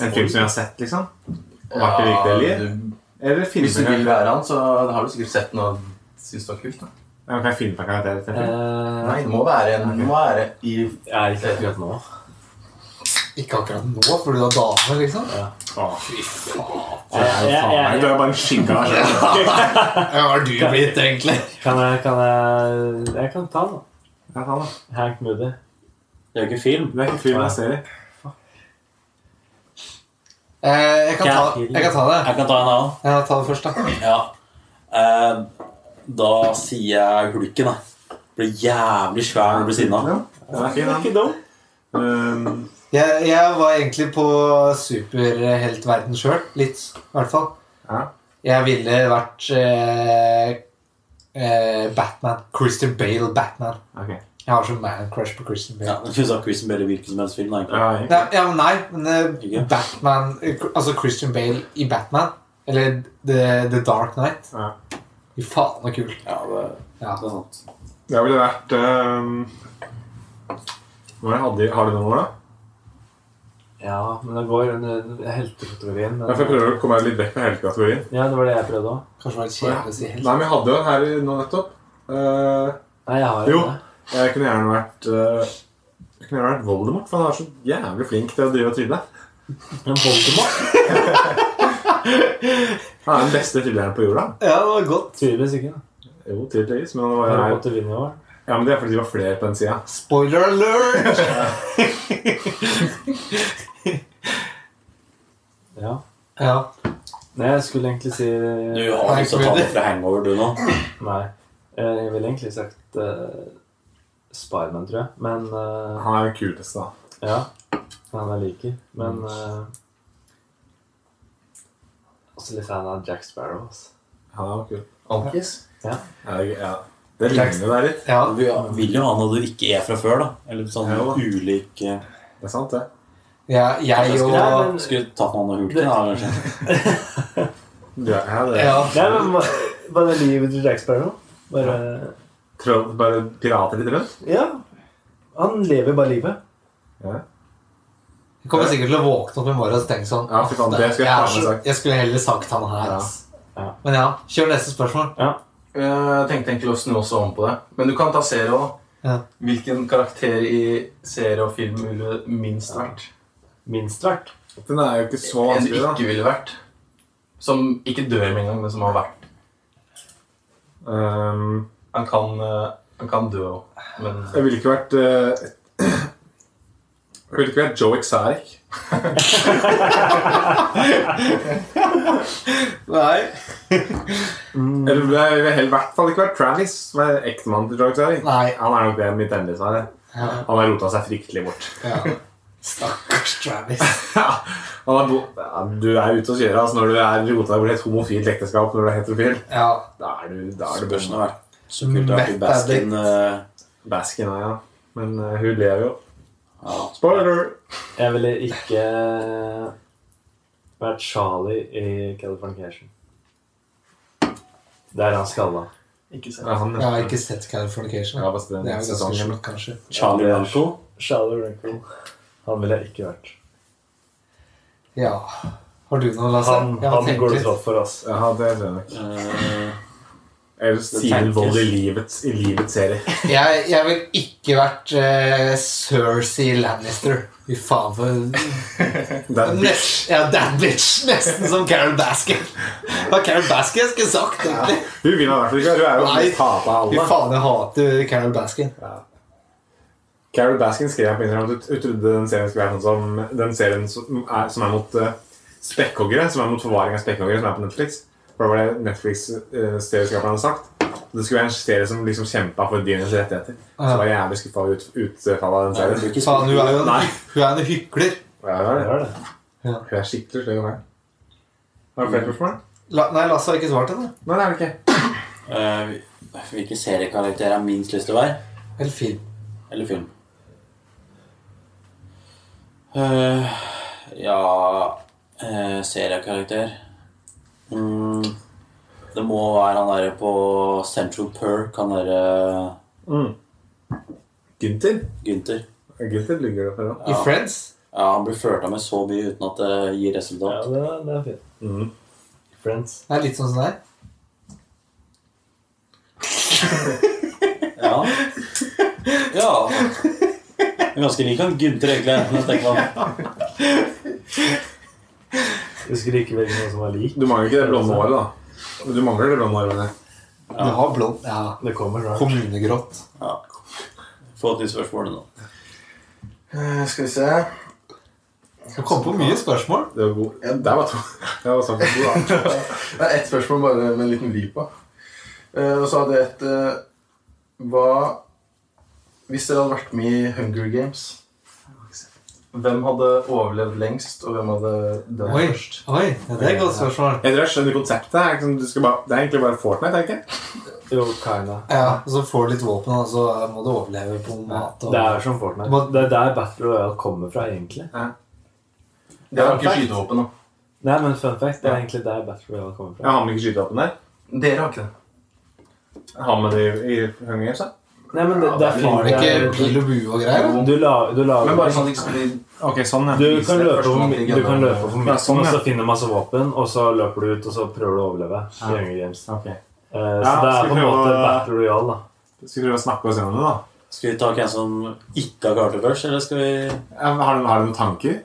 D: En film som jeg har sett, liksom? Og vært i virkelig liv?
I: du,
D: Eller
I: Hvis du
D: filmer
I: vil
D: jeg-
I: være han, så har du sikkert sett noe syns du var kult. da.
D: Ja, men Kan jeg filme på karakterer til film?
E: Eh,
I: Nei, det må være en det må være i
E: jeg er ikke akkurat nå.
A: Ikke akkurat nå, for du har dame, liksom.
D: Åh,
E: Jeg, jeg, jeg,
D: Nei, du er bare en skygge av deg selv.
A: Ja, hva har du blitt, egentlig?
E: kan jeg, kan jeg Jeg kan ta den, da.
D: Ja, faen, da.
E: Hank Moody.
C: Det er jo ikke film.
D: Det er ikke film, det er serie.
A: Eh, jeg, kan ta, jeg kan ta det.
C: Jeg kan ta en annen.
A: Ja, ta det først, da.
C: Ja. Eh, da sier jeg hulken, da. Blir jævlig svær når du blir sinna.
D: Ja, den er fin, den.
E: Ikke dum.
D: Um,
A: Jeg, jeg var egentlig på superheltverden sjøl. Litt, i hvert fall.
D: Ja.
A: Jeg ville vært eh, eh, Batman. Christian Bale Batman.
D: ok.
A: Jeg har så man-crush på Christian Bale.
C: Ja, det synes jeg Christian Bale i hvilken som helst film. egentlig.
D: Ja, egentlig.
A: Nei, ja, men nei, men eh,
C: Ikke?
A: Batman Altså Christian Bale i Batman. Eller The, The Dark Knight.
D: Ja.
A: Fy faen, så kult.
C: Ja, det,
A: Ja.
C: det er sant.
D: Jeg ville vært um, hva hadde, de- Har du noen år, da?
E: Ja, men det går under heltekategorien. men-
D: Jeg får prøve å komme meg litt vekk fra heltekategorien.
E: Ja, det var det jeg prøvde òg.
A: Kanskje det var litt
D: Ja.
A: kjedelig å si helt.
D: Nei, men jeg hadde jo den her nå nettopp. Eh,
E: Nei, jeg har
D: Jo.
E: ikke det.
D: jeg kunne gjerne vært eh, Jeg kunne gjerne vært Voldemort, for han er så jævlig flink til å drive og trylle.
E: Men Voldemort?
D: Han er den beste trylleren på jorda.
A: Ja, det var godt.
E: Tydeligvis ikke. da.
D: Jo, tydeligvis, men han var
E: Harry
D: jo
E: Potter vinner i år.
D: Ja, men det er fordi det var flere på den sida.
A: Spoiler alert!
E: Ja.
A: ja.
E: Nei, jeg skulle egentlig si
C: Du har lyst til å ta det fra hangover, du nå.
E: Nei. Eh, Jeg ville egentlig sagt uh, Spiderman, tror jeg. Men eh,
D: Han er den kuleste, da.
E: Ja. Han jeg liker. Men eh, Også litt fan av Jack Sparrow. Altså.
D: Han er jo kul.
I: Ankis.
D: Ja, det er- ja. Det ligner jo der litt.
A: ja.
C: Du vil jo ha noe du ikke er fra før, da. Eller sånn
D: Ja, da.
C: ulik eh,
D: Det er sant, det.
A: ja jeg og
E: Ja, men-
C: Skulle tatt noen av hulken, da, kanskje.
D: Du er, ja, det er.
A: ja.
E: Nei, men hva- Bare livet til Jack Sparrow. Bare
D: Troll, bare pirater litt rundt.
E: Ja. Han lever bare livet.
A: Jeg kommer sikkert til å våkne opp i morgen og tenke sånn
D: Ja, fy faen, det
A: jeg,
D: skulle jeg
A: er
D: faen meg
A: så,
D: sagt.
A: jeg skulle heller sagt han her.
D: Ja.
A: ass.
J: Men ja, kjør neste spørsmål.
I: Eh, Jeg tenkte egentlig å snu også om på det. Men du kan ta serie òg.
J: Ja.
I: Hvilken karakter i serie og film ville du minst vært?
E: Minst verdt.
D: Den er jo ikke så
I: En du
D: vanskelig, da.
I: ikke ville vært? Som ikke dør med en gang, men som har vært.
D: Ehm,
I: Han kan, eh, han kan dø òg, men
D: jeg ville ikke vært eh, Jeg ville ikke vært Joe Exaric.
J: Nei.
D: Eller jeg ville heller i hvert fall ikke vært Travis, som er ektemannen til Joe Exaric.
J: Nei.
D: Han er nok det mitt endelige svar.
J: Ja.
D: Han har rota seg fryktelig bort.
J: Ja. Stakkars Travis.
D: Han har bo ja, du er ute å kjøre altså, når du er rota deg bort i et homofilt ekteskap når du er heterofil.
J: Ja.
D: Da er du, da er du
C: Spørsmålet har
D: bøssen.
C: vært så kult. Det er ikke Baskin eh,
D: Baskin, ja. Men eh, hun lever jo.
C: ja.
D: Spoiler!
E: Jeg ville ikke eh, vært Charlie i Californication. Det er han skalla.
I: ikke se.
D: Ja, han,
J: Jeg har ikke sett Californication.
D: Ja,
J: jeg.
D: bare se den
J: Det er jo ganske
D: sesongen.
J: sjukt, kanskje.
C: Charlie Manco.
E: Charlie Rankle. Han ville jeg ikke vært.
J: Ja. Har du noe, Lasse?
E: Han,
J: Jeg har
E: han
J: tenkt
E: går det
J: litt.
E: trått for, ass.
D: Ja, det tror jeg nok.
C: Eh,
D: Eller Steven
C: tenkes.
D: Vold i livets, i livets serie.
J: Jeg, jeg vil ikke vært uh, Cersei Lannister. Fy faen, for
D: Det er
J: Nest, ja, that bitch! Nesten som Carol Baskin. Hva Carol Baskin skulle sagt, egentlig.
D: Hun vil i hvert fall ikke Hun er jo
J: Nei.
D: mest hata av
J: Fy
D: alle.
J: faen, jeg hater Carol Baskin.
D: Carol Baskin skrev på Instagram at hun trodde den serien skulle være sånn som den serien som er, som er mot eh, spekkhoggere, som er mot forvaring av spekkhoggere, som er på Netflix. For det var det Netflix-serieskaperne hadde sagt. Det skulle være en serie som liksom kjempa for dyrenes rettigheter. Så jeg var jævlig skuffa over ut, utfallet av den serien.
C: det blir ikke
J: Faen, hun er jo en,
D: Nei.
J: hun er en hykler.
D: Ja, det var det.
E: Hør det.
D: Hun er skikkelig sløy. hun er. Har du flere spørsmål?
J: La, nei, Lasse har ikke svart ennå.
D: Nei, det er det ikke.
C: eh, Hvilken seriekarakter har minst lyst til å være?
J: Eller film.
C: Eller film? Eh, ja eh, Seriekarakter mm, Det må være han derre på Central Perk, han derre
D: Gunther?
C: Gunther.
D: Gunther ligger det for òg.
J: I
C: Ja.
J: Friends.
C: Ja, han blir flørta med så mye uten at det gir
E: Ja, Mm.
C: resultat.
E: det, det er fint.
D: Mhm.
E: Friends.
J: Det er litt sånn som deg.
C: Ja. ja. Jeg er ganske lik han Gunther, egentlig. når jeg tenker meg om.
E: Husker ikke veldig noen som var lik.
D: Du mangler ikke det blonde håret, da. Du mangler det blonde håret. mener jeg.
J: Du har blond ja.
E: Det kommer snart.
J: Kommunegrått.
C: Ja. Få til spørsmålet nå.
I: Eh, Skal vi se
J: Du kom på mye spørsmål.
D: Det var god. Ja, der var to. Det var sånn to, da.
I: Det er ett spørsmål bare med en liten vri på. Eh, Og så hadde jeg et eh, Hva Hvis dere hadde vært med i Hunger Games, hvem hadde overlevd lengst, og hvem hadde dødd
J: Oi,
I: først?
J: oi, ja, det er et godt spørsmål.
D: Jeg tror jeg skjønner konseptet. Det er liksom, du skal bare, det er egentlig bare Fortnite. er det ikke?
E: Jo, kinda.
J: Ja, og Så får du litt våpen, og så må du overleve på mat. Og...
E: Det er som Fortnite.
J: Må-
E: Det er der Battle Royale kommer fra, egentlig.
I: Det er jo ikke skytevåpen, da.
E: Nei, men fun fact, det er egentlig der Battle Royale kommer
D: Jeg
E: fra.
D: har med ikke skytevåpen der.
I: Dere har ikke det.
D: Jeg har med det i, i Hunger Games. da.
E: Nei, men det, det er
J: Var det ikke
E: fint.
J: pil og bue og greier? da?
E: Du, la- du lager
I: Men bare sånn at det ikke skulle bli
D: Ok, sånn,
E: Du
D: ja.
E: kan løpe over
I: Førstemann til
E: du kan
I: gjennom-
E: løpe over
D: Ja,
E: midten,
D: sånn,
E: og
D: ja.
E: så finner du masse våpen, og så løper du ut, og så prøver du å overleve. i
D: Ja.
E: Hunger Games.
D: Ok.
E: Eh, så
D: Ja,
E: det er
D: skal
E: på
D: vi
E: en måte
D: prøve å-
E: Battle Royale, da.
D: Skal vi prøve å snakke oss gjennom det, da?
C: Skal vi ta hvem som ikke har klart det først, eller skal vi
D: Ja, men Har du, har du noen tanker?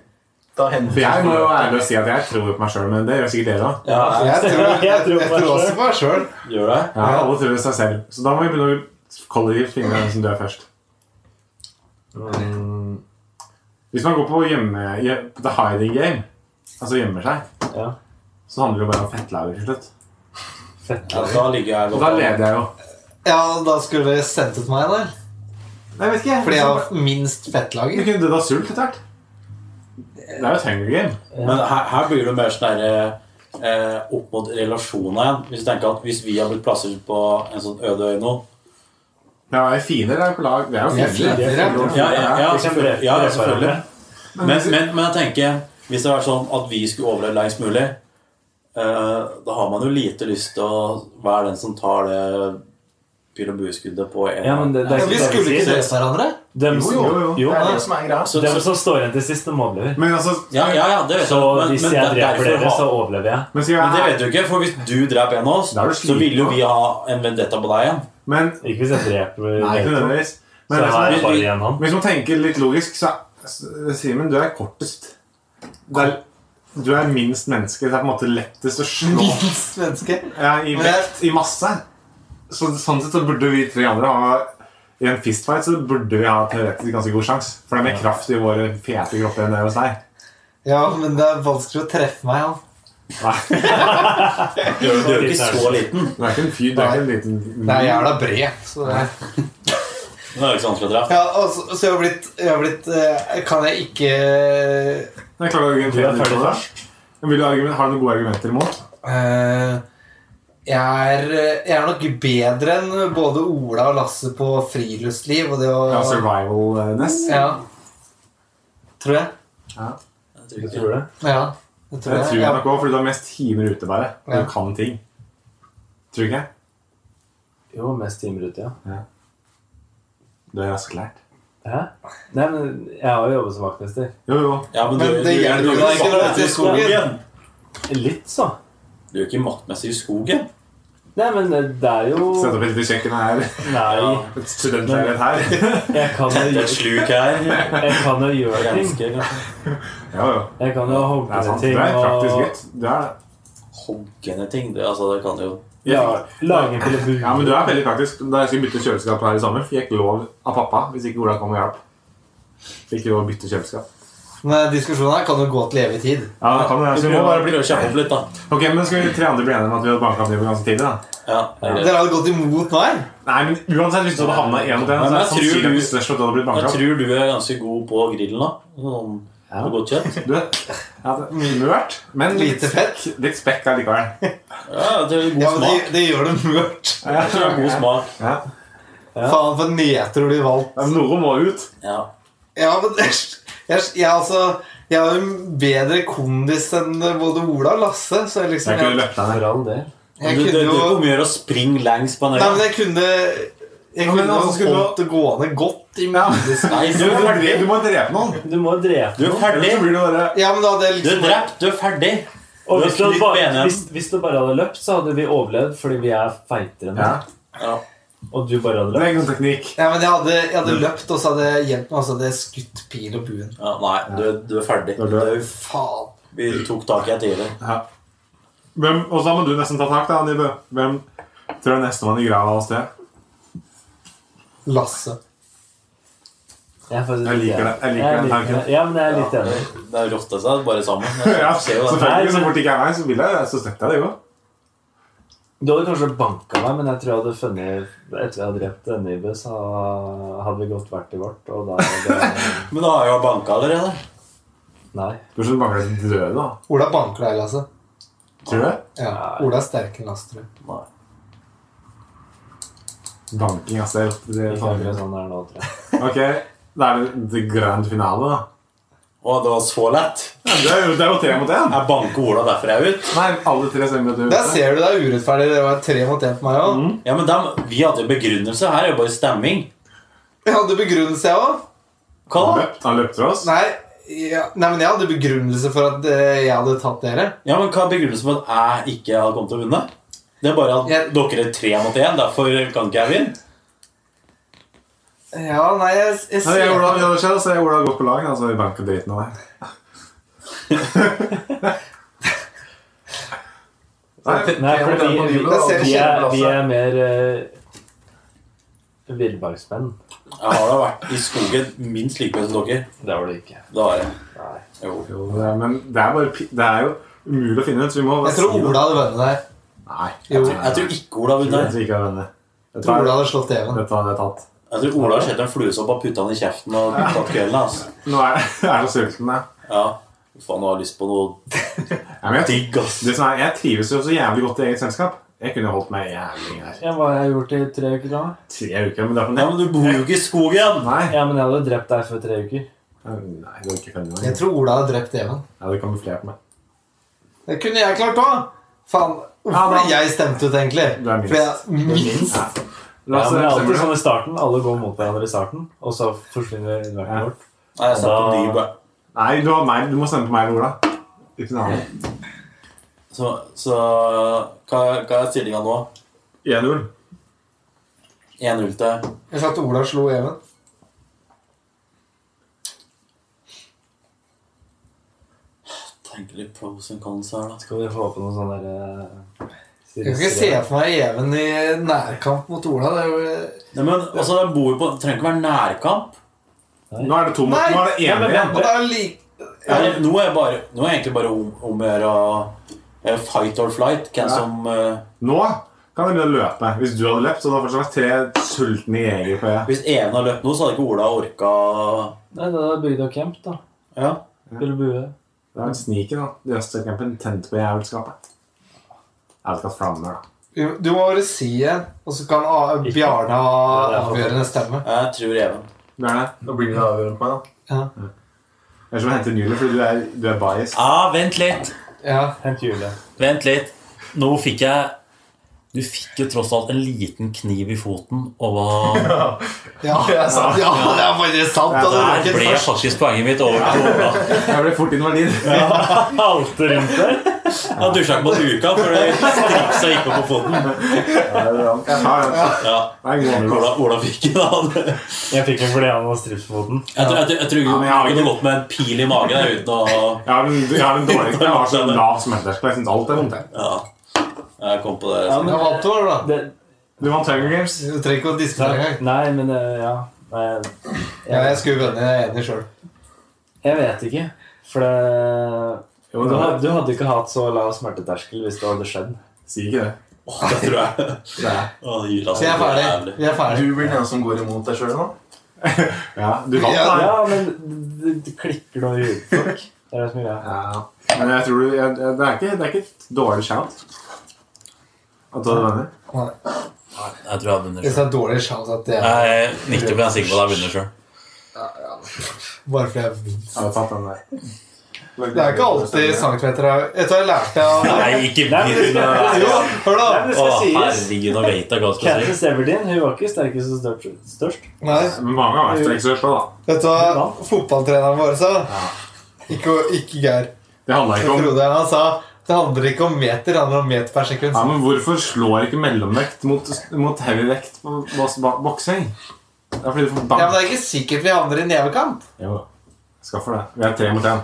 I: Da hender
D: For Jeg må jo ærlig si at jeg tror på meg sjøl, men det gjør sikkert dere òg.
C: Ja,
J: Jeg tror,
E: Jeg
J: jeg
E: tror på meg
J: tror også på meg sjøl.
C: gjør det?
D: Ja, alle tror det seg selv. Så da må vi begynne å kollektivt finne hvem som dør først. Um,
E: Mm,
D: Hvis man går på gjemme, gje- the hiding game, altså gjemmer seg,
E: Ja.
D: så handler det jo bare om fettlager til slutt.
E: fett.
C: Ja, da ligger jeg
D: Og
C: godt
D: da
C: an.
D: leder jeg jo.
J: Ja, da skulle dere sendt ut meg der.
D: Nei, vet ikke jeg.
J: Fordi jeg har minst
D: Du
J: fettlager.
D: kunne dødd av sult etter hvert. Det er jo et hunger game.
C: Men her, her blir det mer sånn der, eh, opp mot relasjoner igjen. Hvis du tenker at hvis vi har blitt plassert på en sånn øde øy nå
D: Ja, er fiender er jo på lag. Det er
J: Vi
D: jo
J: er
D: fiender.
J: fiender,
C: Ja, ja, ja,
E: Vi kan
C: selvfølgelig.
E: drepe
C: Ja, ja,
E: hverandre.
C: selvfølgelig. Men, men, men jeg tenker Hvis det var sånn at vi skulle overleve lengst mulig, eh, da har man jo lite lyst til å være den som tar det pil og bueskuddet på en
E: Ja, men det, det er
J: Ja,
E: ikke
J: vi
E: det
J: skulle
E: vi
J: ikke
E: sier.
J: drepe hverandre.
E: Dem,
I: Jo, jo, jo.
E: jo,
I: det er det som er greia.
C: Så,
K: Dem
C: så,
K: som står igjen til sist, de overlever.
D: Men altså
C: ja, ja, ja, det vet
E: Så
C: jeg. Men,
E: hvis
C: men,
E: jeg
C: det er
E: dreper
C: derfor
E: dere,
C: ha-
E: så overlever jeg.
D: Men, skal
C: men det
D: jeg,
C: vet du ikke, for hvis du dreper en av oss,
D: Da er du
C: så
D: sliten,
C: vil jo
D: da.
C: vi ha en vendetta på deg igjen.
D: men
E: Ikke hvis jeg dreper
D: Nei,
E: dere
D: ikke
E: to,
D: nødvendigvis. Men
E: Så
D: det som
E: har
D: er-
E: jeg bare igjen han.
D: Hvis man tenker litt logisk, så er Simen, du er kortest. Du er, du er minst menneske. Det er på en måte lettest å slå
J: Minst menneske.
D: ja, i vekt, i masse. Så sånn sett så burde vi tre andre ha I en fistfight så burde vi ha teoretisk ganske god sjanse. For det er mer kraft i våre fete kropper enn det er hos deg.
J: Ja, men det er vanskelig å treffe meg, han.
D: Nei,
C: Du er jo ikke så liten.
D: Du er ikke en fyr, du er ikke en liten
J: Nei, jeg er da bred. Så det
C: Det er jo ikke så vanskelig å drepe.
J: Ja, altså, så jeg har blitt, jeg har blitt eh, Kan jeg ikke
D: Jeg klarer å argumentere
E: Du er ferdig
D: mot det. Men vil du argumen- Har du noen gode argumenter imot?
J: eh, jeg, er, jeg er nok bedre enn både Ola og Lasse på friluftsliv og det å
D: Ja, eh, Survivalness?
J: Ja. Tror jeg.
C: Jeg tror ikke
E: tror du det?
J: Ja, det
D: Det
J: tror jeg.
D: tror jeg
J: Ja.
D: nok òg, fordi du har mest timer ute bare. Og
J: Ja.
D: du kan ting. Tror du ikke?
E: Jo, mest timer ute, ja.
D: Du er rasklært.
E: Hæ? Nei, men jeg har jo jobbet som vaktmester.
D: Jo, jo.
C: Ja, men du,
J: Men
C: du,
J: det
C: er-
J: hjelper
C: du,
J: jo
C: er
J: da ikke når det er til
C: maktmessig i skogen.
J: skogen.
E: Litt, så.
C: Du er jo ikke maktmessig i skogen.
E: Nei, men det er jo
D: Sett opp et lite kjøkken her.
E: Nei,
C: Ja.
D: Et studentleilighet her.
E: jeg kan jo
C: Det er et
E: gjøre,
C: sluk her.
E: jeg kan jo gjøre ting.
C: Ganske
D: Jo, jo.
E: Jeg kan jo
D: Det
E: hogge
D: er
E: ned
D: sant. Du
E: ting
D: er en praktisk
E: og
D: gutt. Du er det.
C: hoggende ting. Det, altså, det kan jo
E: ja, lage til en
D: Ja,
E: bue.
D: men du er veldig praktisk. Da jeg skulle bytte kjøleskap her i sommer, fikk jeg lov av pappa hvis ikke Ola kom og hjalp. Fikk lov å bytte kjøleskap.
J: Men diskusjonen her kan jo gå til evig tid.
D: Ja, det kan det.
C: Du
D: Så vi
C: må
D: må bare bli...
C: prøve å kjappe opp litt, da.
D: Ok, men Skal vi tre andre bli enige om at vi hadde banka opp livet ganske tidlig? da?
C: Ja, det er greit.
J: Dere hadde gått imot meg.
D: Nei, men uansett, hvis du hadde havna én mot én,
C: Nei,
D: så
C: men jeg
D: er det
C: tror
D: sannsynlig
C: du-
D: at du størst at du hadde blitt banka
C: Jeg
D: opp.
C: tror du er ganske god på grillen, da. Sånn på godt kjøtt.
D: Du ja, det er mørt, men litt
J: Lite fett.
D: spekk- litt spekk allikevel.
C: Ja, det er god
J: Ja, men det,
C: smak.
J: det gjør det mørkt.
C: Jeg tror det er god smak.
D: Ja.
J: Faen, for nedtur de valgte.
D: Ja, men Noe må ut.
C: Ja.
J: Ja, men æsj, jeg, jeg, altså, jeg har jo bedre kondis enn både Ola og Lasse. Så jeg liksom
D: Jeg kunne
J: Jeg,
D: løpt deg ned.
E: For all del.
J: jeg
C: Du, det,
J: kunne
C: det
J: jo
C: er ikke om å gjøre å springe langs på en
J: Nei, men
C: øy.
J: jeg kunne Jeg
D: Ja, men
J: kunne jo
D: altså, skulle du-
J: holdt det gående godt i mengdes
C: Nei,
D: Du,
C: du er
D: må
C: ferdig.
D: drepe- du må drepe noen.
E: Du må drepe
C: Du er ferdig.
D: Ellers så blir det bare
J: Ja, men da hadde jeg
C: Du er
J: liksom
C: drept. Du er ferdig.
E: Og
C: Du
E: hvis
C: har
E: du,
C: knytt
E: bare,
C: benet.
E: hvis, hvis du bare hadde løpt, så hadde vi overlevd fordi vi er feitere enn
D: ja.
E: deg.
C: Ja.
E: Og du bare hadde
D: Det
E: løpt.
D: er ikke noen teknikk.
J: Ja, men jeg hadde, jeg hadde løpt, og så hadde jeg gjemt meg, og så hadde jeg skutt pil og buen.
C: Ja, nei, du, er- du er ferdig.
D: er død.
C: Det er jo-
J: Faen.
C: Vi tok tak i deg tidlig.
D: Hvem, og så må du nesten ta tak, da, Nibbe. Hvem tror du er nestemann i grava hos deg?
J: Lasse.
E: Jeg, er faktisk
D: Jeg liker
E: enig.
D: det. Jeg liker
E: Jeg er
D: den
E: litt-
D: tanken.
E: Ja, men jeg er litt
C: Ja,
E: enig.
C: det- det rotter seg bare sammen.
D: Ja,
C: Jeg ser jo det.
D: selvfølgelig. Så fort det ikke er meg, så vil jeg så støtter jeg det jo.
E: Du hadde kanskje banka meg, men jeg tror jeg hadde funnet Etter jeg hadde drept Nybø, så hadde vi godt vært i vårt, og da hadde
C: Men da har jeg jo banka allerede.
E: Nei.
D: Du skjønner bare at du døde, da.
J: Ola banker deg, Lasse.
D: Tror du det?
J: Ja, Ola er sterkere enn Lasse, tror jeg.
C: Nei.
D: Banking, ass. Det, er- det, er
E: Ikke akkurat
D: faen-
E: sånn det er nå, tror jeg.
D: ok, da er det the grand finale, da.
C: Å, det var så lett.
D: Ja, det er jo- det er jo tre mot én.
C: Jeg banker Ola derfor jeg er ut.
D: Nei, alle tre stemmer at du
J: Der ser du det er urettferdig. Det var tre mot én på meg òg.
D: Mm.
C: Ja, men dem, Vi hadde jo begrunnelse. Her er jo bare stemming.
J: Jeg hadde begrunnelse, jeg òg.
C: Hva
D: Han
C: da?
D: løp- Han løpte til oss.
J: Nei, ja, nei, men jeg hadde begrunnelse for at eh, jeg hadde tatt dere.
C: Ja, men Hva er begrunnelsen for at jeg ikke hadde kommet til å vinne? Det er bare at
J: Jeg-
C: dere er tre mot én, derfor kan ikke jeg vinne.
J: Ja, nei, jeg, jeg
D: Nei, jeg,
J: ser
D: Ola, ja, det skjer, så jeg Ola har gått på lag, altså i banken driten av deg.
E: Nei,
I: Jeg må
E: fordi
I: tenke på livet,
E: vi,
I: da.
J: Jeg ser-
E: vi, er, vi
D: altså.
I: Lasse.
E: er mer uh, villmarksmenn.
C: Jeg har da vært i skogen minst like mye som dere.
E: Det var det ikke.
C: Det har jeg.
E: Nei.
C: Jo.
D: Jo, det er, men det er, bare, pi- det er jo umulig å finne ut, så vi må bare
J: Jeg tror
D: si det.
J: Ola hadde vunnet der.
D: Nei,
J: Jo.
D: jeg tror,
C: Jeg tror ikke Ola har
D: jeg
C: vunnet.
D: tror ikke jeg vinner.
J: Jeg
D: Dette
J: tror
D: er,
J: Ola hadde slått Even.
D: dette er tatt.
C: Jeg tror Ola har sett en fluesopp og putta den i kjeften og tatt kvelden. Altså.
D: Nå er jeg, jeg er så sulten, jeg.
C: Ja. Fy Faen, nå har jeg lyst på noe
D: Ja, men jeg,
C: digg, ass.
D: det som er, jeg trives jo så jævlig godt i eget selskap. Jeg kunne holdt meg jævlig lenge her.
E: Ja, hva har jeg gjort i tre uker da?
D: Tre uker, men det er for
C: Ja, men du bor jo ikke i skogen!
D: Nei.
E: Ja, men jeg hadde drept deg for tre uker.
D: Nei, det er ikke funnet
J: Jeg
D: meg.
J: tror Ola hadde drept Even.
D: Ja, du kamuflerte meg.
J: Det kunne jeg klart òg! Faen,
D: Ja,
J: hvorfor
D: da-
J: ble jeg stemt ut, egentlig?
D: Du er minst.
J: For jeg minst.
D: Ja.
E: Ja, men det er
D: Stemmer
E: alltid
D: Altså, det?
E: sånn i starten. Alle går mot hverandre i starten, og så forsvinner innverket
D: Ja.
E: vårt.
C: Nei, jeg stemte på
E: Da-
C: dyb, jeg.
D: Nei, du, har meg, du må stemme på meg eller Ola. Ikke noe annet.
C: Så, så hva, hva er stillinga nå?
D: 1-0.
C: 1-0 til
A: Jeg sa at Ola slo Even.
C: Tenker litt pros and cons her, da.
E: Skal vi få på noen sånne der, eh,
A: Jeg kan ikke se for meg Even i nærkamp mot Ola. Det er jo...
C: Nei, men altså, de bor jo på Det trenger ikke være nærkamp.
D: Nå er det to mot
A: Nei!
D: Nå er det
A: Men-
D: ener igjen.
A: Og det er jo like...
C: Eller, nå, er jeg bare, nå er jeg egentlig bare om, om å gjøre eh, fight or flight. Hvem som eh,
D: Nå kan jeg begynne å løpe. Hvis du hadde løpt, så hadde det fortsatt vært tre sultne jegere på jeg.
C: Hvis Even hadde løpt nå, så hadde ikke Ola orka
E: Nei, det er Bygdøy Camp, da.
C: ja.
E: Spille bue.
D: Det er en sniken, da. Jøstekempen tent på jævelskapet. Jævelskap flammer, da.
A: Jo, Du må bare si en, og så kan A- Bjarne
E: Ja, det
A: ha
E: er for-
A: avgjørende stemme.
C: Jeg tror Even.
D: Bjørne,
I: Da blir det avgjørende på meg, da.
D: jeg skal hente Julie, fordi du er, du er biased.
C: Ah, vent litt!
A: Ja.
E: Hent Julie.
C: Vent litt. Nå fikk jeg Du fikk jo tross alt en liten kniv i foten, og hva
A: Ja, det er sant. Ja, det er faktisk sant. og det var
C: Der
A: ikke
C: ble
A: først.
C: faktisk poenget mitt over til Ola.
D: Jeg ble fort invalid.
E: Halte rundt der.
C: Han dusja ikke på duka, for det striksa gikk opp på foten.
D: Ja, det er sant. Jeg tar den.
C: Ja,
D: Det er en god anelse.
C: Ola, Ola fikk den. han.
E: Jeg fikk den fordi han var strips på den.
C: Jeg tror, jeg, tror- jeg tror
D: Ja, men jeg har
C: hun
D: ikke-
C: kunne gått med en pil i magen der, uten å
D: Jeg har den, jeg har den dårligste. Jeg har så lav smerteterskel. Jeg syns alt er vondt. jeg.
C: Ja, jeg kom på det.
E: Ja, men-
A: Ja, vant du, da?
E: Det,
D: Du vant Hunger Games.
A: Du trenger ikke å diskutere engang.
E: nei, men eh, ja. Nei,
A: Ja, jeg
E: jeg,
A: skulle vende, jeg er enig sjøl.
E: jeg vet ikke. For det
D: Jo,
E: du,
D: det
E: had-
D: var,
E: du hadde ikke hatt så lav smerteterskel hvis det hadde skjedd.
D: si ikke det.
C: Åh, det tror jeg.
D: det er.
C: Åh, altså jula,
A: Vi er ferdig. Vi er ferdig.
I: Du blir den som går imot deg sjøl nå.
D: Ja, du vant,
A: Ja.
D: da.
E: Ja, men det, det klikker noe i huet på folk. Det er det som er greia.
D: Ja. Men jeg tror du, jeg, jeg- det, er ikke, det er ikke et dårlig shout. At du hadde vunnet.
C: Jeg tror jeg har vunnet
A: Det
C: sjøl.
A: er dårlig sjans at jeg
C: Jeg er 90 sikker på at jeg har vunnet sjøl.
A: Bare fordi jeg minst.
D: Jeg hadde tatt den der.
A: Det er ikke alltid centimeter er Vet du hva jeg lærte av
C: Nei, ikke begynn.
A: Jo, hør, da!
E: Nei, men det
C: Å,
E: skal sies.
C: herregud, nå vet jeg hva jeg skal si.
E: Katniss Everdeen hun var ikke sterkest og størst. størst.
A: Nei,
D: Men mange har vært sterke til å slå, da.
A: vet du hva fotballtreneren vår sa? Ikke, ikke Geir.
D: Det handler ikke om
A: Frode han sa det handler ikke om meter, det handler om meter per sekund.
D: ja, men Hvorfor slår ikke mellomvekt mot, mot heavyvekt på bos- ba- boksing? Det er fordi du får
A: Ja, men
D: bank.
A: Det er ikke sikkert vi havner i nevekamp.
D: Jo, skaffer det. Vi er tre mot én.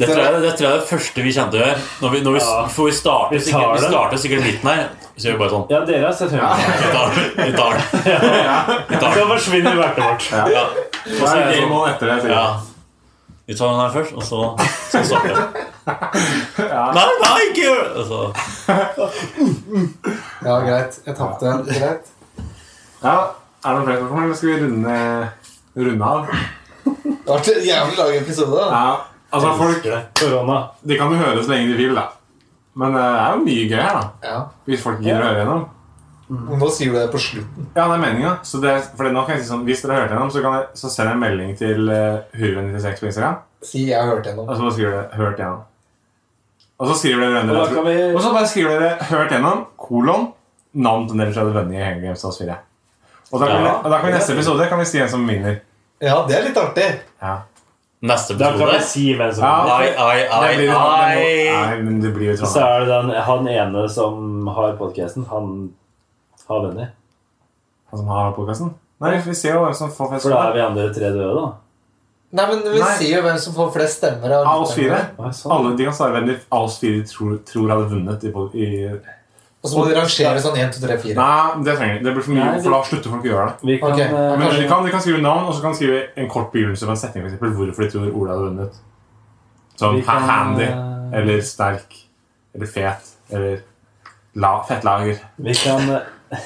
C: Det tror jeg det, tror jeg er det første vi kommer til å gjøre. Når vi, når vi,
E: Ja.
C: for vi starter
E: Vi tar
C: sikkert, vi
E: det.
C: starter sikkert midten her. Så gjør vi bare sånn.
E: Ja, dere har sett Hunger.
C: Vi tar den. Vi tar den. Vi tar
E: Så
C: den.
E: forsvinner verket vårt.
C: Ja.
D: Det er det sånn- mål etter det.
C: ja.
D: sikkert.
C: Vi tar den her først, og så skal vi starte. Nei, nei, ikke gjør det! Og så-
A: Ja, greit. Jeg tapte en. Greit.
D: Ja, Er det noen flere spørsmål, eller skal vi runde, runde av?
A: Det har vært en jævlig lang episode. da.
D: Ja, altså folk,
E: Korona.
D: De kan jo høre så lenge de vil, da. Men eh, det er jo mye gøy her, da.
A: Ja.
D: Hvis folk gidder å høre gjennom.
A: Nå sier du det på slutten.
D: Ja, det er meninga. Så det, for nå kan jeg si sånn, hvis dere har hørt gjennom, så, kan jeg, så send en melding til uh, Hurven96 på Instagram.
A: Si jeg har hørt gjennom.
D: Og så bare skriver dere 'hørt gjennom'. Og så skriver dere
E: Og da kan
D: venner.
E: vi
D: Og så bare skriver dere 'hørt gjennom', kolon, navn til dere som hadde vunnet i Hunger Games House 4. Og da kan,
C: Ja.
D: vi, og da kan vi i neste episode kan vi si en som vinner.
A: Ja, det er litt artig.
C: Neste
E: Da kan
C: episode
E: vi si hvem som
D: Ja.
C: Ai, ai,
D: Det
C: ai,
D: blir jo- det må-
C: ai.
D: Nei, men det blir jo
E: Så
D: sånn.
E: er det den, han ene som har podkasten. Han har venner.
D: Han som har podkasten? Nei, vi ser jo hvem som får fest.
E: For da er vi andre tre døde, da.
A: Nei, men Vi
D: Nei.
A: sier jo hvem som får flest stemmer.
D: Av oss fire.
E: Å, sånn.
D: Alle de kan svare hvem de av oss fire tror, tror hadde vunnet. I, pod- i
A: Og så må de rangere sånn 1, 2, 3, 4.
D: Nei, det trenger de. Det blir for mye,
E: Nei, det-
D: for da slutter folk å gjøre det.
E: Vi kan,
A: Ok.
E: eh,
D: Men
A: Kanskje-
D: de kan, de kan skrive navn, og så kan de skrive en kort begynnelse på en setning. For eksempel, hvorfor de tror Ola hadde vunnet. Som
E: vi kan,
D: handy,
E: eh,
D: eller sterk, eller fet, eller la, fettlager.
E: Vi kan eh,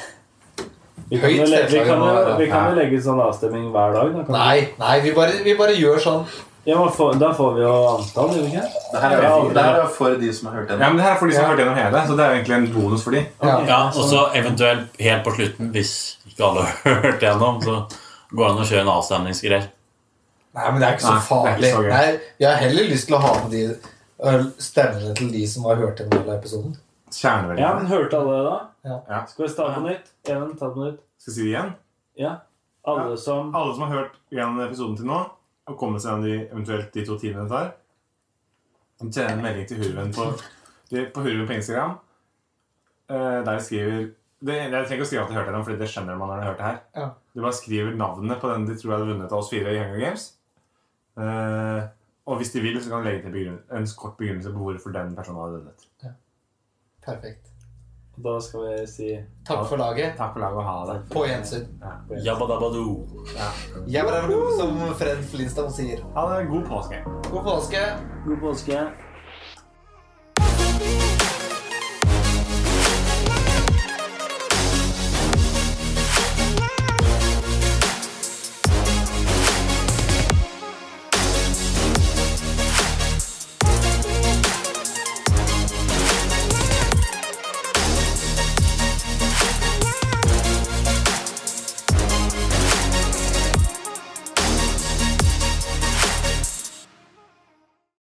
E: Vi kan,
A: Høyt
E: jo le- vi
A: fetlaget
E: kan,
A: må
E: jo-
A: være.
E: vi kan jo
D: Ja.
E: legge ut sånn avstemning hver dag. Da, kan vi-
A: Nei, nei, vi bare, vi bare gjør sånn.
E: Ja, men få- da får vi jo antall, gjør vi ikke?
I: Det her er,
E: Ja,
I: det her er for de som har hørt
D: Ja,
I: gjennom.
D: men det her er for de som
A: Ja.
D: har hørt gjennom hele, så det er jo egentlig en bonus for de.
A: Ja.
E: Ok.
C: Ja, og så eventuelt helt på slutten, hvis ikke alle har hørt gjennom, så går det an å kjøre en avstemningsgreier.
A: Nei, men det er ikke så
D: Nei, det
A: farlig.
D: er ikke så gøy.
A: Nei, jeg har heller lyst til å ha med de øh, ø, stemmene til de som har hørt gjennom hele episoden.
D: Kjerneverdiene.
E: Ja, men hørte alle det, da? Skal vi starte på nytt? Even, ta det på nytt.
D: Skal jeg si det igjen?
E: Ja. Alle som
D: Alle som har hørt igjen episoden til nå, og kommet seg gjennom de, eventuelt de to timene det tar, de sender en melding til Hurven på, de- på Hurven på Instagram. eh, Der de skriver det, Jeg trenger ikke å skrive at de hørte det, for det skjønner man når de hørte det her.
A: Ja.
D: De bare skriver navnet på den de tror hadde vunnet av oss fire i Hunger Games. Eh, og hvis de vil, så kan de legge til begrunn- en kort begrunnelse på hvorfor den personen hadde vunnet.
A: Perfekt.
E: Da skal vi si
A: Takk for laget.
D: Takk for laget, og ha det.
A: På gjensyn.
C: Jabba dabba doo.
A: Jeg var her, som Fred Flintstone sier.
D: Ha det. God påske.
A: God påske.
E: god påske.